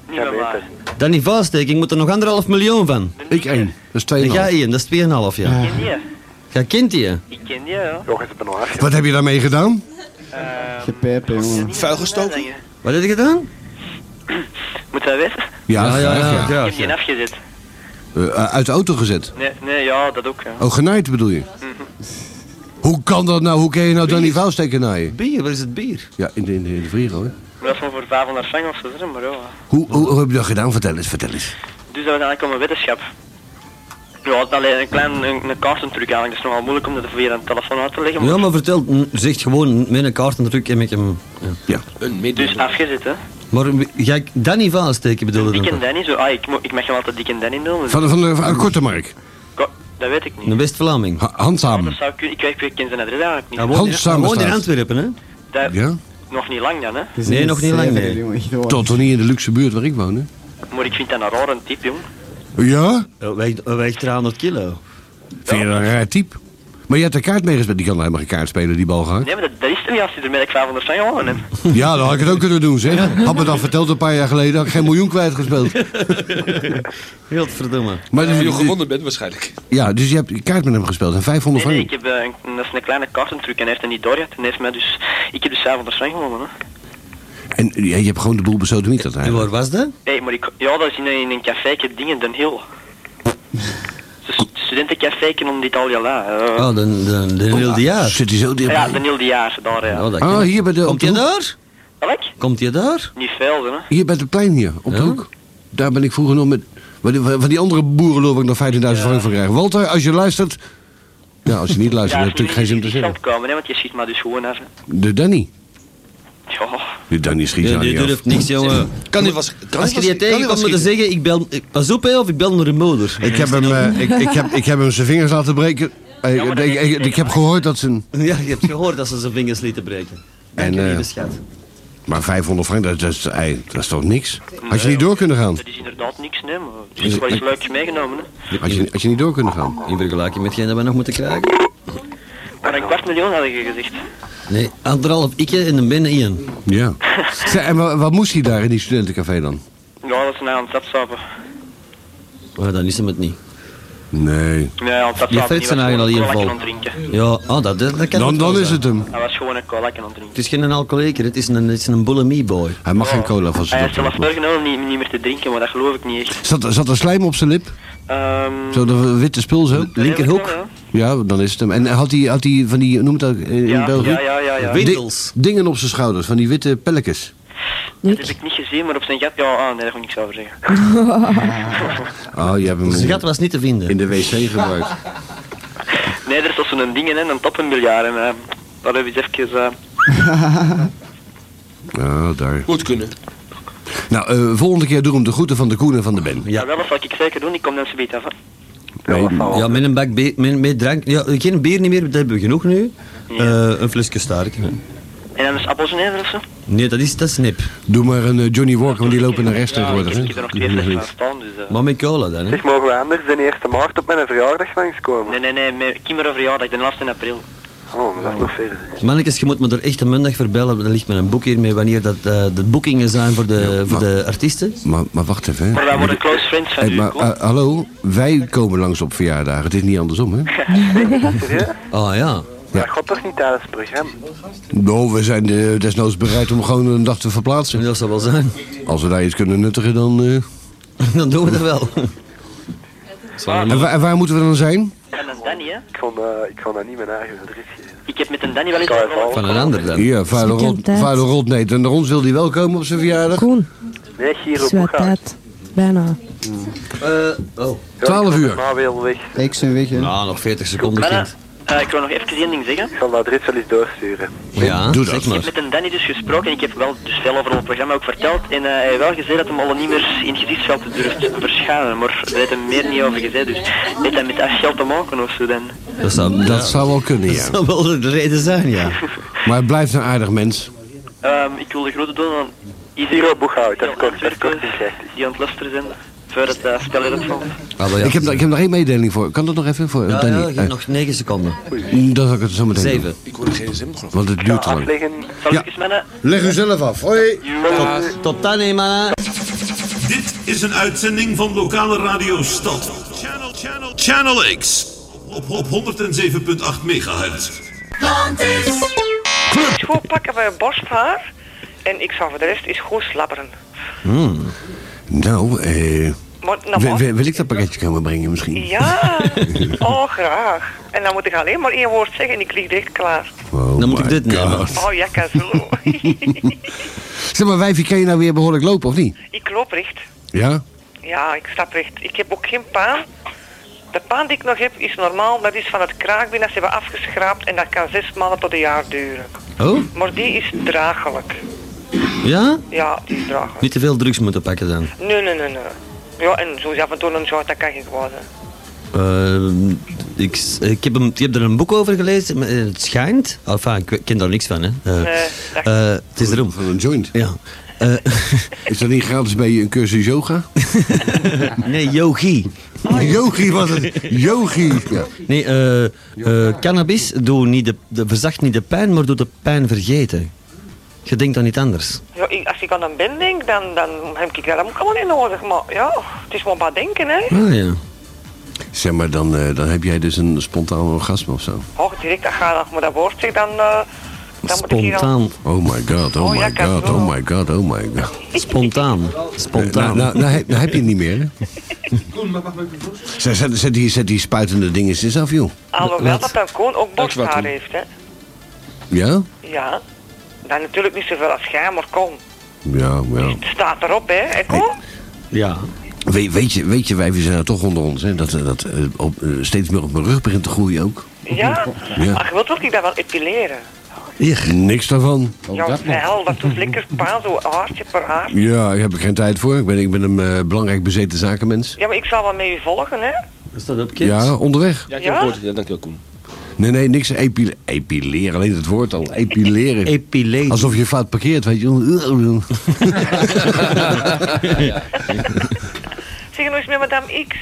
niet
Ja,
met
beter.
mazen.
Danny Vaalsteken, ik moet er nog anderhalf miljoen van.
Ik één. Dat is
En
twee
jij één, dat is 2,5 jaar.
Ik ken die.
Jij kent die?
Ik ken die, ja.
Toch is het benoemd.
Wat heb je daarmee gedaan?
Ehm,
Gepijpen, jongen.
Vuil gestoken?
Wat heb je gedaan?
Moet dat weten?
Ja, ja, ja.
Ik heb die afgezet.
Eh, uit de auto gezet.
Nee, nee, ja, dat ook, ja. Mhm.
Oh, genaaid bedoel je? Hoe kan dat nou? Hoe kun je nou Danny Vaalsteken naaien?
Bier, waar is het bier?
Ja, in de, in de, in de vrieger, hoor.
Maar dat is maar voor 500 frank of zo, zeg maar ja.
Hoe, hoe, hoe heb je dat gedaan? Vertel eens, vertel eens.
Dus dat was eigenlijk om een wetenschap. Ja, het is alleen een klein een, een kaartentruc eigenlijk. Dat is nogal moeilijk om dat via een telefoon uit te leggen. maar-
Ja, maar vertel, mm, zeg gewoon met een kaartendruk en met hem. Ja.
Een midden.
Dus afgezet, hè.
Maar wie- ga ik Danny Vaalsteken bedoelde
Dick en
dan?
Danny, zo, ah, ik, mo- ik mag hem altijd Dick en Danny noemen.
Van, van, de, van Korte Mark.
Ko- Dat weet ik niet.
Een West-Vlaming.
Ha- handzaam.
Dat zou kunnen, ik, weet- ik, weet- ik ken zijn adres eigenlijk niet.
Hij woont in-
Hans
hij woont in
Samenstaat.
Antwerpen, hè?
Dat,
Ja?
Nog niet lang dan, hè.
Het is
Nee,
een
nog niet lang,
zever,
nee.
jongen. Echt waar.
Tot toch niet in de luxe buurt waar ik woon, hè?
Maar ik vind dat een rare type, jong.
Ja?
Hij weegt, hij weegt 300 kilo.
Vind je dat een raar type? Maar je hebt de kaart meegespeeld. Die kan helemaal geen kaart spelen, die bal gaat.
Nee, maar dat, dat is er niet als je er met een 500 frank gewonnen hebt.
Ja, dan had ik het ook kunnen doen, zeg. Had me dat verteld een paar jaar geleden, had ik geen miljoen kwijtgespeeld.
Heel verdomme.
Maar
Of je
dus,
gewonnen bent waarschijnlijk.
ja, dus je hebt je kaart met hem gespeeld en 500
Nee, nee,
frank.
ik heb eh, een, dat is een kleine kaartentruc en hij heeft dat niet doorgehad. En hij heeft mij dus... Ik heb dus 500 frank gewonnen, hè.
En ja, je hebt gewoon de boel besodemieterd eigenlijk.
En waar was dat?
Nee, maar ik, ja, dat is in, een- in een café dingen, Den Hill. Dus studentencafé om Italia la. eh.
Oh, de, de, de Niel de Jaar. Zit hij zo
ja, Den Hill de Jaar, daar ja.
Ah, hier bij de...
Komt
op de
je
hoek.
daar? Komt je daar?
Niet veel, hè.
Hier bij het plein hier, op de hoek. Daar ben ik vroeger nog met... Waar die, waar die andere boeren loop ik nog 15.000 frank voor krijgen. Walter, als je luistert... Ja, als je niet luistert, heb je natuurlijk geen zin om te
Kan
zeggen.
opkomen, hè, want je schiet maar dus gewoon af. hè.
De Danny.
Ja.
De Danny schiet
Die,
jou
die
niet af.
durft niks, jongen.
Kan die was,
Als je die tegenkomt moet je zeggen, ik bel, ik- pas op hè, of ik bel naar de moeder.
Ik heb, hem,
nou-
eh, ik, ik, heb, ik heb hem zijn vingers laten breken. Eh, ik, ik, ik- ik heb gehoord dat zijn...
Ja, je hebt gehoord dat ze zijn vingers lieten breken.
En, eh,
Lieve schat.
maar 500 frank, dat, dat, is, ei, dat is toch niks? Had je niet
eh,
door kunnen gaan?
Dat is inderdaad niks, nee, maar er
Is-
is wel iets leuks meegenomen. Hè.
Had je, had je niet door kunnen gaan?
In vergelijking met hetgeen dat we nog moeten krijgen.
Maar een kwart miljoen hadden je gezegd.
Nee, anderhalf ikje en dan binnen Ian.
Ja. Zeg, en wa- wat moest hij daar in die studentencafé dan?
Ja, dat is nou aan het sapsappen.
Maar Oh, dan is hem het niet.
Nee.
Nee, aan het
Die
sapsappen
feit
niet,
zijn
hij was
eigenlijk
gewoon
al
een
hier
aan het drinken.
Ja, oh, dat, dat, dat kan
Dan,
wel
dan is
zijn.
het hem.
Hij was gewoon een kolak aan het drinken.
Het is geen alcoholieker, het is een, het is een bulimie boy.
Hij mag geen cola van
Hij
zijn
heeft zelf
dokter.
voorgenomen niet, niet meer te drinken, maar dat geloof ik niet echt.
Zat, zat er slijm op zijn lip?
Ehm,
Zo de witte spul zo?
Ja,
Ja, dan is het hem. En had hij, had hij van die, hoe noemt dat eh, in
Ja,
België?
ja, ja, ja, ja.
Di-
Windels.
dingen op zijn schouders, van die witte pelletjes.
dat heb ik niet gezien, maar op zijn gat... Ja, ah, nee, daar ga ik niks over zeggen.
Oh, je hebt hem
Zijn
in,
Dus gat was niet te vinden.
in de wc gebruikt.
Nee, er is toch zo'n ding, hè, een toppenbiljaar. En, eh, daar heb ik eens even... eh,
Oh, daar.
Moet kunnen.
Nou, eh, volgende keer doe hem de groeten van de Koen en van de Ben.
ja. wel, dat zal ik zeker doen. Ik kom dan zo af. hè.
Ja, met een bak bier, met, met drank. Ja, geen bier niet meer, dat hebben we genoeg nu. Eh, een flesje sterk.
En dan is appels en eieren of zo.
Nee, dat is, dat is nip.
Doe maar een eh, Johnny Walker, want die lopen naar rechts
ik,
tegenwoordig.
heb, ik heb er nog twee flessen aan
hè?
staan, dus... eh.
Maar met cola dan, hè.
Zeg, mogen we anders de 1 maart op mijn verjaardag langskomen?
Nee, nee, nee, mijn kinderen verjaardag, de laatste in april.
Oh, maar dat is nog verder.
Mannetjes, je moet me er echt een mundag voor bellen. Dan ligt met een boek hier mee wanneer dat, eh, de boekingen zijn voor de, voor de artiesten.
Maar, maar wacht even.
Maar
Hè.
wij worden close friends van
Hey,
u.
maar
kom.
eh, hallo, wij komen langs op verjaardagen. Het is niet andersom, hè?
Serieus?
Ah ja.
Ja.
Dat gaat toch niet tijdens het programma?
Nou, we zijn eh, desnoods bereid om gewoon een dag te verplaatsen.
Dat zal wel zijn.
Als we daar iets kunnen nuttigen, dan... eh.
Dan doen we dat wel.
En, wa- en waar moeten we dan zijn?
En dan Danny, hè.
Ik kan, eh, ik kan dat niet mijn eigen adres geven.
Ik heb met een Danny wel eens...
Kan je wel?
Van een ander dan.
Ja, vader,
bekend
Rot,
tijd.
vader Rotneet. En naar ons wil hij wel komen op zijn verjaardag.
Koen,
Nee, Giro
het is wel
Boeghout.
tijd. Bijna.
Eh, oh.
12 uur.
Maar wel weg.
Ik zijn weg, hè.
Nou, nog 40 seconden,
Mannen,
kind.
eh, ik wil nog even één ding zeggen.
Ik zal dat adres wel eens doorsturen.
Ja,
doe
zeg
dat.
Ik heb
maar.
met een Danny dus gesproken en ik heb wel dus veel over ons programma ook verteld. En eh, hij heeft wel gezegd dat hem al niet meer in het gezichtsveld durft verschijnen, maar daar heeft hem meer niet over gezegd. Dus heeft dat met dat geld te maken of zo dan?
Dat zou,
Dat zou wel kunnen, ja.
dat zou wel de reden zijn, ja.
Maar het blijft een aardig mens.
Ehm, ik wil de groeten doen aan
Giro
iedereen
Boeghout, dat is kort, dat is kort in
die aan het luisteren zijn voor het eh, spel in het veld.
Ah, wel, ja.
Ik heb, nog- ik heb nog één mededeling voor. Kan dat nog even? Voor
Ja, ja,
Danny?
je hebt nog 9 seconden.
Eh, dan zal ik het zo meteen
7.
Ik hoorde geen zin nog.
doen, Want het duurt te lang.
Afleggen.
Zal
Ja.
ik eens mannen?
Leg u zelf af. Hoi.
Tot dan, hè, mannen.
Dit is een uitzending van lokale radio Stad. Channel, channel, channel X. Op, op 107.8 megahertz.
Goed pakken bij borsthaar. En ik zou voor de rest eens goed slapperen.
Hmm. Nou, eh...
Maar, nou,
wil,
maar-
wil- wil ik dat pakketje komen brengen misschien?
Ja, oh graag. En dan moet ik alleen maar één woord zeggen en ik lig direct klaar.
Oh
Dan moet
my
ik dit
God.
nemen.
Oh ja, kan zo.
Zeg maar, wijfie, kan je nou weer behoorlijk lopen, of niet?
ik loop recht.
Ja?
Ja, ik stap recht. Ik heb ook geen paan. De paan die ik nog heb is normaal, dat is van het kraakbeen dat ze hebben afgeschraapt en dat kan zes maanden tot een jaar duren.
Oh,
Maar die is draaglijk.
ja?
Ja, die is draaglijk.
Niet te veel drugs moeten pakken dan.
Nee, nee, nee, nee. Ja, en zo is af en toe een short, dat kan geen kwaad zijn.
Eh, ik, s- ik, heb hem, ik heb er een boek over gelezen, maar eh, het schijnt. Enfin, ik ken daar niks van, hè? Eh,
Nee, dat-
eh, het is erom.
Van een joint.
Ja. Eh,
Is dat niet gratis bij je een cursus yoga?
nee, yogi.
Yogi was het. Yogi. Ja.
Nee, eh, eh, cannabis doet niet de, de, verzacht niet de pijn, maar doet de pijn vergeten. Je denkt dan niet anders.
Ja, ik- als ik aan een ben denk, dan, dan heb ik dat ook allemaal niet nodig. Maar ja, het is maar wat denken, hè.
Ah ja.
Zeg maar, dan, eh, dan heb jij dus een spontaan orgasme of zo.
Och, direct, dat gaat nog maar dat woord zeg, dan... eh, dan moet ik hier al...
Spontaan.
Oh my god, oh,
Oh, ja,
my
kan
god,
wel.
oh my god, oh my god.
Spontaan. Spontaan.
Nou, nou, nou, he- nou heb je het niet meer, hè? Zet, zet, zet die, zet die spuitende dingen eens af, joh.
Alhoewel dat dan Koen ook borsthaar
Dankjewel,
heeft, hè.
Ja?
Ja. Dan natuurlijk niet zoveel als jij, maar Koen.
Ja, ja.
Het staat erop, hè. hè, Koen?
Ja.
We, weet, je, weet je, wij we zijn er toch onder ons, hè? Dat, eh, dat eh, op, eh, steeds meer op mijn rug begint te groeien ook.
Ja.
Ja.
Ach, je wilt ook niet dat wel epileren.
Niks daarvan.
ja, wel, dat doet lekker pa, zo haartje per haar.
Ja, daar heb ik geen tijd voor. Ik ben, ik ben een eh, belangrijk bezeten zakenmens.
Ja, maar ik zal wel mee volgen, hè.
Is dat op
Ja, onderweg.
Ja, ik
Ja?
heb gehoord. Ja, dankjewel, Koen.
Nee, nee, niks epile epileren. Alleen het woord al. Epileren.
Epileren.
Alsof je fout parkeert, weet je.
Zeg nou eens met madame X.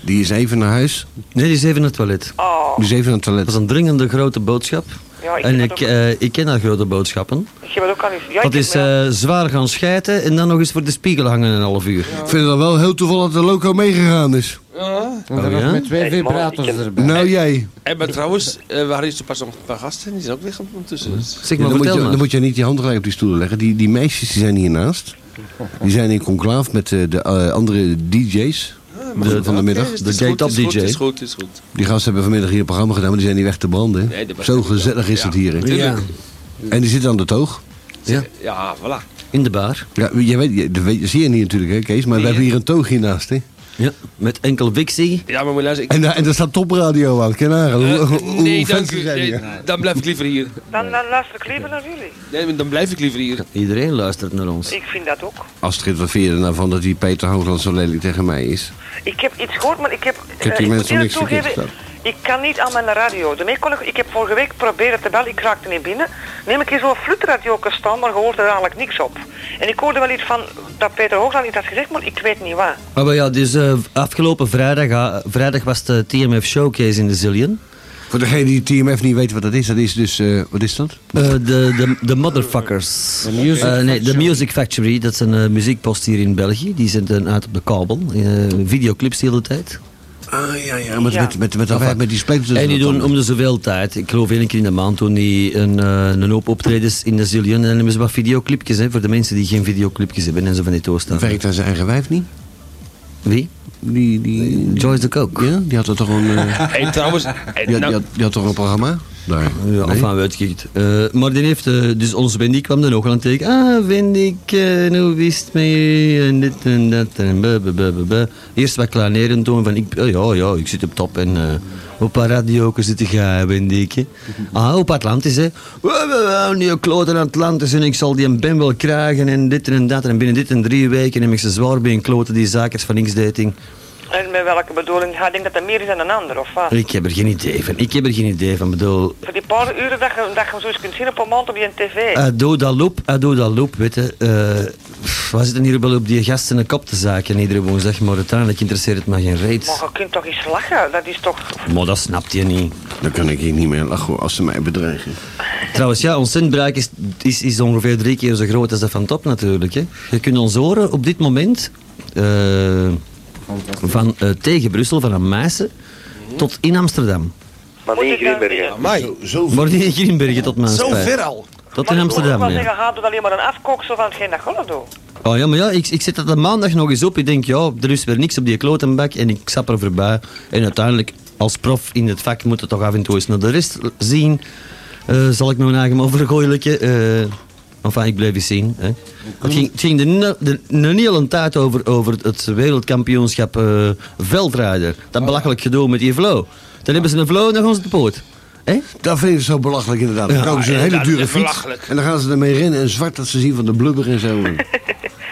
Die is even naar huis.
Nee, die is even naar het toilet.
Oh,
Die is even naar het toilet.
Dat is een dringende grote boodschap.
Ja, ik
en
heb
ik,
dat
eh, ik ken haar grote boodschappen.
ik heb het ook al eens... Ja, ik
Dat
heb
is
me-
eh, zwaar gaan schijten en dan nog eens voor de spiegel hangen een half uur.
Ik vind het dan wel heel toevallig dat de loco meegegaan is.
Oh, ja?
twee vibrators erbij.
Nou jij.
En maar trouwens, eh, we hadden hier zo pas nog een paar gasten. Die zijn ook weg ondertussen.
Ja, dan, moet je, dan moet je niet je hand gelijk op die stoelen leggen. Die, die meisjes die zijn hiernaast. Die zijn in conclaaf met eh, de eh, andere DJ's van- van de middag.
de
gate-up
Is goed, is goed, is goed.
Die gasten hebben vanmiddag hier een programma gedaan, maar die zijn niet weg te branden. hè?
Nee, dat was
Zo
ik wel.
gezellig is
Ja,
het hier. hè?
tuurlijk.
En die zitten aan de toog. Ja.
Ja, voilà.
In de bar.
Ja, je weet, je, dat weet- dat zie je niet natuurlijk, hè, Kees, maar we
Nee,
hebben
hè?
hier een toog hiernaast. Hè?
Ja, met enkel Vixie.
Ja, maar moet je luisteren.
En, daar- en daar staat topradio aan, Kenaren. Hoe,
Eh,
hoe,
nee,
hoe
dank
fancy
u.
zijn die?
Nee, dan blijf ik liever hier.
Dan, dan luister ik liever naar jullie.
Nee, maar dan blijf ik liever hier.
Iedereen luistert naar ons.
Ik vind dat ook.
Astrid, wat vind je er nou van dat die Peter Hoogland zo lelijk tegen mij is?
Ik heb iets gehoord, maar ik heb...
heb
eh,
die
moet
mensen
eerlijk
niks verkeerd
toegeven, Ik kan niet aan mijn radio. De collega, ik heb vorige week proberen te bellen, ik raakte niet binnen. Neem ik hier zo'n flutradio staan, maar je hoort er eigenlijk niks op. En ik hoorde wel iets van dat Peter Hoogland iets had gezegd, maar ik weet niet waar.
Ah, maar ja, dus eh, afgelopen vrijdag, ah, vrijdag was de TMF Showcase in de Zillion.
Voor degene die TMF niet weet wat dat is, dat is dus, eh, wat is dat?
Eh, de, de, de Motherfuckers. Eh, nee, de Music Factory, dat is een eh, muziekpost hier in België. Die zitten uit op de kabel. eh, videoclips de hele tijd.
Ah, ja, ja, met,
Ja.
Met, met, met, met, met die spijt.
en die doen om de zoveel tijd. Ik geloof één keer in de maand doen die een, eh, een hoop optredens in de Zillion. En dan hebben ze wat videoclipjes hè, voor de mensen die geen videoclipjes hebben en zo van die toestaan.
Werkt daar zijn eigen wijf niet?
Wie?
Die, die...
Joyce de Kook.
Ja, die had er toch een... eh,
En trouwens, eh,
die,
nou,
had, die, had, die had toch een programma? Daar.
Ja,
Nee?
enfin, weet ik het. Eh, maar die heeft, eh, dus onze Wendy kwam dan ook aan het tegen. Ah, Wendy, eh, en hoe wist mee? En dit en dat en blah, blah, blah, blah, blah. Eerst wat kleineren toon van, ik, eh, ja, ja, ik zit op top en eh, op een radio zit ik, ja, Wendy. Ah, op Atlantis, hè. Wauw, wauw, wauw, die kloten Atlantis en ik zal die een ben wel krijgen en dit en dat. En binnen dit en drie weken heb ik ze zwaar bij een kloten die zakers van X-dating.
En met welke bedoeling? Hij denkt dat er meer is dan een ander, of wat?
Ik heb er geen idee van. Ik heb er geen idee van, bedoel...
Voor die paar uren dat je, dat je hem zo eens kunt zien op een maand op je tv.
Ado Eh, dat loop, ado dat loop, weet je. eh, pff, we zitten hier wel op die gasten een kop te zaken iedere woensdag, maar uiteindelijk interesseert het me geen
Maar
reet.
je kunt toch eens lachen? Dat is toch...
Maar dat snapt je niet.
Dan kan ik hier niet meer lachen hoor, als ze mij bedreigen.
Trouwens, ja, ons zendbereik is, is, is ongeveer drie keer zo groot als dat van top natuurlijk. Hè. Je kunt ons horen op dit moment eh, van, eh, tegen Brussel, van een Meissen, tot in Amsterdam.
Maar niet in Grimbergen.
Zo, zo
Maar niet in Grimbergen tot mijn
Zo
spijt.
ver al.
Tot
Maar
in
ik moet ook
Amsterdam,
wel
ja.
zeggen, haal doet alleen maar een afkoksel van hetgeen dat je doet.
Oh ja, maar ja, ik, ik zet dat de maandag nog eens op. Ik denk, ja, er is weer niks op die klotenbak en ik sap er voorbij. En uiteindelijk, als prof in het vak, moet het toch af en toe eens naar de rest zien. Eh, zal ik mijn eigen maar vergooilijken? Eh enfin, ik blijf eens zien. Hè. Het ging, het ging de, ne- de, een hele tijd over, over het wereldkampioenschap eh veldrijder.
Oh.
Dat belachelijk gedoe met die flow. Dan hebben ze een flow naar ons de poot. Hè?
Dat vind ik zo belachelijk inderdaad. Dan
Ja, Ah,
kopen ze een
ja,
hele
dat
dure
is
fiets.
belachelijk.
En dan gaan ze ermee rennen en zwart dat ze zien van de blubber en zo.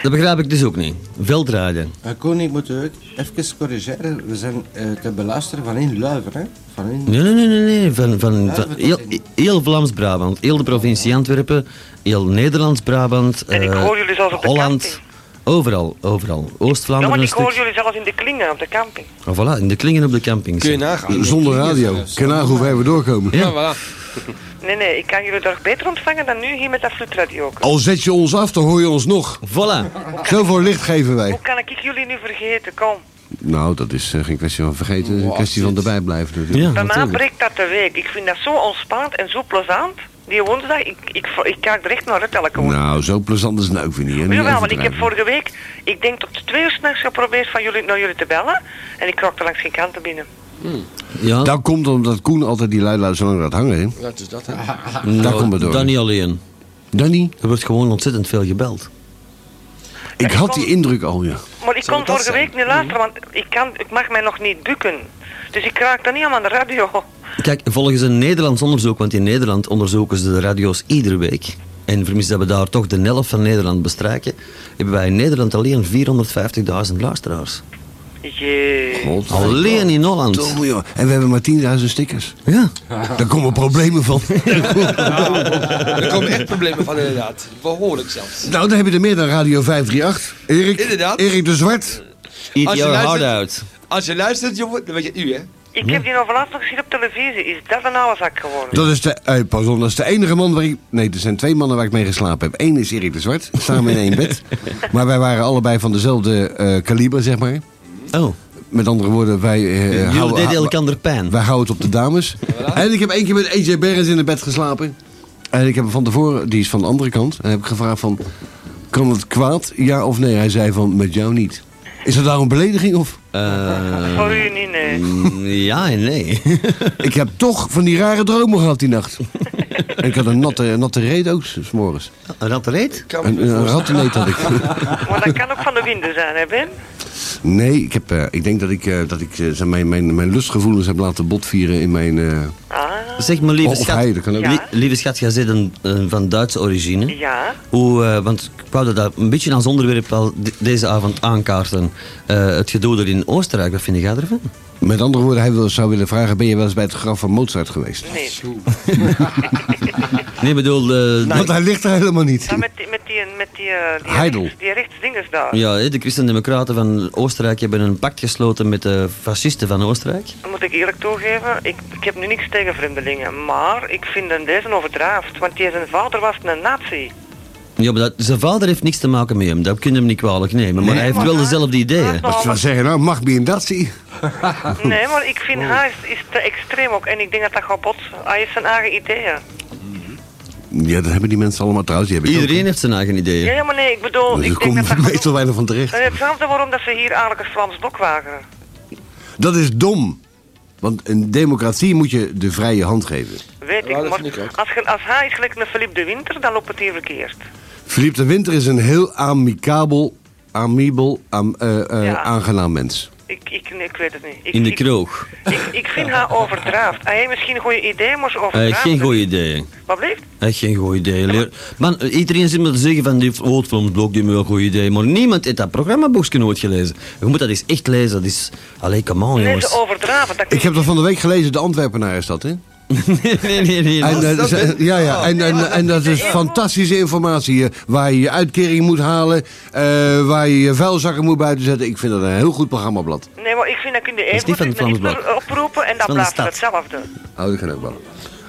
Dat begrijp ik dus ook niet. Veldrijden.
Maar Koen, ik moet ook even corrigeren. We zijn eh, te beluisteren van in Luiver, hè? Van in...
Nee, nee, nee, nee, nee. Van, van,
Ja,
van
dat
heel, heel Vlaams-Brabant, heel de provincie Antwerpen, heel Nederlands-Brabant,
En ik
eh,
hoor jullie zelfs op de
Holland. Overal, overal.
Ja,
Oost-Vlaanderen
want
een
ik hoor
stuk.
jullie zelfs in de klingen op de camping.
Oh, voilà, in de klingen op de camping.
Kun je
zeg.
nagaan.
Zonder radio. Ken nagaan hoe ver we doorkomen.
Ja, voilà.
Nee, nee, ik kan jullie toch beter ontvangen dan nu hier met dat flutradio.
Al zet je ons af, dan hoor je ons nog.
Voilà.
Zoveel licht geven wij.
Hoe kan ik jullie nu vergeten? Kom.
Nou, dat is eh, geen kwestie van vergeten. een kwestie van erbij blijven natuurlijk.
Ja,
Bij mij breekt dat de week. Ik vind dat zo ontspannend en zo plezant. die woensdag, ik, ik, ik kijk er echt naar uit elke woensdag.
Nou, zo plezant is het nou ook weer niet. hè? Niet
Jawel, want ik heb
overdrijven.
vorige week, ik denk tot twee uur s'nachts geprobeerd van jullie, naar jullie te bellen. En ik raakte langs geen kanten binnen.
Dat komt omdat Koen altijd die lui lui zo lang laat hangen. hè?
Ja, het is dat, hè.
Nou,
Daar komt het door.
Dan niet alleen.
Dan niet?
Er wordt gewoon ontzettend veel gebeld.
Ik had die indruk al, ja.
Maar ik kon vorige week niet luisteren, want ik, kan, ik mag mij nog niet bukken. Dus ik raak dan niet aan aan de radio.
Kijk, volgens een Nederlands onderzoek, want in Nederland onderzoeken ze de radio's iedere week. En vermis dat we daar toch de helft van Nederland bestrijken, hebben wij in Nederland alleen 450.000 luisteraars. Alleen in Holland.
Domme, joh. En we hebben maar 10.000 stickers.
Ja.
Daar komen problemen van.
Nou, er komen echt problemen van, inderdaad. Behoorlijk zelfs.
nou, dan heb je er meer dan Radio 538. Erik,
Inderdaad.
Erik de Zwart.
Als je luistert-
out.
Als je luistert, jongen, dan weet je u, hè.
Ik heb die nog laatst nog gezien op televisie. Is dat een oude zak geworden?
Dat is, de, eh, pas op, dat is de enige man waar ik... Nee, er zijn twee mannen waar ik mee geslapen heb. Eén is Erik de Zwart, samen in één bed. Maar wij waren allebei van dezelfde eh, kaliber, zeg maar.
Oh.
Met andere woorden, wij... eh,
Jullie deden elkander pijn.
Wij houden het op de dames. En ik heb één keer met AJ Berens in het bed geslapen. En ik heb hem van tevoren, die is van de andere kant... En heb ik gevraagd van, kan het kwaad, ja of nee? Hij zei van, met jou niet. Is dat nou een belediging of...
Voor u niet, nee.
Eh, mm, ja en nee.
ik heb toch van die rare dromen gehad die nacht. En ik had een natte, natte reet ook, s morgens.
Een natte reet?
Kan
Een, een rattenneet had ik.
Maar dat kan ook
Ah.
van de winden zijn, hè Ben?
Nee, ik, heb, eh, ik denk dat ik, eh, dat ik eh, zeg, mijn, mijn, mijn lustgevoelens heb laten botvieren in mijn... eh,
Zeg maar, lieve
Of
schat,
hij, Oh, dat kan ook.
li- lieve schat, jij zit een, een van Duitse origine.
Ja.
Hoe, eh, want ik wou dat daar een beetje als onderwerp wel de- deze avond aankaarten. Eh, het gedoe er in Oostenrijk, wat vind jij ervan?
Met andere woorden, hij wil, zou willen vragen... ben je wel eens bij het graf van Mozart geweest?
Nee. Nou,
Nee, bedoel... eh,
Want hij Nou, ligt er helemaal niet.
Maar met die, met die, met die, eh, die,
Heidel.
rechts- die rechtsdingers daar.
Ja, hè, de Christen-Democraten van Oostenrijk hebben een pact gesloten met de fascisten van Oostenrijk.
Dat moet ik eerlijk toegeven. Ik, ik heb nu niks tegen vreemdelingen. Maar ik vind dat deze overdraaft. Want die zijn vader was een nazi.
Ja, maar dat, zijn vader heeft niks te maken met hem. Dat kun je hem niet kwalijk nemen. Maar
Nee,
hij heeft
maar
wel
hij-
dezelfde ideeën.
Wat zou
zeggen, nou, mag bij een nazi?
Nee, maar ik vind hij is, is te extreem ook. En ik denk dat dat gaat botsen. Hij heeft zijn eigen ideeën.
Ja, dat hebben die mensen allemaal trouwens. Die heb ik
Iedereen heeft zijn eigen ideeën.
Ja, ja, maar nee, ik bedoel...
Dus
Ik
er
denk Eh, dat
komt meestal weinig van terecht.
dat, hetzelfde waarom dat ze hier eigenlijk het Vlaams blok wageren.
Dat is dom. Want een democratie moet je de vrije hand geven.
Weet ik, maar als, je- als hij is gelijk een Philippe de Winter, dan loopt het hier verkeerd.
Philippe de Winter is een heel amicabel, amibel, am- eh, eh,
Ja.
aangenaam mens.
Ik, ik, nee, ik weet het niet. Ik,
In de
ik-
kroog.
Ik, ik vind haar overdraaft. Hij heeft misschien een goede idee, maar ze
Hij heeft
overdraaft.
geen goede ideeën.
Wat blijft?
Hij heeft geen goede ideeën. Leer. Man, eh, iedereen zit maar te zeggen van die Oudvlamsblok, die hebben wel goede ideeën. Maar niemand heeft dat programmaboekje nooit gelezen. Je moet dat eens echt lezen. Dat is... Allee, come on,
Nee, ze
jongens.
overdraven. Dat
Ik heb dat van de week gelezen, de Antwerpenaar is dat, hè?
nee, nee, nee. nee.
En, eh, ze- ja, ja, en, en, en dat is fantastische informatie. eh, Waar je je uitkering moet halen, eh, waar je je vuilzakken moet buiten zetten. Ik vind dat een heel goed programmablad.
Nee, maar ik vind dat kun je
Dat is
even
niet van het
een
Vlaams Blok.
Hitler oproepen en
Dat
dat
is van de
blijft hetzelfde.
Oh, dat kan ook wel.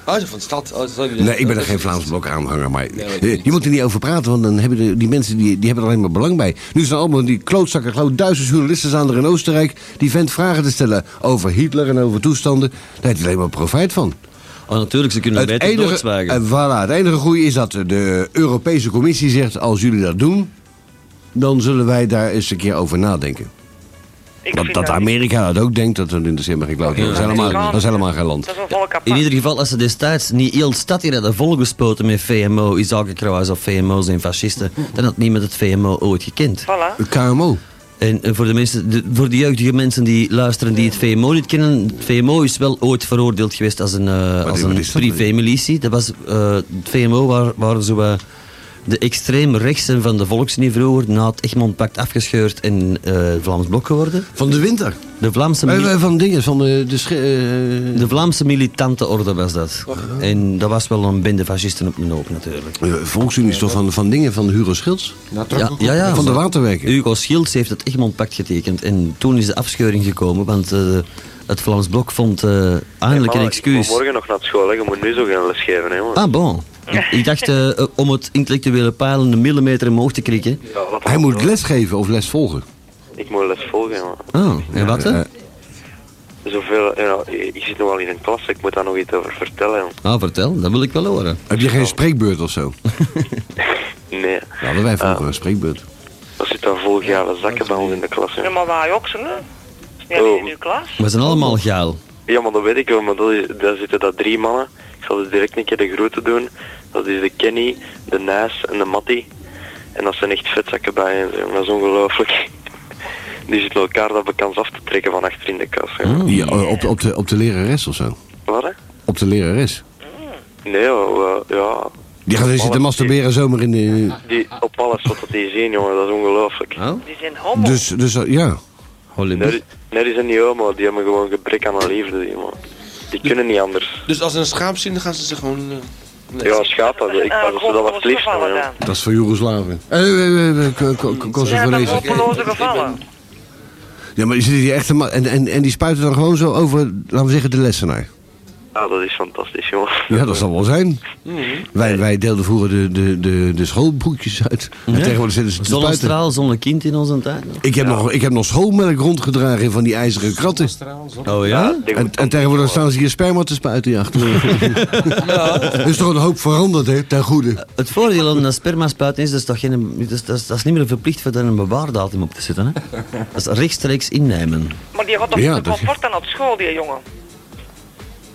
Oh, ze van de stad. Oh, sorry.
Nee, ik ben er geen Vlaams blok aanhanger, maar eh, je moet er niet over praten, want dan hebben de- die mensen die, die hebben er alleen maar belang bij. Nu zijn allemaal die klootzakken, geloof ik, duizend journalisten staan er in Oostenrijk, die vent vragen te stellen over Hitler en over toestanden. Daar heeft hij alleen maar profijt van.
Oh, natuurlijk, ze kunnen beter doorzwijgen.
en voilà, het enige goede is dat de Europese Commissie zegt, als jullie dat doen, dan zullen wij daar eens een keer over nadenken. Want dat Amerika dat ook denkt, dat dat interesseert me geen kloot.
Ja.
Dat, is helemaal- dat is helemaal geen land.
In ieder geval, als ze destijds niet heel de stad hier hadden volgespoten met VMO, Isakenkruis of VMO's en fascisten, dan had niemand het VMO ooit gekend.
Voilà.
KMO.
En eh, voor de, mensen, de- voor de jeugdige mensen die luisteren die het VMO niet kennen, het VMO is wel ooit veroordeeld geweest als een, eh, als
wat
een
is dat?
privémilitie. Dat was, eh, het VMO waar, waren zo eh, de extreem rechtsen van de volksunie vroeger na het Egmond-pact afgescheurd en eh, Vlaams blok geworden.
Van de winter?
De Vlaamse
Eh,
mili-
eh, van dingen, van de... de sche- eh,
de Vlaamse militante orde was dat. En dat was wel een bende fascisten op mijn hoop natuurlijk.
Eh, Volksunie is toch van, van dingen van Hugo Schilds?
Ja, ja, ja,
van de waterwerken.
Hugo Schilds heeft het Egmond-pact getekend en toen is de afscheuring gekomen, want eh, het Vlaams Blok vond eh eindelijk een
Ik
excuus.
moet morgen nog naar school, hè. je moet nu zo gaan les geven. Hè, man.
Ah, bon. Ik- Ik dacht eh, eh, om het intellectuele pijl een millimeter omhoog te krikken.
Hij moet les geven of les volgen. eh,
Ik moet les volgen. Man.
Oh, en wat hè?
Eh, zoveel, you know, ik zit nu al in een klas, ik moet daar nog iets over vertellen.
Ah, vertel, dat wil ik wel horen.
Heb je geen spreekbeurt of zo?
Nee,
Ja, hadden wij vroeger een spreekbeurt.
dat zit daar vol gale zakken bij ons in de klas.
Ja,
hè. Oh.
maar wij ook, zo, hè? Is niet alleen in uw klas?
We zijn allemaal gaal.
Ja, maar dat weet ik wel, maar dat is, daar zitten dat drie mannen. Ik zal dus direct een keer de groeten doen. Dat is de Kenny, de Nijs en de Matty. En dat zijn echt vetzakken bij hen, zeg. maar dat is ongelooflijk. Die zitten elkaar dat bekans af te trekken van achter in de kast. hè.
Ja, eh, op, op, de, op de lerares of zo?
Wat, hè?
Op de lerares.
Nee, oh, eh, ja.
Die gaat eens zitten masturberen zomaar in de...
Die, op alles wat dat die zien, jongen, dat is ongelooflijk.
Die zijn homo.
Dus, dus eh, ja.
Nee, nee, die zijn niet homo, die hebben gewoon gebrek aan een liefde, die man. Die kunnen niet anders.
Dus als ze een schaap zien, dan gaan ze ze gewoon... eh, nee.
Ja, schaap, dat, ik was dat wel het liefst man, ja.
Dat is voor Joegoslaven. Eh, eh, eh, eh, Ko- Ko- Ko- Kosovorezen.
Hopeloze gevallen.
Ja, maar je ziet die echte ma- en, en, en die spuiten dan gewoon zo over, laten we zeggen, de lessenaar.
Ja, dat is fantastisch, jongen.
Ja, dat zal wel zijn. Wij, wij deelden vroeger de, de, de, de schoolboekjes uit. En
Ja.
tegenwoordig zitten ze te spuiten.
Zonnestraal, zonnekind in onze tijd.
Ik heb, nog, ik heb nog schoolmelk rondgedragen in van die ijzeren kratten.
Oh ja?
En, en tegenwoordig staan ze hier sperma te spuiten hier achter. Er is toch een hoop veranderd, hè, ten goede.
Eh, Het voordeel aan een sperma spuiten is, dat is, toch geen, dat, is, dat is- dat is niet meer verplicht voor daar een bewaardatum op te zetten. Hè? Dat is rechtstreeks innemen.
Maar die gaat op
Ja,
de
dat-
comfort dan op school, die jongen.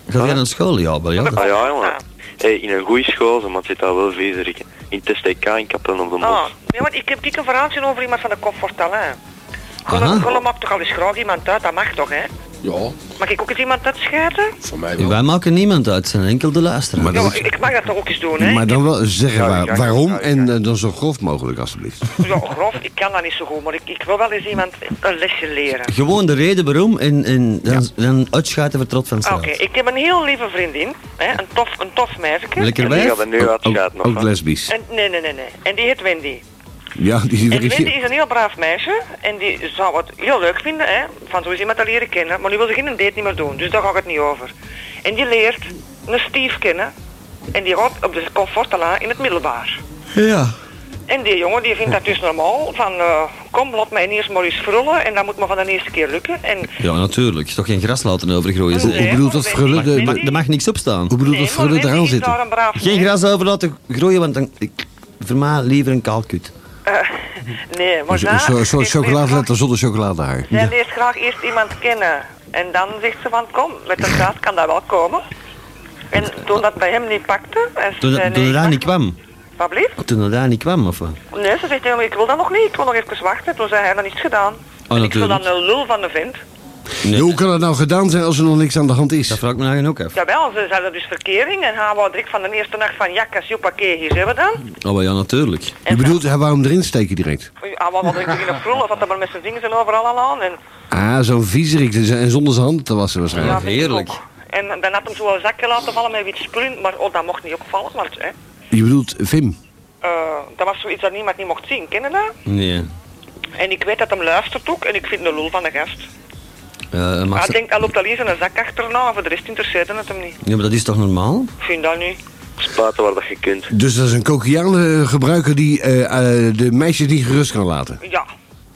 Ga jij naar school? Ja, wel ja.
Ah ja, jongen. Hey, in een goede school, maar het zit daar wel viezerik. In het STK in Kapellen op de Mos.
Ah, nee, want ik heb dik een verhaaltje over iemand van de comfortalijn. Gollum, Gollum maakt toch al eens graag iemand uit, dat mag toch, hè?
Ja.
Mag ik ook eens iemand uitscheiden?
Voor mij
Wij maken niemand uit, het zijn enkel de luisteraar.
Maar
Ja,
dat
maar
is-
ik, ik mag dat toch ook eens doen, hè?
Maar dan wel zeggen
Ja,
waar-
ja, ja,
waarom en eh, dan zo grof mogelijk, alstublieft.
Ja, grof, ik kan dat niet zo goed, maar ik, ik wil wel eens iemand een lesje leren.
Gewoon de reden waarom en, en dan, dan uitschuiten we trot van
Ah, Oké,
straat.
ik heb een heel lieve vriendin, hè? Een, tof, een tof meisje.
Lekker
En die-
wijf?
nu
ook, ook, lesbisch.
En, nee, nee, nee, nee. En die heet Wendy.
Ja, die, die
En Wendy is een heel braaf meisje en die zou het heel leuk vinden, hè, van zo is iemand te leren kennen. Maar nu wil ze geen date niet meer doen, dus daar ga ik het niet over. En die leert een Steve kennen en die gaat op de comfortala in het middelbaar.
Ja.
En die jongen die vindt dat dus normaal, van eh, kom, laat mij eerst maar eens frullen en dat moet me van de eerste keer lukken. En
Ja, natuurlijk. Je toch geen gras laten overgroeien.
Hoe- hoe Nee, bedoelt dat maar frullen? Wendy- De-
Mag- Er mag niks op staan. Hoe
bedoelt
Nee, dat maar frullen Wendy eraan is zitten? daar een braaf
Geen gras over laten groeien, want dan... Ik, voor mij liever een kaalkut.
eh, nee, maar
Zo'n
na,
zo, zo,
die
chocoladeletter zonder chocoladehaar.
Zij leert graag eerst iemand kennen. En dan zegt ze van kom, met een kaas kan dat wel komen. En toen dat bij hem niet pakte, en
Toen, dat- toen dat daar niet kwam.
Wat blieft?
Toen dat daar niet kwam, of wat?
Nee, ze zegt helemaal, ik wil dat nog niet, ik wil nog even wachten. Toen zei hij dat niets gedaan.
Oh,
Ik wil
natuurlijk.
dan een lul van de vent.
Ja, Hoe kan dat nou gedaan zijn als er nog niks aan de hand is? Dat
vraag ik me eigenlijk ook af.
Jawel, ze zeiden dus verkering en hij wou direct van de eerste nacht van jakkas, joepakee, hier zijn we dan.
Oh, maar ja, natuurlijk.
Je bedoelt, hij wou hem erin steken direct.
Hij wou wel direct beginnen frullen, want er maar met zijn vingers en overal al aan. En,
Ah, zo'n viezerik. Dus- En zonder zijn handen te wassen waarschijnlijk.
Ja, Heerlijk. en dan had hem zo een zakje laten vallen met wit spullen, maar oh, dat mocht niet opvallen, want hè,
Je bedoelt Vim.
eh, dat was zoiets dat niemand niet mocht zien, kennen dat?
Nee.
En ik weet dat hem luistert ook en ik vind de lul van de gast.
Eh, maar
hij
ze-
denkt, hij loopt al eens in een zak achterna, voor de rest interesseert het hem niet.
Ja, maar dat is toch normaal?
Ik vind dat niet.
Spuiten waar dat je kunt.
Dus dat is een kokiaangebruiker gebruiker die eh, eh, de meisjes niet gerust kan laten.
Ja,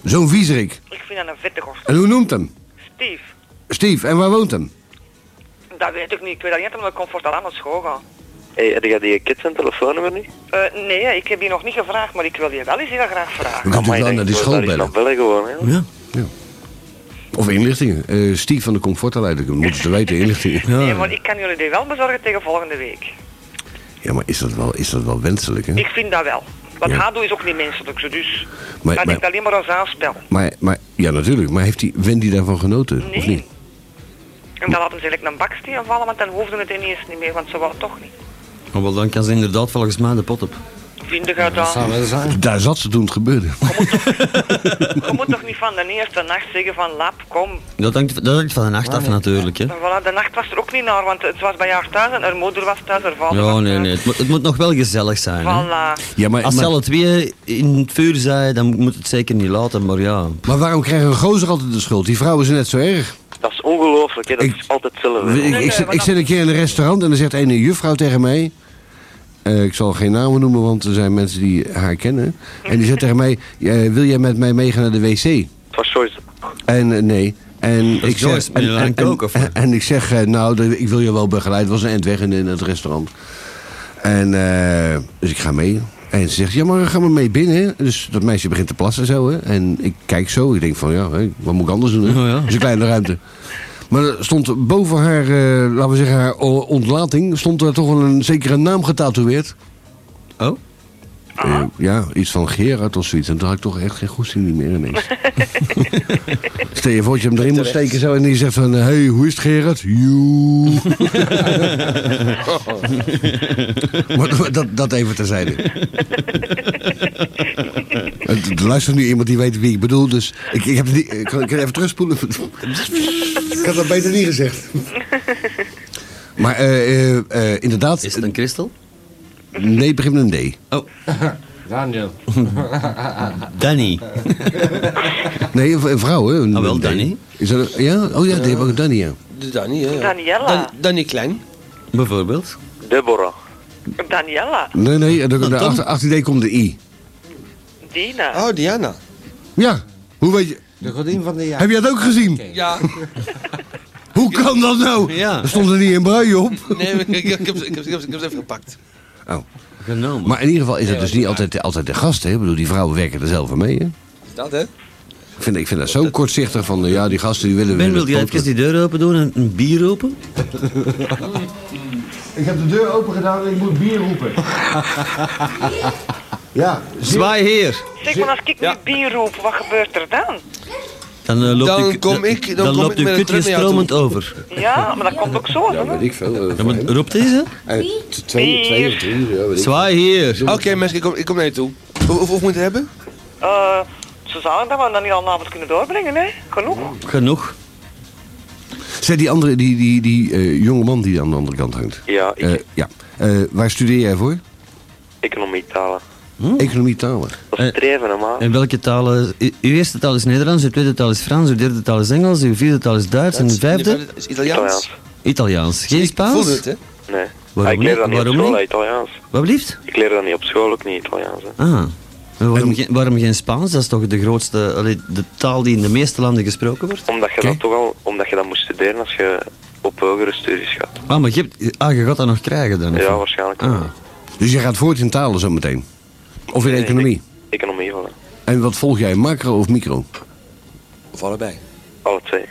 Zo'n viezerik.
ik vind dat een vette gast.
En hoe noemt hem?
Steve,
Steve, en waar woont hem?
dat weet ik niet. Ik weet dat niet dat hij met comfort aan naar school gaat.
Hey, heb jij die kid zijn telefoonnummer niet?
Eh, nee, ik heb je nog niet gevraagd, maar ik wil je wel eens heel graag vragen.
kunt natuurlijk wel naar die school bellen.
Bellen gewoon, hè.
Ja. ja. Of inlichtingen. Eh, Steve van de Comfortaleider, dat moeten ze weten, inlichtingen.
Nee, maar ik kan jullie die wel bezorgen tegen volgende week.
Ja, maar is dat wel, is dat wel wenselijk, hè?
Ik vind dat wel. Want
Ja.
Hado is ook niet menselijk, zo dus.
Maar-
dat
maar-
ik alleen maar als aanspel.
Maar, maar, ja, natuurlijk. Maar heeft die Wendy daarvan genoten, of niet?
En dan laten ze eigenlijk een baksteen vallen, want dan hoefde het ineens niet meer, want ze wou het toch niet.
Oh, wel, dan kan ze inderdaad volgens mij de pot op.
Vind je dat? dan?
Daar zat ze toen het gebeurde.
Je moet toch niet van de eerste nacht zeggen van lap, kom.
Dat hangt, dat hangt van de nacht af natuurlijk, hè.
En voilà, de nacht was er ook niet naar, want het was bij haar thuis en haar moeder was thuis, haar vader
Ja,
was
nee, nee. Het moet, het moet nog wel gezellig zijn, hè.
Voilà.
Ja, maar,
Als ze
maar-
alle twee in het vuur zijn, dan moet het zeker niet laten, maar ja.
Maar waarom krijgen een gozer altijd de schuld? Die vrouw is net zo erg.
Dat is ongelooflijk, hè. Dat is altijd hetzelfde.
Ik, ik, zit- ik zit een keer in een restaurant en dan zegt een juffrouw tegen mij... eh, ik zal geen namen noemen, want er zijn mensen die haar kennen. En die zegt tegen mij, eh, wil jij met mij meegaan naar de wc?
Het was Joyce.
En eh, nee. En
is
ik zeg,
Joyce met
en,
een lijn
en-
coke, of
en- en ik zeg, eh, nou, de- ik wil je wel begeleiden. Het was een eind weg in, in het restaurant. En eh, dus ik ga mee. En ze zegt, ja, maar ga maar mee binnen. Dus dat meisje begint te plassen zo. Hè. En ik kijk zo. Ik denk van, ja, hè, wat moet ik anders doen? Hè? Dus een kleine ruimte. Maar er stond boven haar, eh, laten we zeggen, haar o- ontlating... stond er toch wel een zekere naam getatoeëerd.
Oh?
Eh, ja, iets van Gerard of zoiets. En toen had ik toch echt geen goesting meer ineens. Stel je voor dat je hem erin moet
Terecht.
steken zo en die zegt van... Hé, hey, hoe is het Gerard? Joe. maar maar dat, dat even terzijde. Eh, Het- Er luistert nu iemand die weet wie ik bedoel, dus... Ik, ik heb het niet, ik kan, ik kan even terugspoelen. ik had dat beter niet gezegd. maar eh, eh, eh, inderdaad... Is het
een kristal?
Nee, het begint met een D.
Oh.
Daniel.
eh,
Danny.
Nee, een v- een vrouw, hè? Een,
Ah, wel,
een D.
Danny.
Is dat, een- ja? Oh ja, die hebben ook een Danny, ja.
De Danny, hè?
Daniela.
Danny Klein.
Bijvoorbeeld? Oh,
Deborah.
Daniela.
Nee, nee, er,
Tom.
daar achter, achter die D komt de I.
Dina.
Oh, Diana.
Ja, hoe weet je...
De godin van de jaar.
Heb jij dat ook gezien?
Ja.
Hoe kan dat nou?
Ja.
Er stond er niet een brui op. Oh.
Nee, maar ik, ik, heb, ze- ik, heb, ze- ik, heb, ze- ik heb ze even gepakt.
Genomen.
Maar in ieder geval is het
Nee,
dus niet altijd, altijd de gast, hè? Ik bedoel, die vrouwen werken er zelf aan mee, hè?
Is dat, hè?
Ik vind, ik vind dat zo kortzichtig van, eh, ja, die gasten die willen...
Ben,
willen
wil jij even
pompen.
die deur open doen en een bier open?
Ik heb de deur open gedaan en ik moet bier roepen. ja.
Zwaai heer.
Zeg maar, als ik nu bier roep, wat gebeurt er dan?
Dan eh, loopt
Dan
uw-
kom ik- dan
dan
kom
loopt
ik
uw
met een
kutje
truck naar jou
stromend over.
Ja, maar dat komt ook zo, hè?
ik veel.
Ja, maar roept deze?
twee,
twee
of drie, ja,
Zwaai heer.
Oké, mensen, ik kom, ik kom naar je toe. Hoe- Hoeveel moet je hebben?
Eh, ze zouden dat we dan niet al een avond kunnen doorbrengen, hè? Genoeg.
Genoeg.
Zeg, die andere, die, die, die eh, jonge man die aan de andere kant hangt.
Ja, ik,
Eh, ja. Eh, waar studeer jij voor?
economie talen. Hm?
Economie talen.
Dat is streven, hè, maar.
Eh, En welke talen? u- Uw eerste taal is Nederlands, uw tweede taal is Frans, uw derde taal is Engels, uw vierde taal is Duits en uw vijfde?
Is Italiaans?
Italiaans. Geen
Ik voelde
Spaans?
het, hè?
Nee.
Waarom
Ah, ik leer
niet?
dat niet
Waarom
op school,
niet?
hè, Italiaans.
Wat blieft?
Ik leer dat niet op school, ook niet Italiaans. Hè.
Ah. En Waarom, geen, waarom geen Spaans? Dat is toch de grootste, allee, de taal die in de meeste landen gesproken wordt?
Omdat je dat toch al, omdat je dat moest studeren als je op hogere studies gaat.
Ah, maar je, hebt, ah, je gaat dat nog krijgen dan? of
Ja,
wat?
waarschijnlijk wel.
Ah.
Dus je gaat voort in talen zo meteen? Of in
Nee,
economie?
Economie, voilà.
En wat volg jij, macro of micro?
Of allebei?
Alle twee.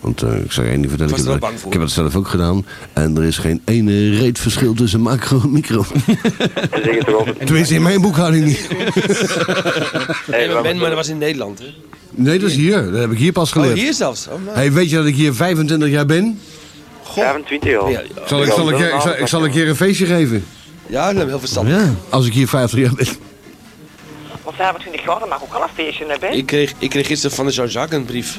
Want eh, ik zou je één ding vertellen,
Ik was
ik
er wel
heb, dat,
bang voor.
ik heb dat zelf ook gedaan. En er is geen ene reet verschil tussen macro en micro.
Ze zeggen toch altijd...
Tenminste, in mijn boekhouding niet.
Nee, maar Ben, maar dat was in Nederland, hè?
Nee, dat is hier. Dat heb ik hier pas
Oh,
geleerd.
hier zelfs. Oh, nou.
Hey, weet je dat ik hier 25 jaar ben?
25 al.
Ja,
Zal ik, zal ik, ik, zal, ik zal een keer een feestje geven.
Nou, Ja, dat is heel verstandig.
Ja.
Als ik hier 50 jaar ben.
Want 25 jaar, dat mag ook al een feestje nou hebben, hè?
Ik kreeg, ik kreeg gisteren van de Jean-Jacques een brief.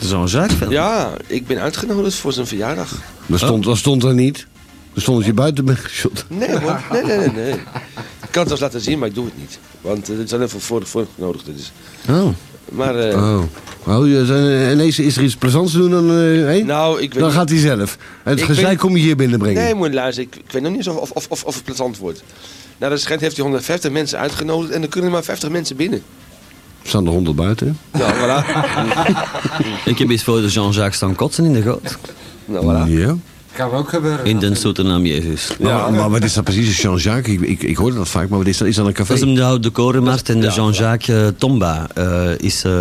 Zo'n zaak van.
Ja, ik ben uitgenodigd voor zijn verjaardag.
Dat stond, dat stond er niet. Er stond dat je buiten bent geschot.
Nee hoor, nee, nee, nee. nee. Ik kan het wel laten zien, maar ik doe het niet. Want eh, het is alleen voor voor, voor nodig. Dus.
Oh.
Maar eh,
Oh. oh je- eh, ineens is er iets plezants te doen dan... eh, hé?
nou, ik weet
Dan
niet-
gaat hij zelf. Het
Ik
gezeik
weet-
kom je hier binnenbrengen.
Nee, moet je luisteren. Ik, ik weet nog niet eens of, of, of, of het plezant wordt. Nou, dat schijnt heeft hij 150 mensen uitgenodigd en er kunnen maar 50 mensen binnen.
Er staan er honderd buiten.
Nou, voilà.
Ik heb eens voor de Jean-Jacques staan kotsen in de goot.
Nou, voilà.
Ja.
Kan ook gebeuren.
In den zoete naam Jezus.
Ja, maar wat is dat precies? Jean-Jacques? Ik, ik, ik hoorde dat vaak, maar wat is dat? Is dat een café?
Dat is hem de oude korenmarkt en de Jean-Jacques eh, Tomba eh, is eh,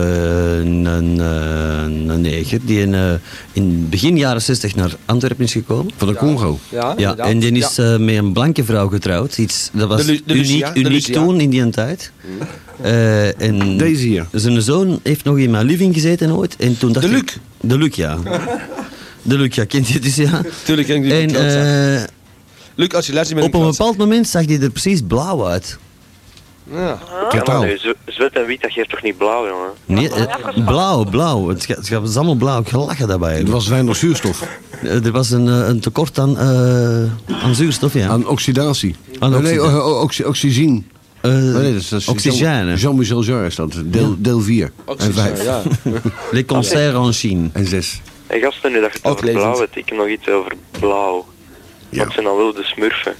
een, een, eh, een neger die in, eh, in begin jaren 60 naar Antwerpen is gekomen.
Van de Congo.
Ja,
Ja,
inderdaad.
en die is
Ja.
eh, met een blanke vrouw getrouwd. Iets, dat was
De Lu- de
uniek,
Lucia, de
uniek
Lucia.
toen in die tijd. Eh, en
Deze hier.
Zijn zoon heeft nog in mijn living gezeten ooit. En toen dacht
De
ik-
Luc.
de Luc, ja. De Luc, ja, kent je dus, ja.
Tuurlijk ken ik die
En
klootzak.
eh,
Luc, als je luistert,
op
ben
een
ik
bepaald moment zag hij er precies blauw uit.
Ja.
Ja, maar
Totaal.
nu, z- zwart en wit, dat geeft toch niet blauw, jongen?
Nee, eh, blauw, blauw. Het, ga- het was allemaal blauw. Ik lachen daarbij.
Het was weinig zuurstof.
Eh, Er was een, eh, een tekort aan, eh, aan zuurstof, ja.
Aan oxidatie.
Aan
nee, oh,
oxida-
nee, o- o- oxy- oxyzine.
Eh,
Nee, nee, dat is, dat is
oxygène.
Jean- Jean-Michel Jarre is dat. Deel, deel 4. En 5.
Ja.
Les concerts en Chine.
En 6.
En gasten, nu dat je het
Ook
over
levend.
blauw hebt, ik heb nog iets over blauw.
Ja.
Dat zijn dan wel de smurfen.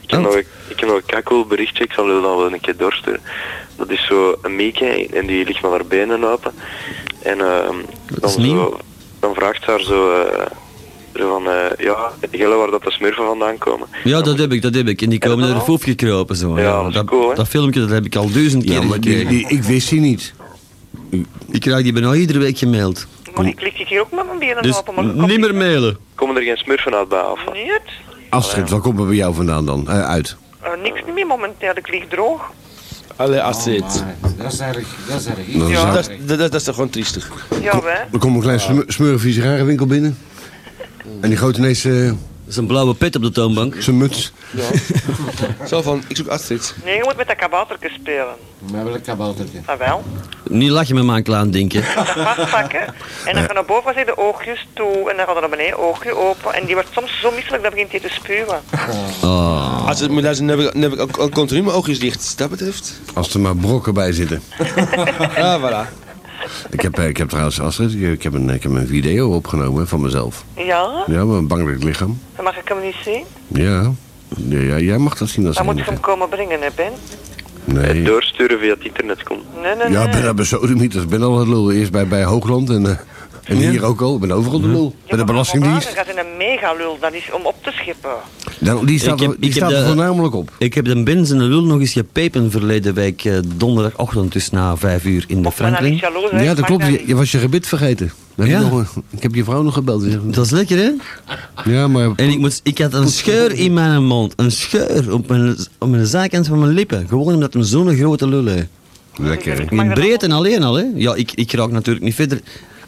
Ik heb,
Oh.
nog, een- ik heb nog een kakkel berichtje, ik zal u dat wel een keer doorsturen. Dat is zo een mieke en die ligt met haar benen open. En ehm, dan, zo, dan vraagt ze haar zo, eh, zo van, eh, ja, gillen waar dat de smurfen vandaan komen.
Ja, dat heb ik, dat heb ik. En die komen er foef gekropen zo. Ja, dat, dat filmpje dat heb ik al duizend keer
maar die- die- ik wist die niet.
Ik krijg die bijna iedere week gemaild.
Maar ik klik ik hier ook met mijn benen
Dus
open, maar ik
niet meer mailen.
Komen er geen smurfen uit bij af?
kom niet.
Astrid, waar komen we bij jou vandaan dan? Eh, uit.
Eh, niks niet meer momenteel, ik lig droog.
Allee, Astrid.
Oh, dat is erg, dat is erg.
Dat is
Ja.
erg.
Dat, is- dat, dat is toch gewoon triestig.
Ja, wij.
Er komt een klein smu- smurrie sigarenwinkel binnen. En die gooit ineens...
zijn blauwe pet op de toonbank.
Zijn muts.
Zo van, ik zoek Astrid.
Nee, je moet met dat kabouterke spelen.
Maar welk kaboutertje?
Ah wel.
Niet lachen met mijn klaar denken.
Dat vastpakken. En dan gaan naar boven zitten oogjes toe. En dan gaat er naar beneden oogje open. En die wordt soms zo misselijk dat begint hij te spuwen.
Ah.
Als het moet luisteren, dan heb ik, dan heb ik ook, ook continu mijn oogjes dicht. Dat betreft.
Als er maar brokken bij zitten.
Ah, voilà.
Ik heb, eh, ik heb trouwens, Astrid, ik heb, een, ik heb een video opgenomen van mezelf.
Ja?
Ja, met een bangelijk lichaam.
Dan mag ik hem niet zien.
Ja. ja, ja jij mag dat zien als
Dan moet je
enige.
hem komen brengen, hè Ben?
Nee.
Doorsturen via het internet komt.
Nee, nee,
Ja,
nee.
ik ben dat bij Sodemieters. Ik ben al het lul. Eerst bij, bij Hoogland en, eh, en hier ook al. Ik ben overal de
Mhm.
lul. bij de
Vandaag
Belastingdienst.
gaat in een megalul. Dat is om op te schippen.
Nou, die staat,
Ik heb-
er- die
ik heb
staat er
de-
voornamelijk op.
Ik heb de Benz en de Lul nog eens gepepen verleden week eh, donderdagochtend dus na vijf uur in de Franklin.
niet jaloers, hè?
Ja, dat
Maakt
klopt.
dat
Je,
niet.
je was je gebit vergeten. Dan heb je
Ja.
nog een- ik heb je vrouw nog gebeld. Die zegt,
Dat is lekker hè?
Ja, maar...
En ik, moest, ik had een scheur in mijn mond. Een scheur op mijn, op mijn zijkant van mijn lippen. Gewoon omdat hem zo'n grote lul heeft.
Lekker.
In breedte alleen al hè? Ja, ik, ik raak natuurlijk niet verder...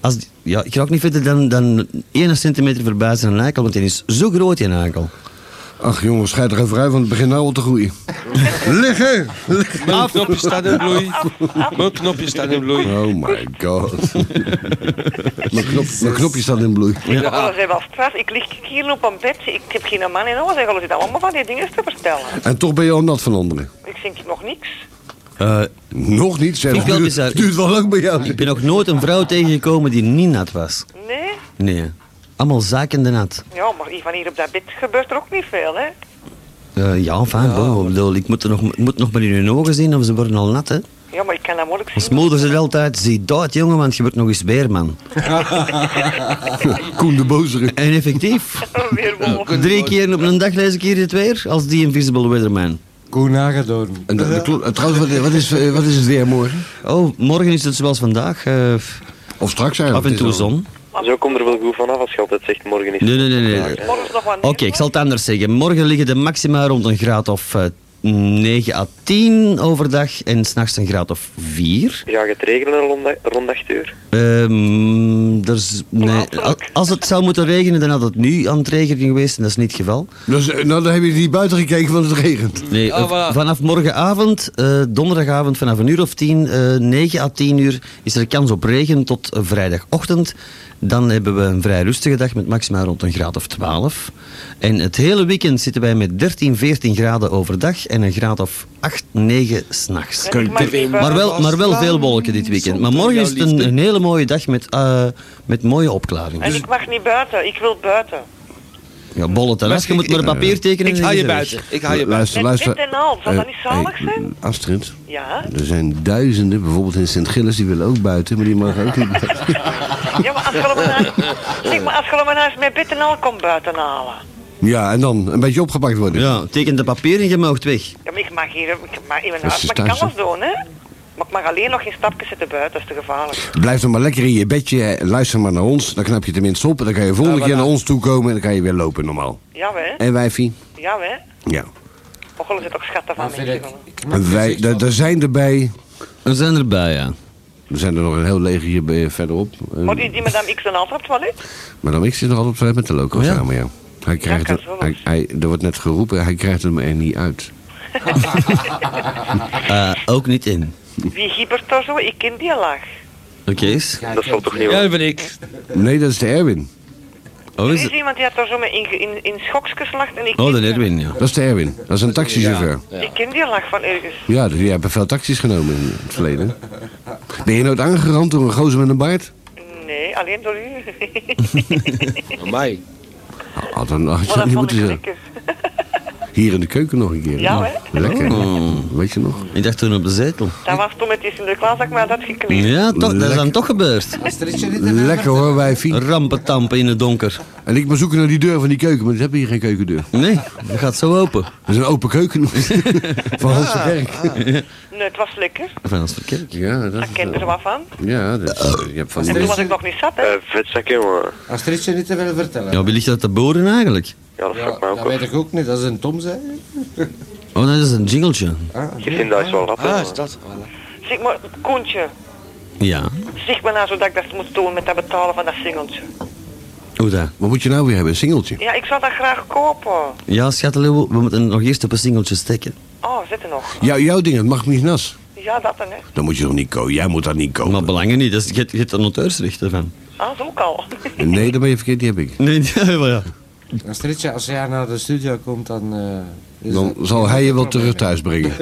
Als, die- ja, ik raak niet verder dan, dan 1 centimeter voorbij zijn eikel, want die is zo groot in eikel.
Ach jongens, scheid er even uit, want het begint nou al te groeien. Liggen! Liggen!
Mijn knopje staat in bloei. Mijn knopje staat in bloei.
Oh my god. mijn, knop, mijn knopje staat in bloei.
Ja. Alles heeft wel straf. Ik lig hier op een bed. Ik heb geen man in alles. En alles zit allemaal van die dingen te vertellen.
En toch ben je al nat van anderen.
Ik zink nog niks.
Eh,
Nog niet, zeg.
Vind ik wel
Duurt-
bizar.
duurt wel lang bij jou.
Ik ben nog nooit een vrouw tegengekomen die niet nat was.
Nee?
Nee. Allemaal zakende nat.
Ja, maar hier van hier op dat bed gebeurt er ook niet veel, hè?
Eh, ja, fijn. bon, ik bedoel, ik moet, er nog, ik moet nog maar in hun ogen zien of ze worden al nat, hè.
Ja, maar ik kan dat moeilijk
Als moeder zegt altijd, zie dat, jongen, want je wordt nog eens beerman.
Koen de Bozere.
En effectief.
Weer
Drie keer op een dag lees ik hier het weer, als die Invisible Weatherman.
Koen Hagedorn.
En dat, dat klopt. En trouwens, wat, wat, is, eh, wat is het weer morgen?
Oh, morgen is het zoals vandaag. eh,
Of straks eigenlijk.
af en
het is
toe
al-
zon.
Zo komt er wel goed vanaf als je altijd zegt morgen is
Nee, nee, nee. nee. Oké, ik zal het anders zeggen. Morgen liggen de maxima rond een graad of eh, 9 à 10 overdag en s'nachts een graad of 4.
Ga je het regelen rond, rond 8 uur?
Ehm er is- nee, a- als het zou moeten regenen, dan had het nu aan het regenen geweest en dat is niet het geval.
Dus, eh, nou, dan heb je niet buiten gekeken, want het regent.
Nee,
Oh,
eh,
voilà.
vanaf morgenavond, eh, donderdagavond vanaf een uur of tien, eh 9 à 10 uur, is er kans op regen tot eh, vrijdagochtend. Dan hebben we een vrij rustige dag met maximaal rond een graad of 12. En het hele weekend zitten wij met 13, 14 graden overdag en een graad of 8, 9 s'nachts. Maar wel, maar wel veel wolken dit weekend. Maar morgen is het een, een hele mooie dag met, eh, met mooie opklaringen.
En ik mag niet buiten. Ik wil buiten.
Ja, bolle terras. Je
Maar
moet maar een
Eh,
papier tekenen.
Ik
en
haal je
is het
buiten.
weg.
Ik haal je buiten.
Luister,
Met
luister.
dit en al, zal dat
Eh,
niet zalig
hey,
zijn?
Astrid,
Ja?
er zijn duizenden, bijvoorbeeld in Sint-Gilles, die willen ook buiten, maar die mogen ook niet buiten.
Ja, maar als je allemaal naar- zeg maar als je allemaal naar eens met bed en al komt buiten halen.
Ja, en dan een beetje opgepakt worden.
Ja, teken de papier en je mag weg.
Ja, maar ik mag hier, ik mag in mijn
Dat
huis,
is
maar ik kan
thuis,
alles doen, hè? Maar ik mag alleen nog geen stapjes zitten buiten, dat is te gevaarlijk.
Blijf dan maar lekker in je bedje, eh, luister maar naar ons, dan knap je tenminste op. En dan kan je volgende keer naar ons toe komen en dan kan je weer lopen normaal.
Ja, hè?
En wijfie?
Ja, hè?
Ja.
Och, er zit ook schatten van mensen.
En wij, daar daar zijn erbij.
Er zijn erbij, ja.
Er zijn er nog een heel leger hier bij- verderop. Eh,
Maar die, die madame X dan altijd op het toilet?
Maar dan ik zit nog altijd op toilet met de loco
Oh ja?
samen, ja. Hij krijgt
kan
het,
zo wel.
hij, hij- er wordt net geroepen, hij krijgt hem er niet uit.
Eh, ook niet in.
Wie giebert daar zo? Ik ken die laag.
Oké, eens.
Dat zal toch niet
Ja,
wel?
dat ben ik.
Nee, dat is de Erwin.
Oh,
Er
is
is
het?
iemand die had daar zo mee in, in, in schoks geslacht en ik,
Oh,
ken-
de Erwin, ja.
Dat is de Erwin. Dat is een taxichauffeur.
ik ken die laag van ergens.
Ja, dus die hebben veel taxis genomen in het verleden. Ben je nooit aangerand door een gozer met een baard?
Nee, alleen door u.
Amai.
Had, dan, had je
Maar
dat niet
dat vond ik
moeten zeggen.
lekker.
Hier in de keuken nog een keer. Nou,
Ja, hè?
Lekker. Hmm, Weet je nog?
Ik dacht toen op de zetel.
Dat was toen met die Sinterklaas dat ik me had geknipt.
Ja, toch, dat is dan toch gebeurd.
Lekker hoor, wijfie.
Rampentampen in het donker.
En ik moet zoeken naar die deur van die keuken, maar ze hebben hier geen keukendeur.
Nee, dat gaat zo open.
Dat is een open keuken. van Hans de Kerk.
Nee, het was lekker.
Van Hans de Kerk.
Ja, dat
Ik ken er wat van.
Ja, dat je hebt van
En toen was ik nog niet zat, hè.
Vetzakken, Eh, jongen.
Astridje niet te willen vertellen.
Ja, wie ligt dat te boren eigenlijk?
Ja, dat vraag ik mij ook
Dat weet ik ook niet, dat is een Tom, zei
Oh, dat is een jingletje.
Je vindt dat is wel lappen.
Ah, is dat?
Zeg maar, Koentje,
Ja.
zeg maar nou zodat ik dat moest doen met dat betalen van dat singeltje.
Hoe dat?
Wat moet je nou weer hebben? Een singeltje?
Ja, ik zou dat graag kopen.
Ja, schatteloe, we moeten nog eerst op een singeltje steken.
Oh, zit er nog.
Ja, jouw ding, het mag niet nas.
Ja, dat dan, hè.
Dan moet je toch niet kopen. Jij moet dat niet kopen.
Maar belangen niet, dus je hebt- je hebt een auteursrecht ervan.
Ah, dat is ook al.
Nee, dat ben je verkeerd, die heb ik.
Nee, ja, maar ja.
Astridje, als jij naar de studio komt, dan... eh, is
Dan
dat-
zal hij je wel terug thuis brengen.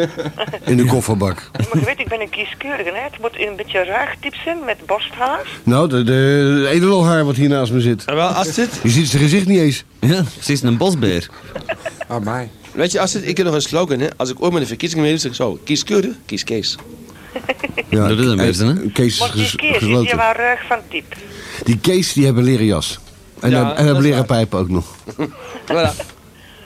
In de kofferbak.
Maar je weet, ik ben een kieskeurige, hè. Het moet een beetje raar tips zijn met borsthaar.
Nou, de, de, de edelhaar wat hier naast me zit.
wel, Astrid?
Je ziet zijn gezicht niet eens.
Ja, precies een bosbeer.
Amai.
Weet je, Astrid, ik heb nog een slogan, hè. Als ik ooit met een verkiezing mee doe, zeg ik zo. Kies Keuren, kies Kees.
Ja,
dat is een beetje, hè?
Kees is
Maar die
ges-
keer is je
gesloten.
wel ruig van type.
Die Kees die hebben leren jas. En,
Ja,
hebben, en
dat
hebben
is
leren pijpen ook nog.
Voilà.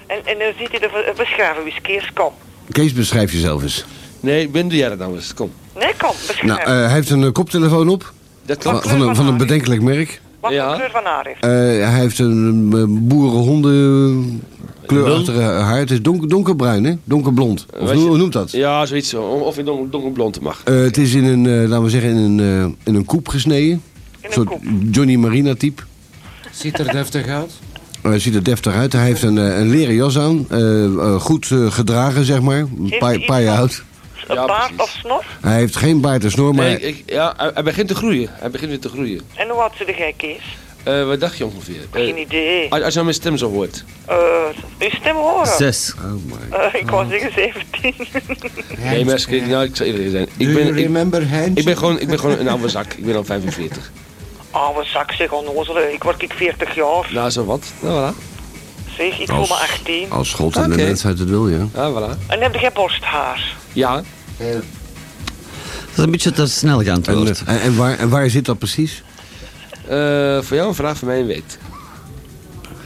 En, en dan ziet hij de ver- beschrijven, wie is Kees, kom.
Kees, beschrijf jezelf eens.
Nee, Ben, doe jij dat nou eens. Kom.
Nee, kom,
Nou,
beschrijf.
eh, hij heeft een eh, koptelefoon op.
Dat
Van,
klopt.
van, een, van een bedenkelijk merk.
Wat voor
ja.
kleur van haar heeft.
Eh, hij heeft een eh, boerenhonden kleurachtige haar. Het is donker, donkerbruin, hè? Donkerblond. Of
Weet
hoe
je-
hoe noemt dat?
Ja, zoiets zo. Of in donker, donkerblond mag.
Eh, het is in een, eh, laten we zeggen, in een, eh, in een koep gesneden.
een
soort
koep.
Johnny Marina type. Eh,
Ziet er deftig uit.
Hij ziet er deftig uit. Hij heeft een, eh, een leren jas aan. eh, eh, goed eh, gedragen, zeg maar. Een
Heeft
paar,
hij iets
paar jaar
van-
oud.
Een
ja,
baard
precies.
of snor.
Hij heeft geen baard en snor, maar...
Nee, ik, ja, hij, hij begint te groeien. Hij begint weer te groeien.
En hoe oud ze de gek is?
Eh, wat dacht je ongeveer? Eh,
Geen
als,
idee.
als je nou mijn stem zo hoort.
Eh, uw stem horen.
Zes.
Oh
Eh, ik wou zeggen 17.
Nee, maar ik, nou, ik zal even zijn.
eh, Do
Ik
you
ben, ik,
remember Heinz?
ik ben gewoon, ik ben gewoon een oude zak. Ik ben al 45.
Oude zak zeg onnozele. Ik word ik 40 jaar.
Nou, zo wat. Nou, voilà.
Zeg, ik voel me 18.
Als God en de
Oké.
mensheid het wil, ja.
Ah, voilà.
En heb jij borsthaar?
Ja.
Dat is een beetje te snel
En, eh,
geantwoord.
en, en waar, en waar zit dat precies?
Eh, voor jou een vraag van mij een weet.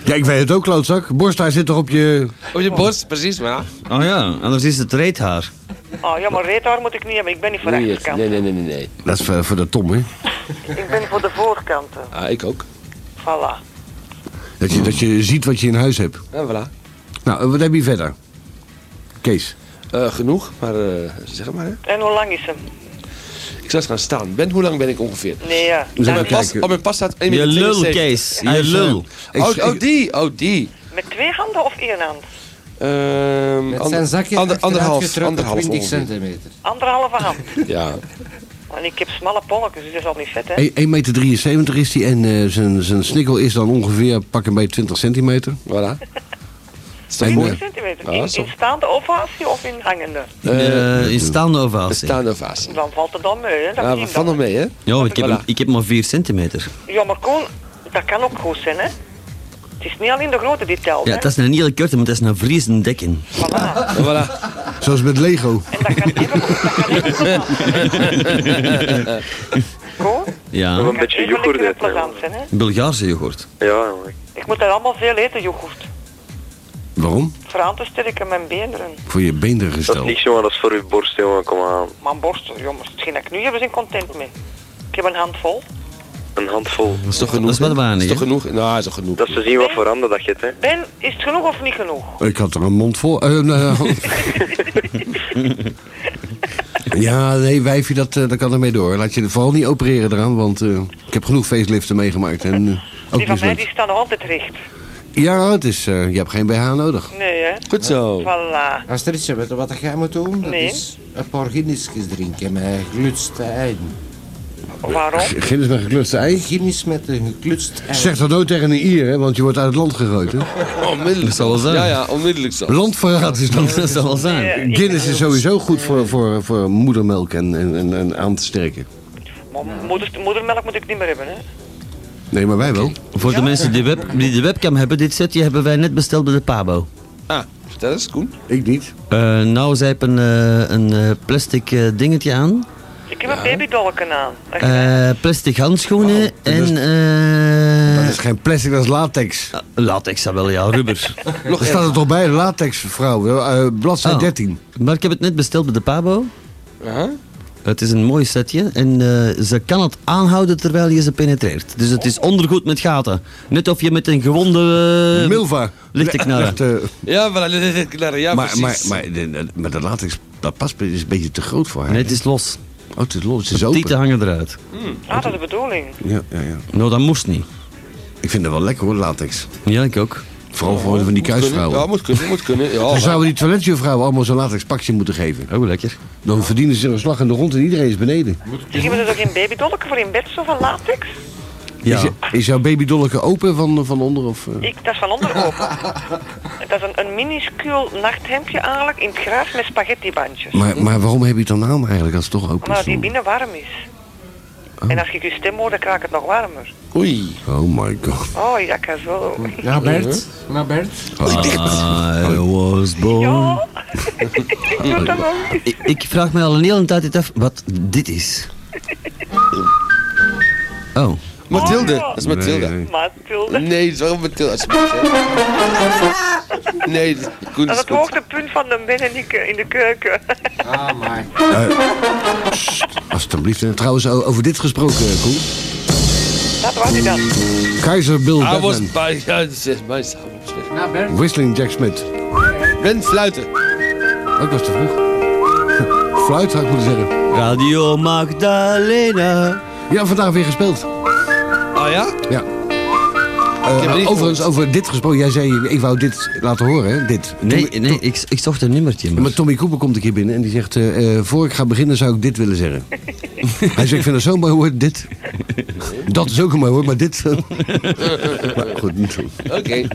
Ja, ik weet het ook, klootzak. Borsthaar zit toch op je...
Op je borst, precies, maar ja.
Oh ja, anders is het reethaar.
Oh ja, maar reethaar moet ik niet hebben. Ik ben niet voor de
Nee,
achterkant.
nee, nee, nee, nee. nee.
Dat is voor, voor de Tom, hè?
Ik ben voor de voorkanten.
Ah, ik ook.
Voilà.
Dat je, dat je ziet wat je in huis hebt.
Ja, voilà.
Nou, eh, wat heb je verder? Kees.
Eh, genoeg, maar eh, zeg het maar. Hè.
En hoe lang is hem?
Ik zal eens gaan staan. Ben, hoe lang ben ik ongeveer?
Nee, ja.
Op
even
mijn, pas,
kijken.
op mijn pas staat 1
Je
minuut
lul,
72.
Kees. Je lul.
Ik-
Oh,
ik-
oh, die, oh, die.
Met twee handen of één hand?
Ehm
Met
ander-
zijn zakje
ander- anderhalf,
achteruit getrokken,
anderhalf
20
ongeveer.
centimeter.
Hm? Anderhalve hand.
Ja.
En ik heb smalle polletjes, dus dat is al niet vet, hè?
1,73 meter 73 is hij en eh, zijn, zijn snikkel is dan ongeveer pak een beetje 20 centimeter.
Voilà. Is toch
En, eh,
mooi?
20 centimeter.
Ja,
In,
Ah, zo.
in staande ovatie of in hangende?
In, eh, in staande ovatie.
Staande ovatie.
Dan valt het dan mee, hè? Dat
Nou,
zien
we van nog
dan.
mee, hè?
Ja, ik heb, hem- ik heb maar vier centimeter.
Ja, maar Koen, dat kan ook goed zijn, hè? Het is niet alleen de grote die telt,
Ja,
hè?
dat is een hele korte, maar dat is een vriesende dekken.
Voilà.
Voilà.
Zoals met Lego.
En dat kan even, dat kan even plezant zijn. Koen,
Ja,
dat
Een
kan
beetje
even
yoghurt
lekker en
eten.
plezant
jongen.
zijn, hè?
Bulgaarse yoghurt.
Ja, jongen.
Ik moet daar allemaal veel eten, yoghurt.
Waarom?
Voor aan te sterken mijn benen.
Voor je
Dat is
beendergestel.
niks, jongen. Dat is voor uw borst, jongen. Kom aan.
Mijn borst, jongens, hetgeen dat ik nu heb, is een content mee. Ik heb een handvol.
Een handvol.
Dat is toch genoeg?
Dat is wel
hè?
weinig,
Is toch
hè?
genoeg? Nou, is toch genoeg.
Dat ze zien wat voor handen dat je hebt, hè.
Ben, is het genoeg of niet genoeg?
Ik had er een mond vol. Eh, nou, ja, nee, wijfje, dat, eh, dat kan ermee door. Laat je er vooral niet opereren eraan, want eh, ik heb genoeg faceliften meegemaakt. En, eh, ook
Die van mij
mislukt.
die staan nog altijd recht.
Ja, het is, eh, je hebt geen BH nodig.
Nee, hè?
Goed zo.
Voilà.
Astridje, weet je wat jij moet doen? Dat
Nee.
is een paar Guinnessjes drinken met geklutste eieren.
Waarom?
Guinness met geklutste ei.
Guinness met een geklutst ei.
Zeg dat nooit tegen een Ier, hè, want je wordt uit het land gegooid. Hè?
Oh, Onmiddellijk.
Dat zal wel zijn.
Ja, ja, onmiddellijk zo.
Landverraad is dat.
Dat zal wel zijn.
Guinness is sowieso goed voor, voor, voor moedermelk en, en, en, en aan te sterken.
Maar moeder, moedermelk moet ik niet meer hebben, hè?
Nee, maar wij wel.
Voor de mensen die, web, die de webcam hebben, dit setje hebben wij net besteld bij de Pabo.
Ah, Vertel eens, Koen.
Ik niet.
Eh, nou, zij heeft een, eh, een eh, plastic eh, dingetje aan.
Ik heb een babydolken aan.
Eh, plastic handschoenen en... eh
Oh,
Ah,
dat is geen plastic, dat is latex.
latex, dat wel, ja, rubber.
Nog staat er toch bij, latex vrouw, eh, bladzij
Oh.
13.
Maar ik heb het net besteld bij de Pabo. Het is een mooi setje en eh, ze kan het aanhouden terwijl je ze penetreert. Dus het is ondergoed met gaten. Net of je met een gewonde... eh,
Milva.
Ligt te knarren.
Echt, eh,
Ja, voilà, ja,
maar,
precies.
maar, maar, de- de- maar dat latex, dat paspoort is een beetje te groot voor haar.
Nee, het is los.
Oh, het is los, het is
De
open.
tieten hangen eruit.
Ah, dat is de bedoeling.
Ja, ja, ja.
Nou, dat moest niet.
Ik vind dat wel lekker hoor, latex.
Ja, ik ook.
Vooral voor van die kuisvrouwen.
Ja, Oh, moet kunnen, moet kunnen. Ja,
Dan
maar-
zouden die toiletjuffrouwen allemaal zo'n latex pakje moeten geven.
Oh, lekker.
Dan verdienen ze een slag in de rond en iedereen is beneden.
Dus je moet er toch geen babydolken voor in bed, zo van latex?
Is, is jouw babydolleke open van, van onder? Of, eh?
Ik, dat is van onder open. dat is een, een minuscuul nachthemdje eigenlijk in het gras met spaghettibandjes.
maar, maar waarom heb je het dan aan eigenlijk als het toch open
Omdat
is?
die binnen warm is. En als ik je stem hoor, dan kraakt het nog warmer.
Oei. Oh my god.
Oh, jakker zo.
Naar Bert. Naar Bert.
I was born.
Doe dat nog.
ik, ik vraag me al een hele tijd af wat dit is. Oh.
Mathilde.
Oh, ja.
Dat is Mathilde.
Nee, nee.
Mathilde.
Nee, dat is wel Mathilde. alsjeblieft, hè. Nee, dat- Koen
Dat
dat
is
is
het
goed.
hoogtepunt van de Ben en ik eh, in de keuken.
Ah, maar.
Alsjeblieft. En trouwens, o- over dit gesproken, eh, Koen.
Dat was hij dan.
Keizer Bill
I was
Batman.
by... Ja, dat is mijn samenopschrift.
Naar Bert.
Whistling Jack Smith.
Ben Fluiten.
Ook Oh, was te vroeg. Fluit had ik moeten zeggen.
Radio Magdalena.
Ja, vandaag weer gespeeld.
Oh ja?
Ja.
heb het niet
Eh, overigens, over dit gesproken. Jij zei, ik wou dit laten horen, hè? Dit.
Nee,
Tommy-
nee ik, ik zocht een nummertje.
Ja,
Maar.
Maar Tommy Cooper komt een keer binnen en die zegt... eh, eh, voor ik ga beginnen zou ik dit willen zeggen. Hij zegt, ik vind dat zo'n mooi woord, dit. Dat is ook een mooi woord, maar dit... maar goed, niet doen.
Oké.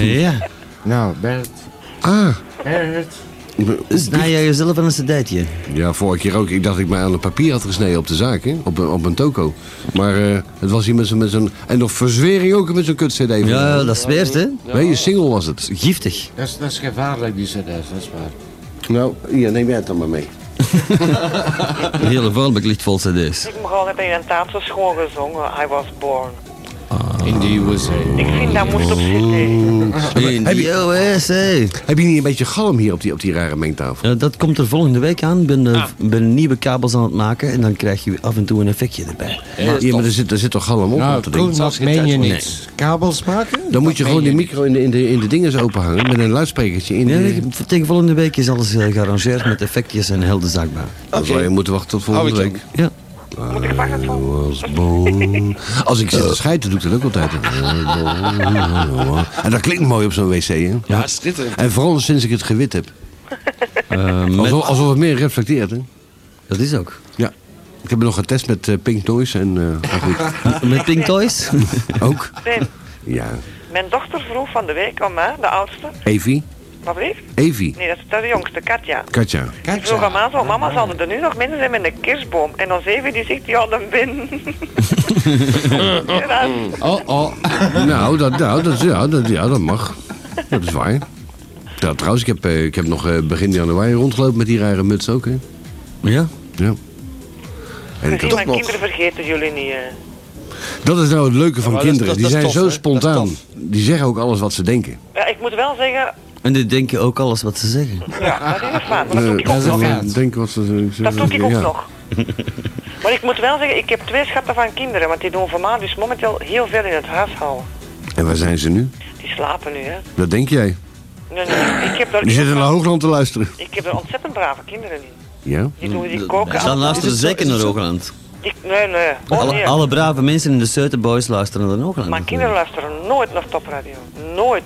Ja.
Nou, Bert.
Ah.
Bert.
Snij jij jezelf aan een cd'tje?
Ja, vorige keer ook. Ik dacht dat ik mij aan een papier had gesneden op de zaak, hè? Op, een- op een toko. Maar eh, het was hier met zo'n... met zo'n- En nog verzwering ook met zo'n kut cd. van.
Ja, dat zweert, hè?
Nee, een single was het.
Giftig.
Dat is, dat is gevaarlijk, die cd's, dat is waar.
Nou, hier, neem jij het dan maar mee.
De hele vuilbak ligt vol cd's.
Ik heb gewoon net in een tafel schoon gezongen. I was born.
Ah. In the USA.
Ik vind dat moest op zitten.
In
Heb je-
de USA.
Heb je niet een beetje galm hier op die, op die rare mengtafel?
Ja, dat komt er volgende week aan. Ik ben, eh,
Ah.
ben nieuwe kabels aan het maken en dan krijg je af en toe een effectje erbij.
dat is
Ja,
tof.
maar er zit, er zit toch galm op?
Nou,
op dat ding?
Koen, dat
geen
meen je
tijd
niet.
voor.
Kabels maken?
Dan moet je
Dat
gewoon
meen
die micro in de, in de, in de dingen open hangen met een luidsprekertje in.
Ja,
de-
ik- tegen volgende week is alles eh, gearrangeerd met effectjes en helder zakbaar.
Dan zou je moeten wachten tot
Hou
volgende
ik
week.
Ja.
Moet ik wachten tot-
Was born. Als ik zit te scheiden, doe ik dat ook altijd. En dat klinkt mooi op zo'n wc, hè?
Ja, schitterend.
En vooral sinds ik het gewit heb.
Eh, met-
Alsof, alsof het meer reflecteert, hè?
Dat is ook.
Ja. Ik heb het nog getest met eh, Pink Noise en... eh, maar goed.
Met Pink Toys?
Ook?
Ben,
Ja.
mijn dochter vroeg van de week aan mij, de oudste.
Evie?
Wat bleef?
Evie?
Nee, dat is, dat is de jongste, Katja.
Katja.
Die vroeg aan mij zo, mama, zouden er nu nog mensen zijn met een kerstboom? En dan zeven die zegt, ja, dan ben. Ja,
Oh, oh. Nou, dat, nou dat, ja, dat, ja, dat mag. Dat is waar. Ja, trouwens, ik heb, eh, ik heb nog eh, begin januari rondgelopen met die rare muts ook, hè?
Ja.
Ja. En ik
Gezien
had-
mijn kinderen vergeten jullie niet. eh.
dat is nou het leuke van
Ja, maar dat is-
kinderen.
dat-
Die
dat is
zijn
tof,
zo
hè? Dat is
spontaan.
tof.
Die zeggen ook alles wat ze denken.
Ja, ik moet wel zeggen,
En die denken ook alles wat ze zeggen.
ja, dat is waar. Maar dat doe ik ook
dat is
nog.
waar.
hè.
Ja.
denken wat Eh, ze zeggen.
Dat doe ik ook
ja.
nog. Maar ik moet wel zeggen, ik heb twee schatten van kinderen, want die doen voor mij dus momenteel heel veel in het huishouden.
En waar zijn ze nu?
Die slapen nu, hè.
Dat denk jij.
Nee, nee, ik heb daar
Die zitten naar Hoogland te luisteren.
Ik heb er ontzettend brave kinderen in.
Ja?
Die doen die koken.
Staan
aan-
luisteren zeker naar Hoogland.
Die, nee, nee. Oh,
Alle,
nee.
alle brave mensen in de Zuiden Boys luisteren naar Hoogland.
Mijn kinderen luisteren nooit naar topradio. Nooit.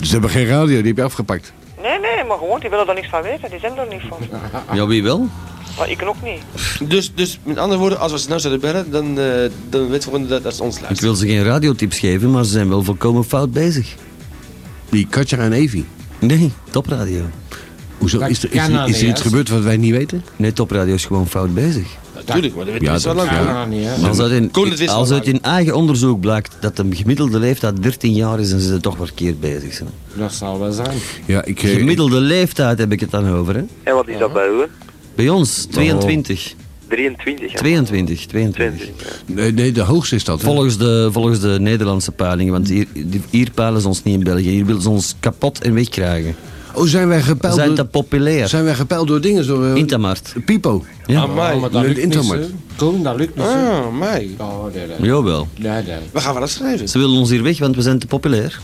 Ze hebben geen radio, Oh, die heb je afgepakt.
Nee, nee, maar gewoon, die willen daar niks van weten. Die zijn er niet van.
Ja, wie wel?
Maar ik ook niet.
Dus, dus met andere woorden, als we ze nou zouden bellen, dan, eh dan weten we gewoon dat, dat ze ons
Ik
luisteren.
wil ze geen radiotips geven, maar ze zijn wel volkomen fout bezig.
Die Katja en Evie.
Nee, topradio.
Hoezo? Is er, is, er- is er
Canaleas.
nou
iets gebeurd wat wij niet weten?
Nee, topradio is gewoon fout bezig.
Dat tuurlijk, maar dat weet je
Ja,
zo
dat-
lang.
ja. Als uit, in,
Koen, het wist al
als
lang.
uit in eigen onderzoek blijkt dat de gemiddelde leeftijd 13 jaar is, dan zijn ze toch verkeerd bezig. Zijn.
Dat zal wel zijn.
Ja, ik, eh,
gemiddelde leeftijd heb ik het dan over. Hè?
En wat is dat bij u?
Bij ons 22.
23. ja.
22, 22.
Nee, nee, de hoogste is dat.
Volgens de, volgens de Nederlandse peilingen, want hier, die- hier peilen ze ons niet in België. Hier willen ze ons kapot en wegkrijgen.
Oh, zijn wij
We
gepeild
zijn te
door...
populair.
Zijn wij gepeild door dingen? Door, eh,
Intamart.
Pipo.
Ja.
Amai.
maar dat lukt niet, hè.
Koen, dat lukt niet. hè.
Ah, mij.
Oh, nee, nee.
Jawel.
Nee, nee.
We gaan wel eens schrijven.
Ze willen ons hier weg, want we zijn te populair.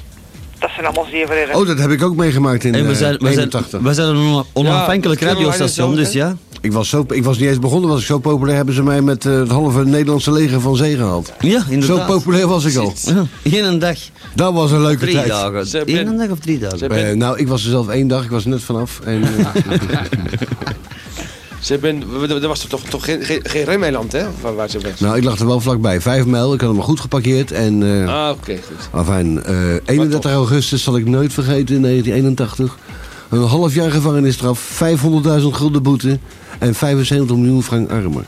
Dat zijn allemaal zeeverreden.
Oh, dat heb ik ook meegemaakt in
En we
eh,
zijn, we zijn,
81.
we zijn een ona- onafhankelijk
Ja, dat kunnen we
radiostation,
eigenlijk
dus ja.
Ik was, zo, ik was niet eens begonnen, was ik zo populair hebben ze mij met eh, het halve Nederlandse leger van zee gehaald.
Ja,
Zo
inderdaad.
populair was ik al.
Ja, in een dag.
Dat was een leuke
Drie
tijd.
Ze
dagen.
hebben-
In een dag of drie dagen?
hebben-
Eh, nou, ik was er zelf één dag, ik was er net vanaf. En, eh,
Ze hebben, we- we- er was toch, toch, toch geen, geen, geen Remmeland, hè? Waar, waar ze weg
nou, ik lag er wel vlakbij. Vijf mijl, ik had hem goed geparkeerd. En, eh,
Ah, oké, goed.
afijn, eh, 31 augustus zal ik nooit vergeten in 1981. Een half jaar gevangenisstraf, 500.000 gulden boete en 75 miljoen frank armer.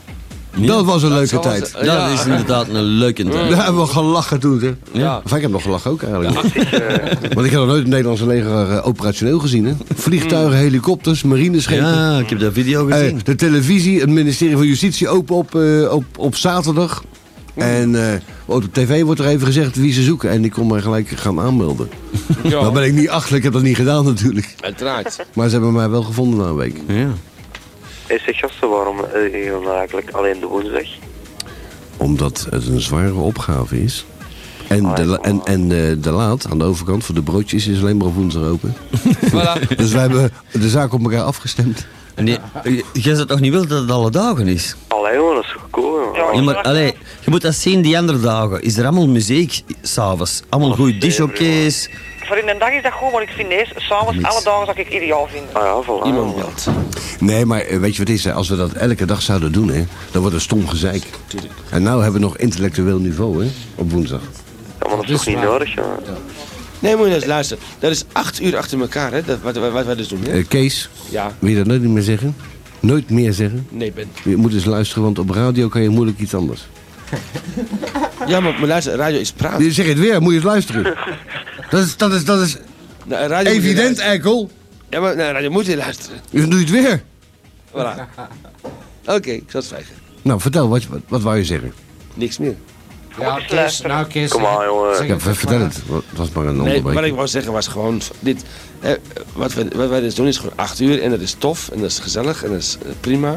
Dat was een leuke
zal wel
tijd.
zijn. Ja.
Dat is inderdaad een leuke tijd.
Daar hebben we gelachen toen, hè?
Ja.
Enfin, ik heb nog gelachen ook eigenlijk. Want ik heb nog nooit het Nederlandse leger eh, operationeel gezien, hè? Vliegtuigen, helikopters, marineschepen.
Mm. Ja, ik heb dat video
Eh,
gezien.
de televisie, het ministerie van Justitie open op, eh, op, op zaterdag.
Mm.
En eh, op de tv wordt er even gezegd wie ze zoeken. En ik kon mij gelijk gaan aanmelden.
Ja,
Nou ben ik niet achterlijk, ik heb dat niet gedaan natuurlijk.
uiteraard.
Maar ze hebben mij wel gevonden na een week.
Ja.
Hey, zeg gasten, waarom eh, je dan eigenlijk alleen de woensdag?
Omdat het een zware opgave is.
Oh,
En de, la- en, en eh, de laat aan de overkant voor de broodjes is alleen maar op woensdag open.
Voilà.
Dus wij hebben de zaak op elkaar afgestemd.
Nee, eh, jij zou toch niet willen dat het alle dagen is?
Allee jongen, dat is toch cool jongen?
Ja,
Ja, maar allee, je moet dat zien die andere dagen. Is er allemaal muziek s'avonds? Allemaal goede disjockeys?
Voor in een dag is dat goed, maar ik vind deze s'avonds alle dagen zou ik ideaal vinden.
Ah ja, voilà.
Iemand belt.
Nee, maar eh, weet je wat het is? hè? Als we dat elke dag zouden doen, hè, dan wordt het stom gezeik. En nou hebben we nog intellectueel niveau hè, op woensdag.
Ja, maar dat is toch niet nodig jongen?
Nee, moet je nou eens luisteren. Dat is acht uur achter elkaar, hè? Dat, wat, wat, wat wij dus doen, hè?
Eh, Kees,
Ja.
wil je dat nooit meer zeggen? Nooit meer zeggen?
Nee, Ben.
Je moet eens luisteren, want op radio kan je moeilijk iets anders.
Ja, maar, maar luister, radio is praten.
Je zegt het weer, moet je eens luisteren. Dat is, dat is, dat is
Nou, radio moet je
evident,
luisteren.
eikel.
Ja, maar nou, radio moet je luisteren.
Dus doe je het weer.
Voilà. Oké, ik zal het zwijgen.
Nou, vertel, wat, wat, wat wou je zeggen?
Niks meer.
Ja, Kees, nou Kees.
Kom aan, jongen.
zeg
Ja,
het
ver-
toch
vertel
maar.
het. Wat- Het was maar een
Nee, wat ik
onderbreking.
wou zeggen was gewoon v- dit. eh, wat, we, wat wij dus doen is gewoon acht uur en dat is tof en dat is gezellig en dat is eh, prima.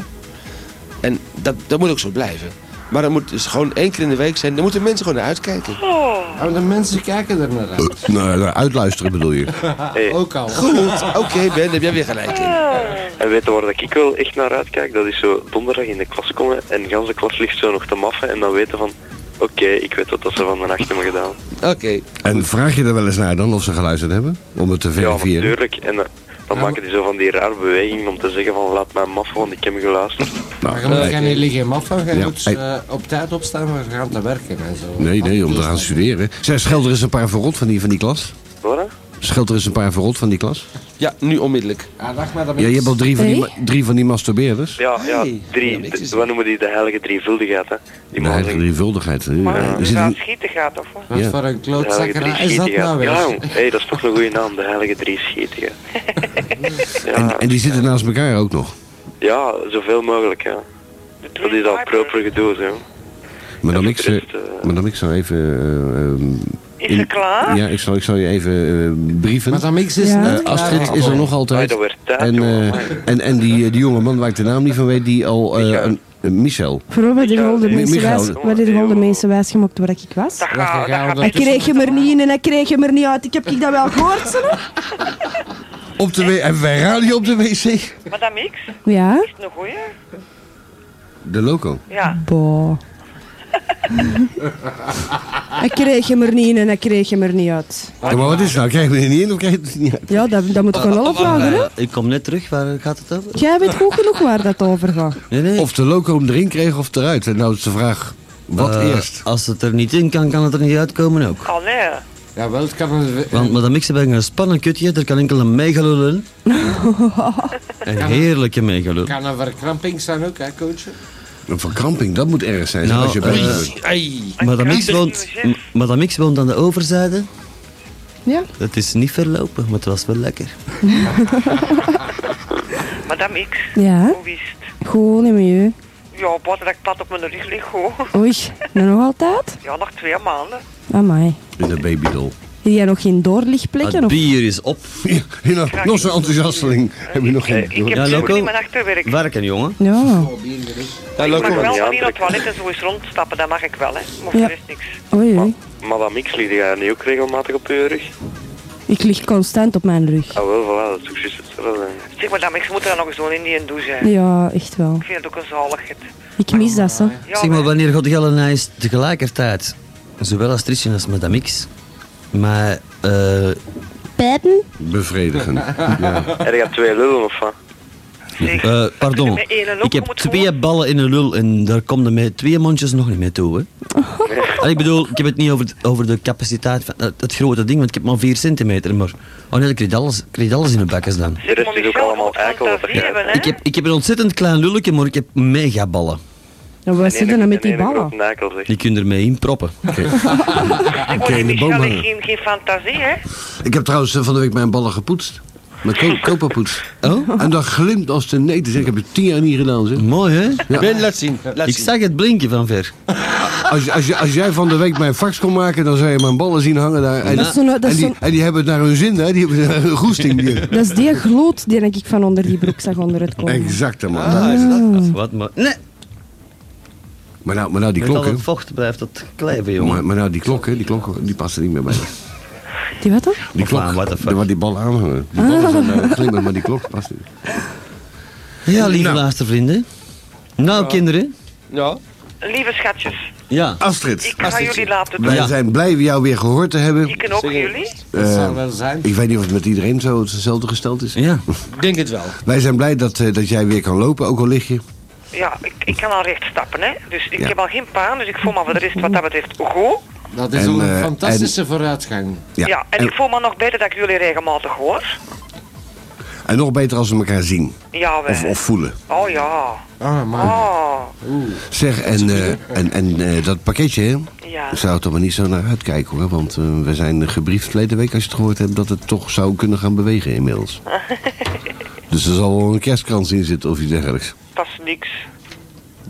En dat, dat moet ook zo blijven. Maar dat moet dus gewoon één keer in de week zijn. Dan moeten mensen gewoon naar uitkijken.
Oh, de mensen kijken er naar uit.
Nou, nou, uitluisteren bedoel je.
Hey,
Ah, Ook al.
Goed, oké Ben, heb jij weer gelijk in.
En weet je waar dat ik wel echt naar uitkijk? Dat is zo donderdag in de klas komen en gans de klas ligt zo nog te maffen en dan weten van... Oké, ik weet wat dat ze van de nacht hebben gedaan.
Oké.
En vraag je er wel eens naar dan of ze geluisterd hebben? Om het te
Ja,
verifiëren.
natuurlijk. En eh, dan maken die zo van die rare beweging om te zeggen van laat mij maffen, want ik heb geluisterd.
Nou,
Maar je moet
nee.
geen liggen maffen, je
Ja.
moet eh, op tijd opstaan om gaan te werken en zo.
Nee, nee, om te gaan studeren. Zij scheld er eens een paar verrot van die, van die klas.
Voilà.
Scheld er eens een paar verrot van die klas.
Ja, nu onmiddellijk.
Ja, dag maar, dat
Ja, je hebt al drie van die,
Hey?
ma- drie van die masturbeerders.
Ja, ja,
Hey. Ja,
drie,
niks is-
de- wat noemen die de heilige drievuldigheid, hè? Die
De
man
heilige drievuldigheid. eh, hè.
Maar
Ja.
als
Er
je
zit
aan
een-
het schieten gaat, of wat?
Wat
Ja.
voor een
De heilige
klootzakkerij is dat nou
drieschietigen.
weer?
Ja, jong. Hey, dat is toch een goede naam, de heilige drieschietigen. ja,
en, en die zitten naast elkaar ook nog.
ja, zoveel mogelijk, ja. Dat is al proper gedoe, zo.
Maar dan
Ja,
ik,
voor de rest,
ze-
eh,
maar dan ik zou even... eh, ehm,
dus, Is ze klaar?
ja, ik zal, ik zal je even eh, brieven.
Maar dat mix is
Ja.
net
Eh, Astrid
klaar.
is er nog
Hey,
altijd.
dat werd tijd,
En,
jongen.
eh, en, en die, eh, die jonge man waar ik de naam niet van weet, die al... eh,
Michael.
een- eh,
Ah,
Michel.
Vooral bij de
Michael,
rolde
die-
mensen
Michael,
wijs-
die-
waar die rolde mensen wijsgemaakt waar ik was.
Dat
Ja,
gaat, dat
ja,
gaat
dat-
Hij
niet.
dus
kreeg hem er niet in en hij kreeg hem er niet uit. Ik heb ik dat wel gehoord, ze.
Op de w- hebben wij radio op de wc?
Maar dat mix? Is
Ja?
het een goeie?
De loco.
Ja.
Oh.
Boah. hij kreeg hem er niet in en hij kreeg hem er niet uit.
Ja, maar wat is het nou? Krijg je er niet in of krijg je het er niet uit?
Ja, dat, dat moet ik gewoon opvragen, hè.
Eh, ik kom net terug, waar gaat het over?
Jij weet goed genoeg waar dat over gaat.
Nee, nee.
Of de loco hem erin kreeg of eruit. En nou is de vraag, wat
Eh,
eerst?
Als het er niet in kan, kan het er niet uitkomen ook.
Al nee.
Ja, wel, het kan een...
Want madame Mixen ben een spannend kutje, er kan enkel een megalul in. Een heerlijke megalul.
kan een verkramping zijn ook, hè, coach?
Een verkramping, dat moet erg zijn.
Nou,
als je buiten
eh,
bent.
Madame X woont, M- Madame X woont aan de overzijde.
Ja.
Het is niet verlopen, maar het was wel lekker.
Madame X.
Ja.
Hoe is het?
Gewoon in milieu.
Ja, buiten dat ik plat op mijn rug lig, hoor.
Oei, nou nog altijd?
Ja, nog twee maanden.
Amai.
In een babydol.
Heb jij nog geen doorlichtplekken? Of?
bier is op.
nog zo'n enthousiasteling. Heb je nog geen...
Ik heb ja, niet mijn achterwerk.
Werken, jongen.
Ja.
Ik
Loco, wat
mag wel
niet
maar hier naar het
aantrekken.
toilet en zo eens rondstappen, dat mag ik wel, hè. Maar
Ja.
voor de rest niks.
Oei, oei.
Madame X, liet jij niet ook regelmatig op je rug?
Ik lig constant op mijn rug.
Ah wel, voilà, dat is ook juist hetzelfde.
Zeg, madame X moet er dan nog eens doen in die een douche, hè.
Ja, echt wel.
Ik vind het ook een zaligheid.
Ik mis dat, zo.
Zeg maar, wanneer gaat Jelle naar huis tegelijkertijd? Zowel als Tristan als Madame X. Maar, eh...
Pijpen?
Bevredigen.
Ja.
En je hebt twee lullen of wat?
Eh, pardon,
Met één lul
ik heb twee ballen in een lul en daar komt er met twee mondjes nog niet mee toe. Hè? En ik bedoel, ik heb het niet over, het- over de capaciteit van het, het grote ding, want ik heb maar 4 centimeter. Maar, oh nee, ik kreeg alles, ik kreeg alles in de bakjes dan.
De rest is ook allemaal eikel wat er gaat.
Ik heb, ik heb een ontzettend klein lulletje, maar ik heb megaballen.
En wat zit er nou met die ballen?
ballen?
Die kun je ermee inproppen.
Ik
Oké,
word
de
niet
boom
geen,
hangen.
geen, geen fantasie, hè.
Ik heb trouwens eh, van de week mijn ballen gepoetst. Met ko koperpoets.
Oh?
En dat glimt als de nee. Ik heb het tien jaar niet gedaan. Zeg.
Mooi, hè?
Ben, laat zien.
ik zag het blinken van ver.
Als, je- als, je- als jij van de week mijn fax kon maken, dan zou je mijn ballen zien hangen daar. En,
Dat is zo'n- dat is
en, die,
zo'n-
en die hebben het naar hun zin, hè? Die hebben een goesting. Die.
Dat is die gloed die ik van onder die broek zag onder het komen.
Exact, man.
Ah, is dat- dat is
wat, maar... Nee.
Maar nou, maar nou die
Met al
klokken.
het vocht blijft dat kleven, jongen.
Maar, maar nou, die klokken, die klokken, die passen niet meer bij.
Die wat dan?
Die klok, daar waar die ballen aanhangen.
Ah.
Ah,
Die ballen zijn daar glimmen, eh, maar die klok past niet.
Ja, lieve luistervrienden. Nou, kinderen.
Ja.
Lieve schatjes,
Ja.
Astrid.
ik ga jullie laten doen.
Wij zijn blij jou weer gehoord te hebben.
Ik en ook jullie.
Eh,
zou wel zijn.
Ik weet niet of het met iedereen zo hetzelfde gesteld is.
Ja.
Ik denk het wel.
Wij zijn blij dat, eh, dat jij weer kan lopen, ook al lig je.
Ja, ik, ik kan al recht stappen, hè. Dus ik
Ja.
heb al geen paan, dus ik voel me voor de rest wat dat betreft goed.
Dat is
En,
al een
eh,
fantastische vooruitgang.
Ja, en,
en-
ik voel me nog beter dat ik jullie regelmatig hoor.
En nog beter als we elkaar zien.
Ja,
Of,
we.
of voelen.
Oh ja.
Ah,
Oh.
Zeg, en, eh, en, en eh, dat pakketje, hè?
Ja.
Zou het er maar niet zo naar uitkijken, hoor. Want eh, we zijn gebriefd verleden week, als je het gehoord hebt... dat het toch zou kunnen gaan bewegen inmiddels. dus er zal wel een kerstkrans in zitten of iets dergelijks.
Dat is niks.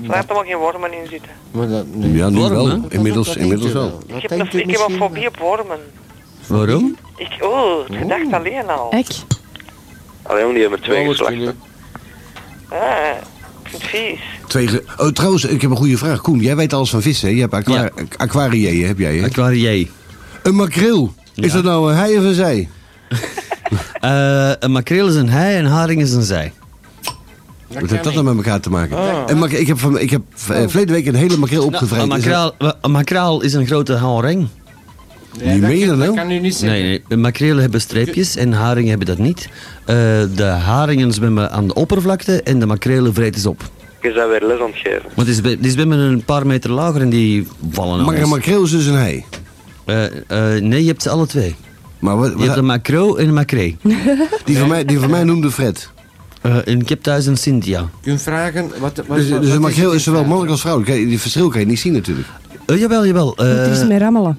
Er hebben nog geen wormen in zitten.
Maar dat,
Ja, nu
Warm,
wel.
hè?
Inmiddels,
Dat
inmiddels
denk je eh?
wel.
Ik heb, nog, ik heb een fobie op wormen.
Waarom?
Ik, oh, het gedacht alleen al.
Ik?
Allee, jongen, die hebben
Oh,
twee geslachten.
Ah, ik vind het vies.
Twee ge- oh, trouwens, ik heb een goede vraag. Koen, jij weet alles van vissen, hè? Je hebt aqua aquarië, heb jij, hè?
Aquarië.
Een makreel. Is dat nou een hij of een zij?
Eh, een makreel is een hei en een haring is een zij.
Wat heeft dat Ah. dan met elkaar te maken? En mak- ik heb, van, ik heb eh, verleden week een hele makreel opgevreten.
Nou, Een makraal, een makraal is een grote haring.
Nee, dat meen je kan- dat nou?
kan u niet
Nee, nee. De Makrelen hebben streepjes en haringen hebben dat niet. Eh, de haringen zwemmen aan de oppervlakte en de makrelen vreten ze op.
Je bent weer les aan het geven.
Want die zwe- die zwemmen een paar meter lager en die vallen aan
Maar een
ons.
makreel is dus een hij.
Eh, eh, nee, je hebt ze alle twee.
Maar wat,
Je hebt een macro en een macree.
die, van mij, die van mij noemde Fred.
Eh, en ik heb thuis een Cynthia.
Kun je vragen wat, wat, wat,
Dus, dus
wat
een
is het
makreel
in
is zowel
vraag?
mannelijk als vrouwelijk. Kijk, Die verschil kan je niet zien natuurlijk.
Eh, jawel, jawel. eh,
Het is met rammelen.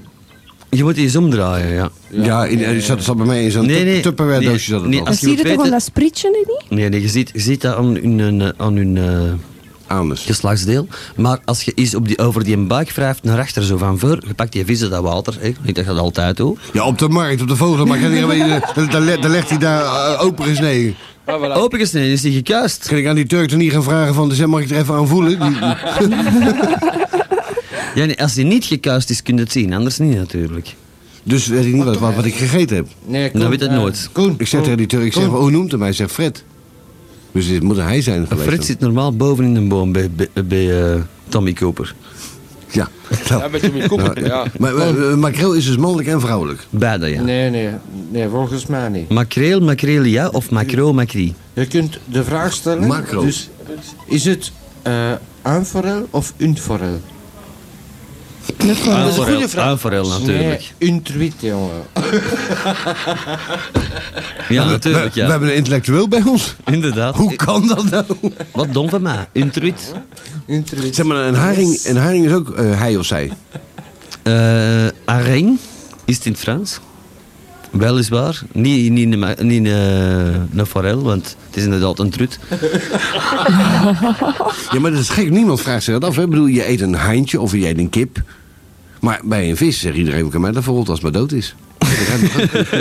je moet die eens omdraaien, ja.
Ja, in, eh, zat, zat bij mij in zo'n
Nee, nee.
tupperware
Nee,
doosje. zat het
nee,
al.
Dan
als je
zie je
wilt
toch aan
weten-
dat sprietje niet?
Nee, nee, je ziet, je ziet dat aan hun, eh, aan hun eh, geslachtsdeel. Maar als je eens op die, over die buik wrijft naar achter, zo van voor, je pakt die vissen dat water. hè. Ik dat je dat altijd doet.
Ja, op de markt, op de vogelmarkt. en die hebben- eh, Daar daar le- daar legt hij daar eh, open gesneden.
Opengesneden is die gekuist.
Kan ik aan die Turk toch niet gaan vragen van, zeg, mag ik er even aan voelen? Die-
Ja, nee, als die niet gekuist is, kun je het zien. Anders niet natuurlijk.
dus weet ik niet wat, wat, wat ik gegeten heb.
Nee, eh,
Dan Nou, weet het nooit.
Ik zeg tegen die Turk, ik zeg, oh,
Koen.
hoe noemt hem? Hij zegt Fred. Dus dit moet hij zijn geweest.
Fred
dan.
zit normaal boven in een boom bij, bij, bij, eh, Tommy Koper.
Ja. Nou,
Ja, met Jimmy Cooper,
nou,
ja.
Maar maar, eh, makreel is dus mannelijk en vrouwelijk.
Beide, ja.
Nee, nee, nee, volgens mij niet.
Makreel, makreel, ja. Of macro, macrie.
Je kunt de vraag stellen.
Macro.
Dus Eh, is het eh een forel of een forel?
knuffelen.
Aan voor heel- aan voor heel natuurlijk.
Nee, intuït, jongen.
Ja,
We-
natuurlijk,
we-
ja.
we hebben een intellectueel bij ons.
Inderdaad.
Hoe kan dat nou?
Wat dom van mij. Intruit.
Zeg maar, een haring, een haring is ook eh, hij of zij.
Eh Areng is het in het Frans. Weliswaar. Niet, niet, niet, niet eh, een forel, want het is inderdaad een trut.
Ja, maar dat is gek. Niemand vraagt zich dat af. Hè? Ik bedoel, je eet een haantje of je eet een kip. Maar bij een vis zegt iedereen, we kan mij dat verrot als het maar dood is.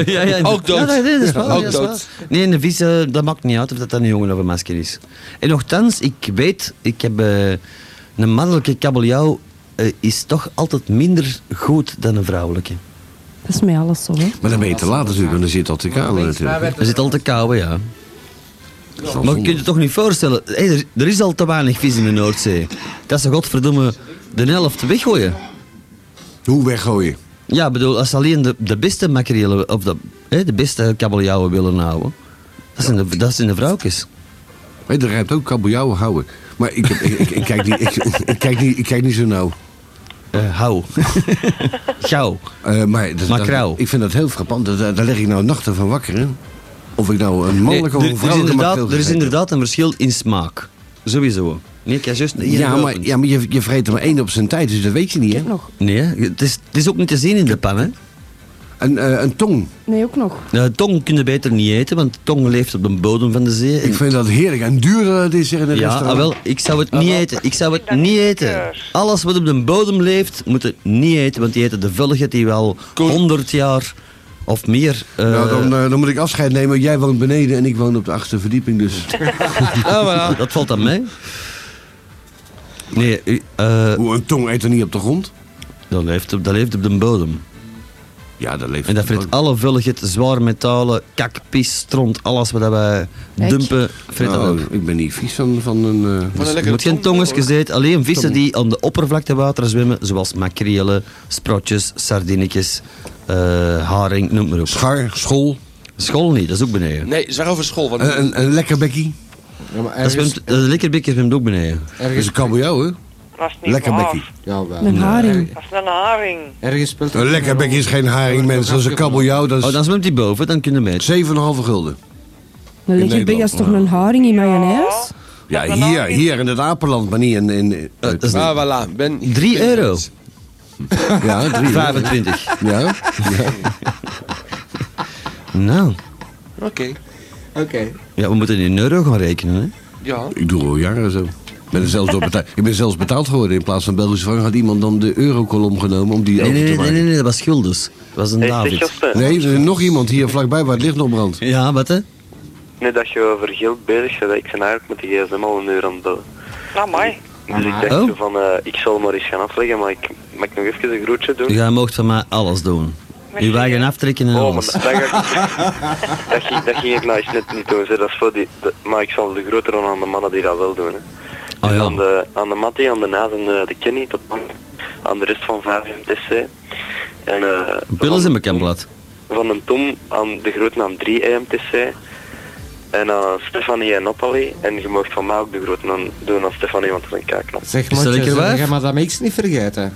ja, ja,
Ook dood.
Ja, nee, nee, dat is waar,
Ook
dat is waar.
dood.
Nee, een vis, eh, dat maakt niet uit of dat dan een jongen of een masker is. En nogthans, ik weet, ik heb eh, een mannelijke kabeljauw eh, is toch altijd minder goed dan een vrouwelijke.
Dat is met alles zo, hè.
Maar dan ben je te laat natuurlijk, want dan zit al te kouwen natuurlijk.
Er zit al te kouwen, ja. Maar je kunt je toch niet voorstellen, hé, er, er is al te weinig vis in de Noordzee. Dat ze godverdomme de helft weggooien.
Hoe weggooien?
Ja, ik bedoel, als ze alleen de, de beste makrelen, of de, hé, de beste kabeljauwen willen houden, dat zijn de, dat zijn de vrouwtjes.
Hé, er rijmt ook kabeljauwen houden. Maar ik, heb- ik, ik, ik kijk niet, ik, ik kijk niet, ik kijk niet zo nauw.
Eh, hou. Gauw.
Eh, maar dat, dat-
Makrauw.
ik vind dat heel frappant. Dat- Daar, daar leg ik nou nachten van wakker in. Of ik nou een mannelijke
Nee,
of
er, er,
een
is
vrouwelijke
inderdaad,
makreel
er is
gegeten heb.
inderdaad een verschil in smaak. Sowieso. Nee, ik heb juist niet
Ja,
geopend.
maar, ja, maar je, je vreet er maar één op zijn tijd, dus dat weet je niet, hè?
Nee, het is, het is ook niet te zien in de pan, hè?
Een, eh, een tong.
Nee, ook nog.
Nou, tong kunnen beter niet eten, want tong leeft op de bodem van de zee.
Ik vind dat heerlijk. En duurder dat is er in een
Ja, ah,
restaurant.
wel, ik zou het niet eten. Ik zou het niet eten. Alles wat op de bodem leeft, moet het niet eten, want die eten de vulligheid die wel 100 jaar of meer... eh,
Nou, dan, eh, dan moet ik afscheid nemen. Jij woont beneden en ik woon op de achtste verdieping, dus...
Dat valt aan mij. Nee, eh
Hoe een tong eet er niet op de grond?
Dat leeft, op- dat leeft op de bodem.
Ja, dat leeft
En dat
op de
vreet alle vulligheid, zware metalen, kak, pis, stront, alles wat wij
Kijk.
dumpen, vreet dat
Nou,
ook.
ik ben niet vies van, van een... eh,
Dus je moet geen tongers gezeten, alleen vissen die aan de oppervlakte water zwemmen, zoals makrelen, sprotjes, sardinetjes, eh, haring, noem maar op.
Schar, school?
School niet, dat is ook beneden.
Nee, zeg over school. Want...
Eh, Een, een, een lekker bekkie.
Ja, maar
Dat zwemt, de lekkerbekje zwemt ook beneden.
Dat is
een kabeljauw, hè?
Dat is niet waar.
Ja, wel.
Een haring.
Dat is een haring.
Ergens speelt
Een lekker bekkie is geen haring, mensen. Dat is een kabeljauw. Dat is...
Oh, dan zwemt die boven, dan kunnen we
7,5 gulden.
Dan leg
In
je bij
Nederland,
als toch een haring in mayonaise?
Ja, hier, hier in het Apenland, maar niet in...
Eh,
in uit-
Ah, voilà. Ben,
3 euro.
Ja, drie, hè?
25.
Ja. ja.
Nou,
Oké. Oké.
ja, we moeten in euro gaan rekenen, hè.
Ja.
Ik doe al jaren zo. Ik ben, er zelfs door betaald. ik ben zelfs betaald geworden. In plaats van Belgische frank had iemand dan de eurokolom genomen om die
Nee,
open
nee,
te
nee,
maken.
nee, nee, dat was Guldus. Dat was een David.
Nee, er is nog iemand hier vlakbij waar het licht nog brandt.
Ja, wat hè?
Nu dat je over geld bezig bent, ik ben eigenlijk met de gsm al een uur aan het bellen.
Nou, mooi.
Dus ik
Oh.
dacht zo van, eh, ik zal maar eens gaan afleggen, maar ik mag nog even een groetje doen.
Jij mocht van mij alles doen. Je wagen aftrekken en
Oh, maar
alles.
dat, dat, ga ik- dat, ging, dat ging ik nou eens net niet doen. Zeg. Dat is voor die, dat- maar ik zal de groter doen aan de mannen die dat wel doen. Hè.
Ah,
Dus aan, de, aan de Matty, aan de Naas en eh, de Kenny, tot dan. aan de rest van 5MTC. En eh,
Pillen zijn bekend blad.
van een Tom aan de grote aan 3MTC. En aan Stefanie en Nathalie. En je mocht van mij ook de grote aan doen aan Stefanie, want dat is een kaaknap.
Zeg maar,
lekker waar?
je gaat Madame X niet vergeten.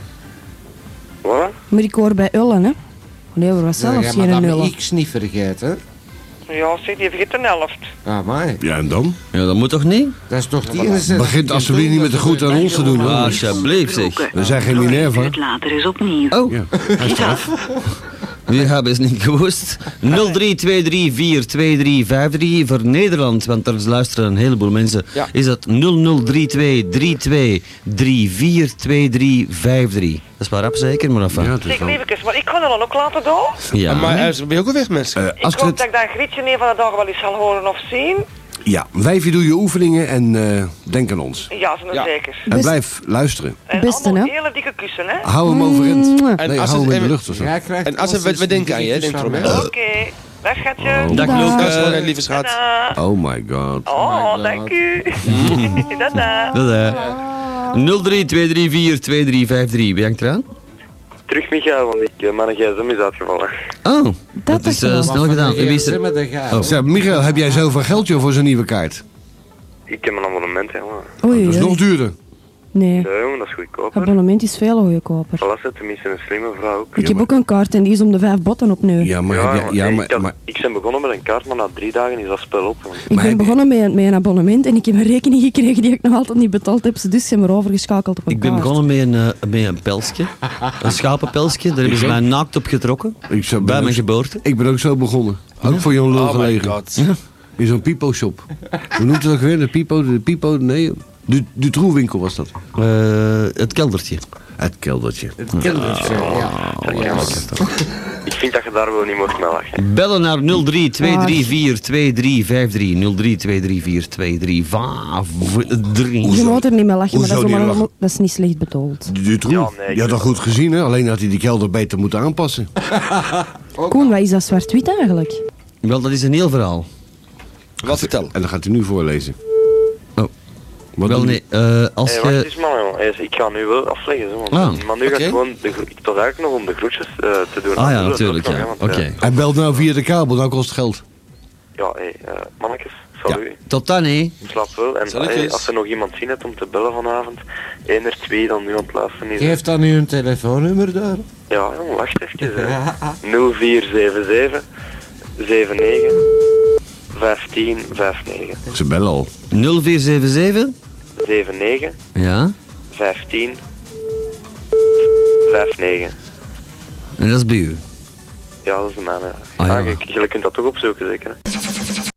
Voilà.
Maar ik hoor bij Ullen, hè. Nee, er was zelfs
je
geen
Madame
Ullen.
X niet vergeten.
Ja, zeg, die vergeet een helft.
Ah, maar.
Ja, en dan?
Ja, dat moet toch niet?
Dat is toch die
Begint alsjeblieft niet met de groet aan ons te doen. hoor.
Alsjeblieft, zeg.
We zijn geen Minerva.
Later is opnieuw.
Oh.
Ja.
Wie hebben is niet gewoest? 0323423353 voor Nederland, want er luisteren een heleboel mensen.
Ja.
Is dat 003232342353? Dat is wel rap zeker, maar enfin.
Zeg, lievekes, maar ik kan dat dan ook laten doen.
Ja.
Maar eh, ben je ook al weg, mensen?
Ik hoop dat ik dat grietje een van de dagen wel eens zal horen of zien.
Ja, wijfje doe je oefeningen en eh, denk aan ons.
Ja, ze zeker.
En blijf luisteren.
En
Beste,
allemaal
hè?
hele dikke kussen, hè?
Hou hem overeind.
En
Nee,
als
hou
het-
hem in de
en-
lucht of zo.
Jij krijgt
En als we, we
constant
denken aan je, hè, denk
dingetjes
erom,
van
hè?
Oké. Dag, schatje.
Dag,
Dag,
Luca.
Lucas. Dag, lieve schat.
Oh my god.
Oh, dank u. Dada.
Dada. 0323423353. Wie hangt eraan?
Terug Michael, want ik, eh, mijn gsm is uitgevallen.
Oh, dat, is eh, snel gedaan. En wie is er?
Oh. Zeg, Michael, heb jij zoveel geld joh, voor zo'n nieuwe kaart?
Ik heb een abonnement, hè, man.
Dat is nog duurder.
Nee.
Ja, jongen, dat is goedkoper.
Abonnement is veel goedkoper.
Voilà, tenminste een slimme vrouw. ook.
Ik heb ook een kaart en die is om de vijf botten op nu.
Ja, maar,
ja, ja,
ik,
maar-
had- ik ben begonnen met een kaart, maar na drie dagen is dat spel op. jongen.
Ik ben begonnen met, een- met een abonnement en ik heb een rekening gekregen die ik nog altijd niet betaald heb. Ze dus zijn we overgeschakeld op een
Ik ben
kaart.
begonnen met een, eh, met een pelsje. Een schapenpelsje. Daar hebben ze
Ik
mij
ook.
naakt op getrokken. bij mijn geboorte.
Ik ben ook zo begonnen. Ook voor Jan Lul
Oh my
gelegen.
God.
Ja. In zo'n pipo-shop. Hoe noemt het ook weer? De pipo, de pipo, nee. De, de troewinkel was dat.
Eh, het keldertje.
Het keldertje. Het
keldertje, ja. Ik vind dat je daar wel niet mocht mee lachen.
Bellen naar 03 234 2353 03 234 2353.
Je moet er niet mee lachen, maar dat
Hoezo
is,
niet
allemaal-
lachen?
dat is niet slecht betaald.
De troef. je had dat goed gezien, hè? Alleen had hij die kelder beter moeten aanpassen.
Koen, wat is dat zwart-wit eigenlijk?
Wel, dat is een heel verhaal.
Wat vertel? En dat gaat hij nu voorlezen.
Oh.
Wat
Wel
doen
nee, eh, als
hey,
je...
wacht eens man, jongen. Hey, ik ga nu wel afleggen. Zo, man.
Ah,
maar nu ga ik gewoon, de, gro- het was eigenlijk nog om de groetjes eh, te doen.
Ah ja,
Dat is
natuurlijk,
ook nog,
ja.
hè, want,
Oké.
eh,
Hij belt nou via de kabel, nou kost het geld.
Ja, hey, eh, mannetjes, salut.
Tot dan, hé.
Ik slaap wel. En
Salutjes.
hey, als er nog iemand zin hebt om te bellen vanavond, één er twee dan nu aan het luisteren is.
Geef dan nu een telefoonnummer daar.
Ja, jongen, wacht even. Eh, hè. 0477 79 15 59
Ze bellen al.
0477?
79
Ja.
15 59.
En dat is bij u.
Ja, dat is de mijne.
Ah, ja.
Ah, je, je kunt dat toch opzoeken, zeker? hè?